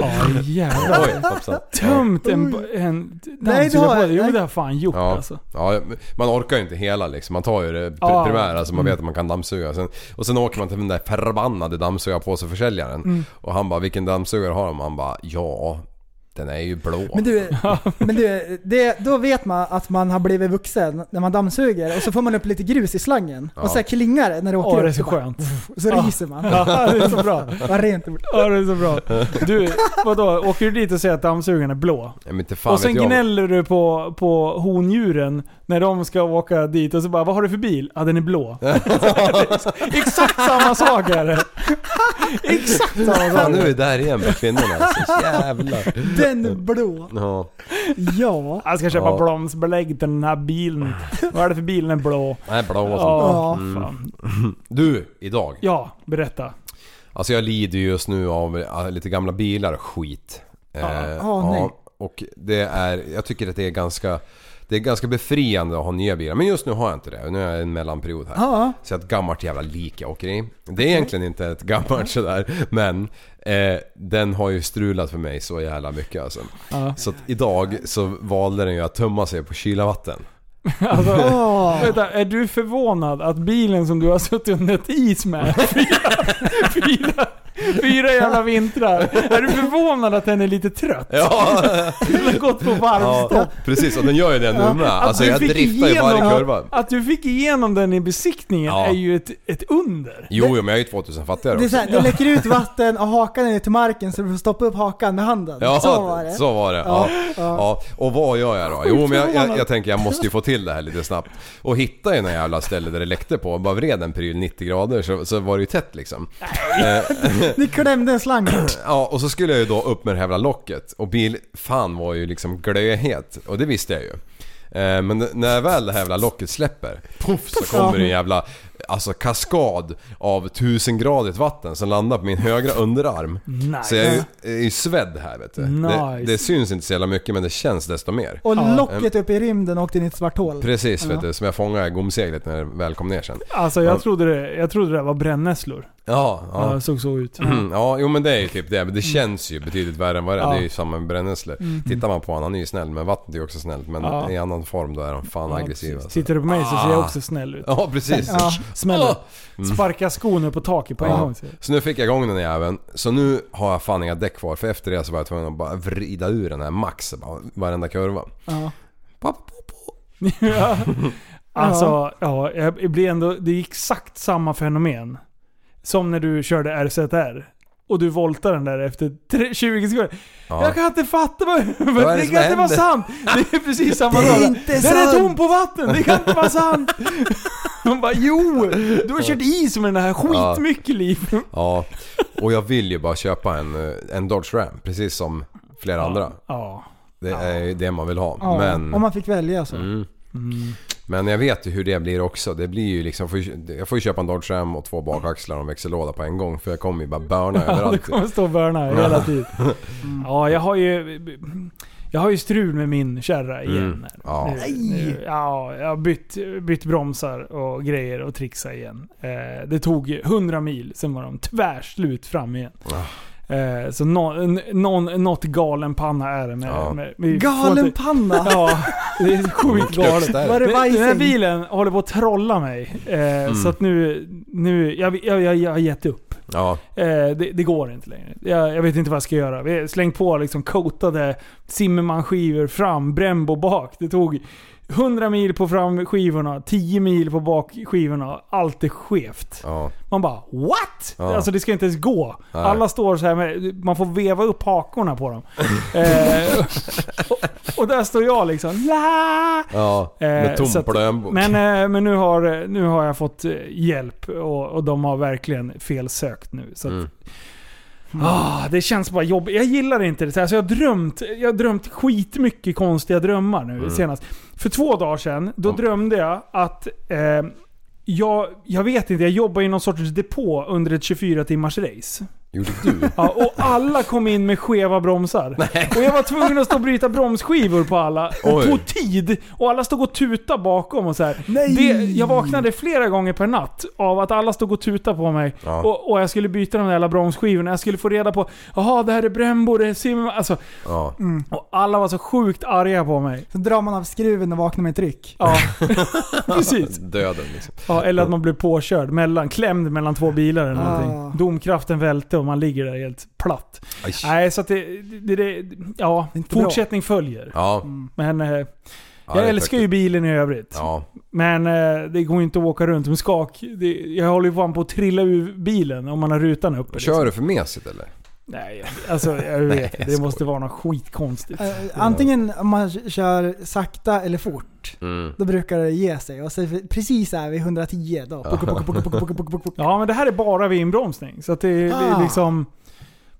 Ja jävlar.
Oj, hoppsan.
Tömt en, en
Nej, det har jag-
dammsugarpåse. Jo
nej.
men det har jag fan gjort
Ja,
alltså.
ja, man orkar ju inte hela liksom. Man tar ju det pr-
Ja.
primära så man vet
Mm.
att man kan dammsuga. Sen, och sen åker man till den där förbannade dammsugarpåseförsäljaren.
Mm.
Och han bara, vilken dammsugare har de? Han bara, ja den är ju blå.
Men du, men du det, då vet man att man har blivit vuxen när man dammsuger och så får man upp lite grus i slangen.
Ja.
Och så här klingar det när det åker
Åh
upp.
det är så
bara-
skönt.
Så
Ja.
ryser man.
Ja det är så bra.
Vad rent det blir.
Ja det är så bra. Du, vadå? Åker du dit och säger att dammsugaren är blå?
Nej, men inte fan
och sen
vet jag.
gnäller du på, på hondjuren när de ska åka dit och så bara Vad har du för bil? Ja den är blå. Exakt samma sak är det. Exakt samma
Fan nu är
sak.
vi där igen med kvinnorna alltså. Jävlar.
Den blå.
Ja.
Ja.
Jag ska köpa
Ja.
bromsbelägg till den här bilen. Vad är det för bil? Den är blå.
Nej, blå och sånt.
Ja,
Mm.
fan.
Du, idag.
Ja, berätta.
Alltså jag lider ju just nu av eh, lite gamla bilar och skit. Eh,
ah, nej.
och det är, jag tycker att det är ganska det är ganska befriande att ha nya bilar, men just nu har jag inte det. Nu är jag i en mellanperiod här.
Ja.
Så ett gammalt jävla lik jag åker i. Det är
Mm.
egentligen inte ett gammalt sådär, men eh, den har ju strulat för mig så jävla mycket alltså.
Ja.
Så att idag så valde den ju att tömma sig på kylavatten.
Alltså,
Åh.
vänta, är du förvånad att bilen som du har suttit under ett is med fyra, fyra, fyra jävla vintrar. Är du förvånad att den är lite trött?
Ja.
Den har gått på varvstopp.
Ja, precis, och den gör ju det nu med.
Att
Alltså
du
jag
fick
driftar ju varje
igenom-
kurva.
Att du fick igenom den i besiktningen
Ja.
är ju ett, ett under.
Jo, jo, men jag är ju 2000 fattigare
Det, är
också.
så här, det läcker ut vatten och hakan är ner till marken så du får stoppa upp hakan med handen.
Ja,
så var det.
Så var det. Ja.
Ja.
Ja. Och vad gör jag då? Jo men jag, jag, jag tänker jag måste ju få till det här lite snabbt. Och hitta ju något jävla ställe där det läckte på. Bara vred en pryl 90 grader så, så var det ju tätt liksom. Eh,
Ni klämde en slang.
ja och så skulle jag ju då upp med det här jävla locket. Och bil, fan var ju liksom glödhet. Och det visste jag ju. Eh, Men när väl det här jävla locket släpper, poff så kommer det en jävla alltså, kaskad av tusengradigt vatten som landar på min högra underarm.
Nice.
Så jag är ju- är ju svedd här vet du. Det,
Nice.
det syns inte så jävla mycket men det känns desto mer.
Och locket
Ehm,
upp i rymden åkte in i ett svart hål.
Precis
Ja.
vet du, som jag fångade i gomseglet när det väl kom ner sen.
Alltså jag
Ja.
trodde det, jag trodde det var brännässlor.
Ja,
Ja.
ja. Mm.
såg så ut.
Mm-hmm. ja, jo men det är ju typ det. Men det känns ju betydligt värre än vad det är.
Mm. Ja.
Det är ju samma med brännässlor.
Mm.
Tittar man på honom, han är ju snäll. Men vattnet är ju också snällt. Men
Ja.
i annan form då är han fan aggressiv
precis.
alltså.
Tittar du på mig så ser jag
Ah.
också snäll ut.
Ja, precis.
Ja, smäller.
Mm.
Sparka skon upp på taket på en
Ja.
gång. säger jag.
Så nu fick jag igång den jäveln. Så nu har jag fan inga däck kvar. För efter det så var jag tvungen att bara vrida ur den här max. Bara, varenda kurva.
Ja. ja. Alltså, ja, jag blir ändå, det är exakt samma fenomen. Som när du körde RZR. Och du voltade den där efter tre- 20 sekunder.
Ja.
Jag kan inte fatta vad...
Vad
det kan
är det som
inte vara
händer?
sant! Det är precis samma
Det är
sak.
inte
Den
sant.
är tom på vatten! Det kan inte vara sant! De bara jo! Du har kört is med den här
Ja.
skitmycket liv.
Ja, och jag vill ju bara köpa en, eh, en Dodge Ram, precis som flera andra.
Ja.
Det är ju det man vill ha,
Ja,
men...
Om man fick välja så.
Mm. Men jag vet ju hur det blir också. Det blir ju liksom, får ju- jag får ju köpa en Dodge Ram och två bakaxlar och en växellåda på en gång. För jag kommer ju bara börna
Ja, det
överallt.
kommer stå och burna hela tiden. Ja, jag har ju... Jag har ju strul med min kärra igen.
Mm. Ja.
Nu, nu, ja, jag har bytt, bytt bromsar och grejer och trixat igen. Eh, det tog 100 mil, sen var de tvärslut fram igen. Eh, så nå- n- någon, något galen panna är det med...
Ja.
med, med
Galen
får inte-
panna?
Ja, det är sjukt galet.
Var det
Den- Den här
vajsing?
bilen håller på att trolla mig. Eh, Så att nu... nu jag, jag, jag, jag har gett upp.
Ja.
Eh, det, det går inte längre. Jag, jag vet inte vad jag ska göra. Vi har slängt på liksom coatade Zimmermann-skivor fram, Brembo bak. Det tog 100 mil på framskivorna, 10 mil på bakskivorna. Allt är skevt.
Ja.
Man bara what?
Ja.
Alltså det ska inte ens gå.
Nej.
Alla står så här med, man får veva upp hakorna på dem. eh, och, och där står jag liksom. La!
Ja, med
Eh,
tom
så att-
plånbok.
Men, eh, men nu, har, nu har jag fått eh, hjälp och, och de har verkligen felsökt nu. Så att, ah, det känns bara jobbigt. Jag gillar inte det. Så, här, så jag har drömt, jag har drömt skitmycket konstiga drömmar nu
Mm.
senast. För två dagar sedan, då drömde jag att eh, jag, jag vet inte, jag jobbar i någon sorts depå under ett 24 timmars race.
Gjorde du?
Ja, och alla kom in med skeva bromsar. Och jag var tvungen att stå och bryta bromsskivor på alla. Och
Oj.
tog tid. Och alla stod och tuta bakom och så här. Det, jag vaknade flera gånger per natt av att alla stod och tuta på mig.
Ja.
Och, och jag skulle byta de där jävla bromsskivorna. Jag skulle få reda på Jaha, det här är Brembo, det är Sim... Alltså,
Ja.
och alla var så sjukt arga på mig.
Så drar man av skruven och vaknar med tryck.
Ja, precis.
Döden liksom.
Ja, eller att man blev påkörd, mellan, klämd mellan två bilar eller någonting.
Ah.
Domkraften välte och man ligger där helt platt.
Aj.
Nej, så att det... det, det ja,
bra.
fortsättning följer.
Mm. Ja.
Men eh, jag
det är
älskar ju bilen i övrigt.
Ja.
Men eh, det går ju inte att åka runt med skak. Det, jag håller ju fan på att trilla ur bilen om man har rutan uppe. liksom.
Kör du för mesigt eller?
Nej, alltså jag vet
Nej,
inte.
jag
Det måste vara något skitkonstigt.
Eh, Antingen om man kör sakta eller fort.
Mm.
Då brukar det ge sig. Och så precis här vid 110 då. Puk, puk, puk, puk, puk, puk, puk, puk.
Ja, men det här är bara vid inbromsning. Så att det, det är
Ah.
liksom...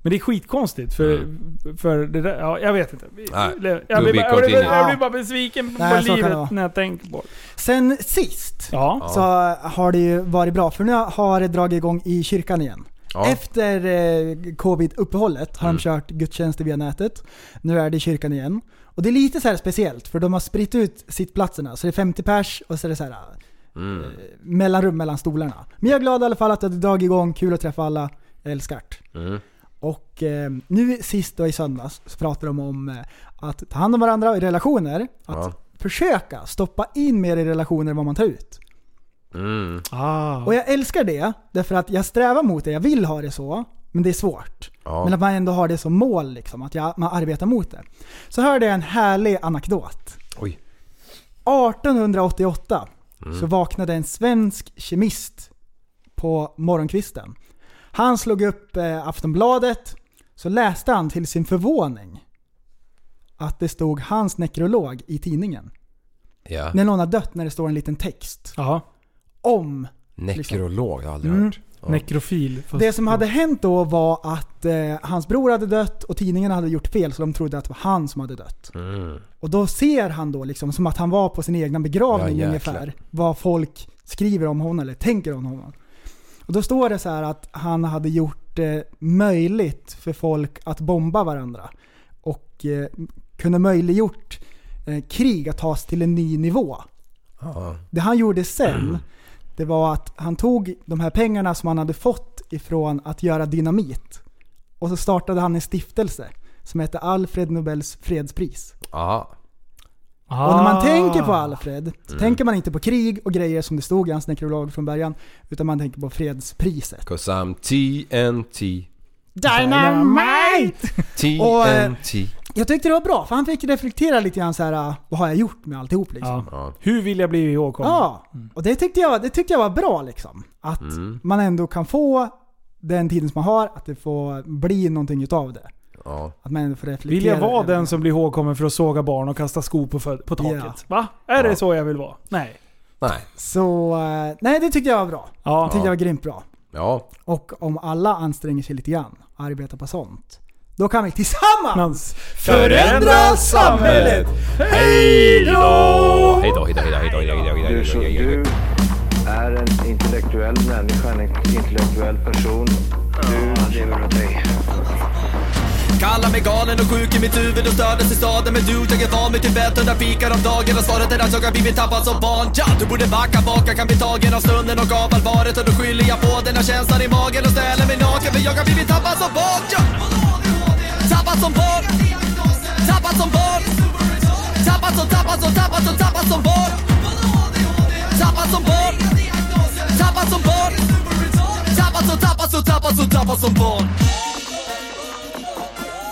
Men det är skitkonstigt för,
Mm.
för det där, ja, jag vet inte.
Nej,
jag, blir,
to
jag,
be
blir, jag, blir,
continued.
jag blir bara besviken på
Nej, så kan det vara.
livet när jag tänker på det.
Sen sist
Ja.
så har det ju varit bra. För nu har det dragit igång i kyrkan igen.
Ja.
Efter eh, covid-uppehållet har
Mm.
de kört gudstjänster via nätet. Nu är det i kyrkan igen. Och det är lite så här speciellt för de har spritt ut sittplatserna. Så det är 50 pers och så är det så här eh,
Mm.
mellanrum mellan stolarna. Men jag är glad i alla fall att det har dragit igång. Kul att träffa alla. Jag älskar det.
Mm.
Och eh, nu sist då i söndags så pratade de om eh, att ta hand om varandra i relationer. Att
Ja.
försöka stoppa in mer i relationer än vad man tar ut.
Mm.
Och jag älskar det, därför att jag strävar mot det. Jag vill ha det så, men det är svårt.
Ja.
Men att man ändå har det som mål, liksom, att jag, man arbetar mot det. Så hörde jag en härlig anekdot.
Oj.
1888
Mm.
så vaknade en svensk kemist på morgonkvisten. Han slog upp eh, Aftonbladet, så läste han till sin förvåning att det stod hans nekrolog i tidningen.
Ja.
När någon har dött när det står en liten text. Om
Nekrolog, jag har aldrig
Mm.
hört. Ja.
Nekrofil. fast-
det som hade hänt då var att eh, hans bror hade dött och tidningen hade gjort fel så de trodde att det var han som hade dött.
Mm.
Och då ser han då liksom som att han var på sin egna begravning
Ja, jäklar.
ungefär. Vad folk skriver om honom eller tänker om honom. Och då står det så här att han hade gjort det möjligt för folk att bomba varandra. Och eh, kunde möjliggjort eh, krig att tas till en ny nivå.
Ja.
Det han gjorde
Mm.
sen, det var att han tog de här pengarna som han hade fått ifrån att göra dynamit. Och så startade han en stiftelse som hette Alfred Nobels fredspris.
Ja.
Ah.
Och när man tänker på Alfred, så
Ah. Mm.
tänker man inte på krig och grejer som det stod i hans nekrolog från början, utan man tänker på fredspriset.
'Cause I'm TNT.
Dynamite! Och, eh,
TNT.
Jag tyckte det var bra, för han fick reflektera lite grann så här, "Ah, vad har jag gjort med alltihop liksom?
Ja.
Hur vill jag bli ihågkommen?
Ja, och det tyckte jag, det tyckte jag var bra liksom. Att
Mm.
man ändå kan få den tiden som man har, att det får bli någonting utav det.
Ja.
Att man ändå får reflektera.
Vill jag vara
över
den som blir ihågkommen för att såga barn och kasta skor på, fö- på taket? Va? Är det så jag vill vara? Nej.
Nej.
Så, eh, nej det tyckte jag var bra.
Ja.
Det tyckte jag
Ja.
var grymt bra.
Ja.
Och om alla anstränger sig lite grann, arbetar på sånt, Då kan vi tillsammans
Förändra samhället! Hej då! Hej då, hej då, hej då, hej då, hej då, hej då,
Du, så,
hej då, hej
du är en intellektuell människa, en intellektuell person. Du lever åt dig.
Kallar mig galen och sjuk i mitt huvud och stördes i staden Men du, jag är van vid typ 100 fikar om dagen Och svaret är att jag har blivit tappad som barn ja, Du borde backa baka, kan bli tagen av stunden och av allvaret Och då skyller jag på den här känslan i magen och ställer mig naken För jag har blivit tappad som barn ja. Tappad som barn Tappad som barn Tappad som, tappad som, tappad som, tappad som barn Tappad som barn Tappad som barn Tappad som, tappad som, tappad som, tappad som barn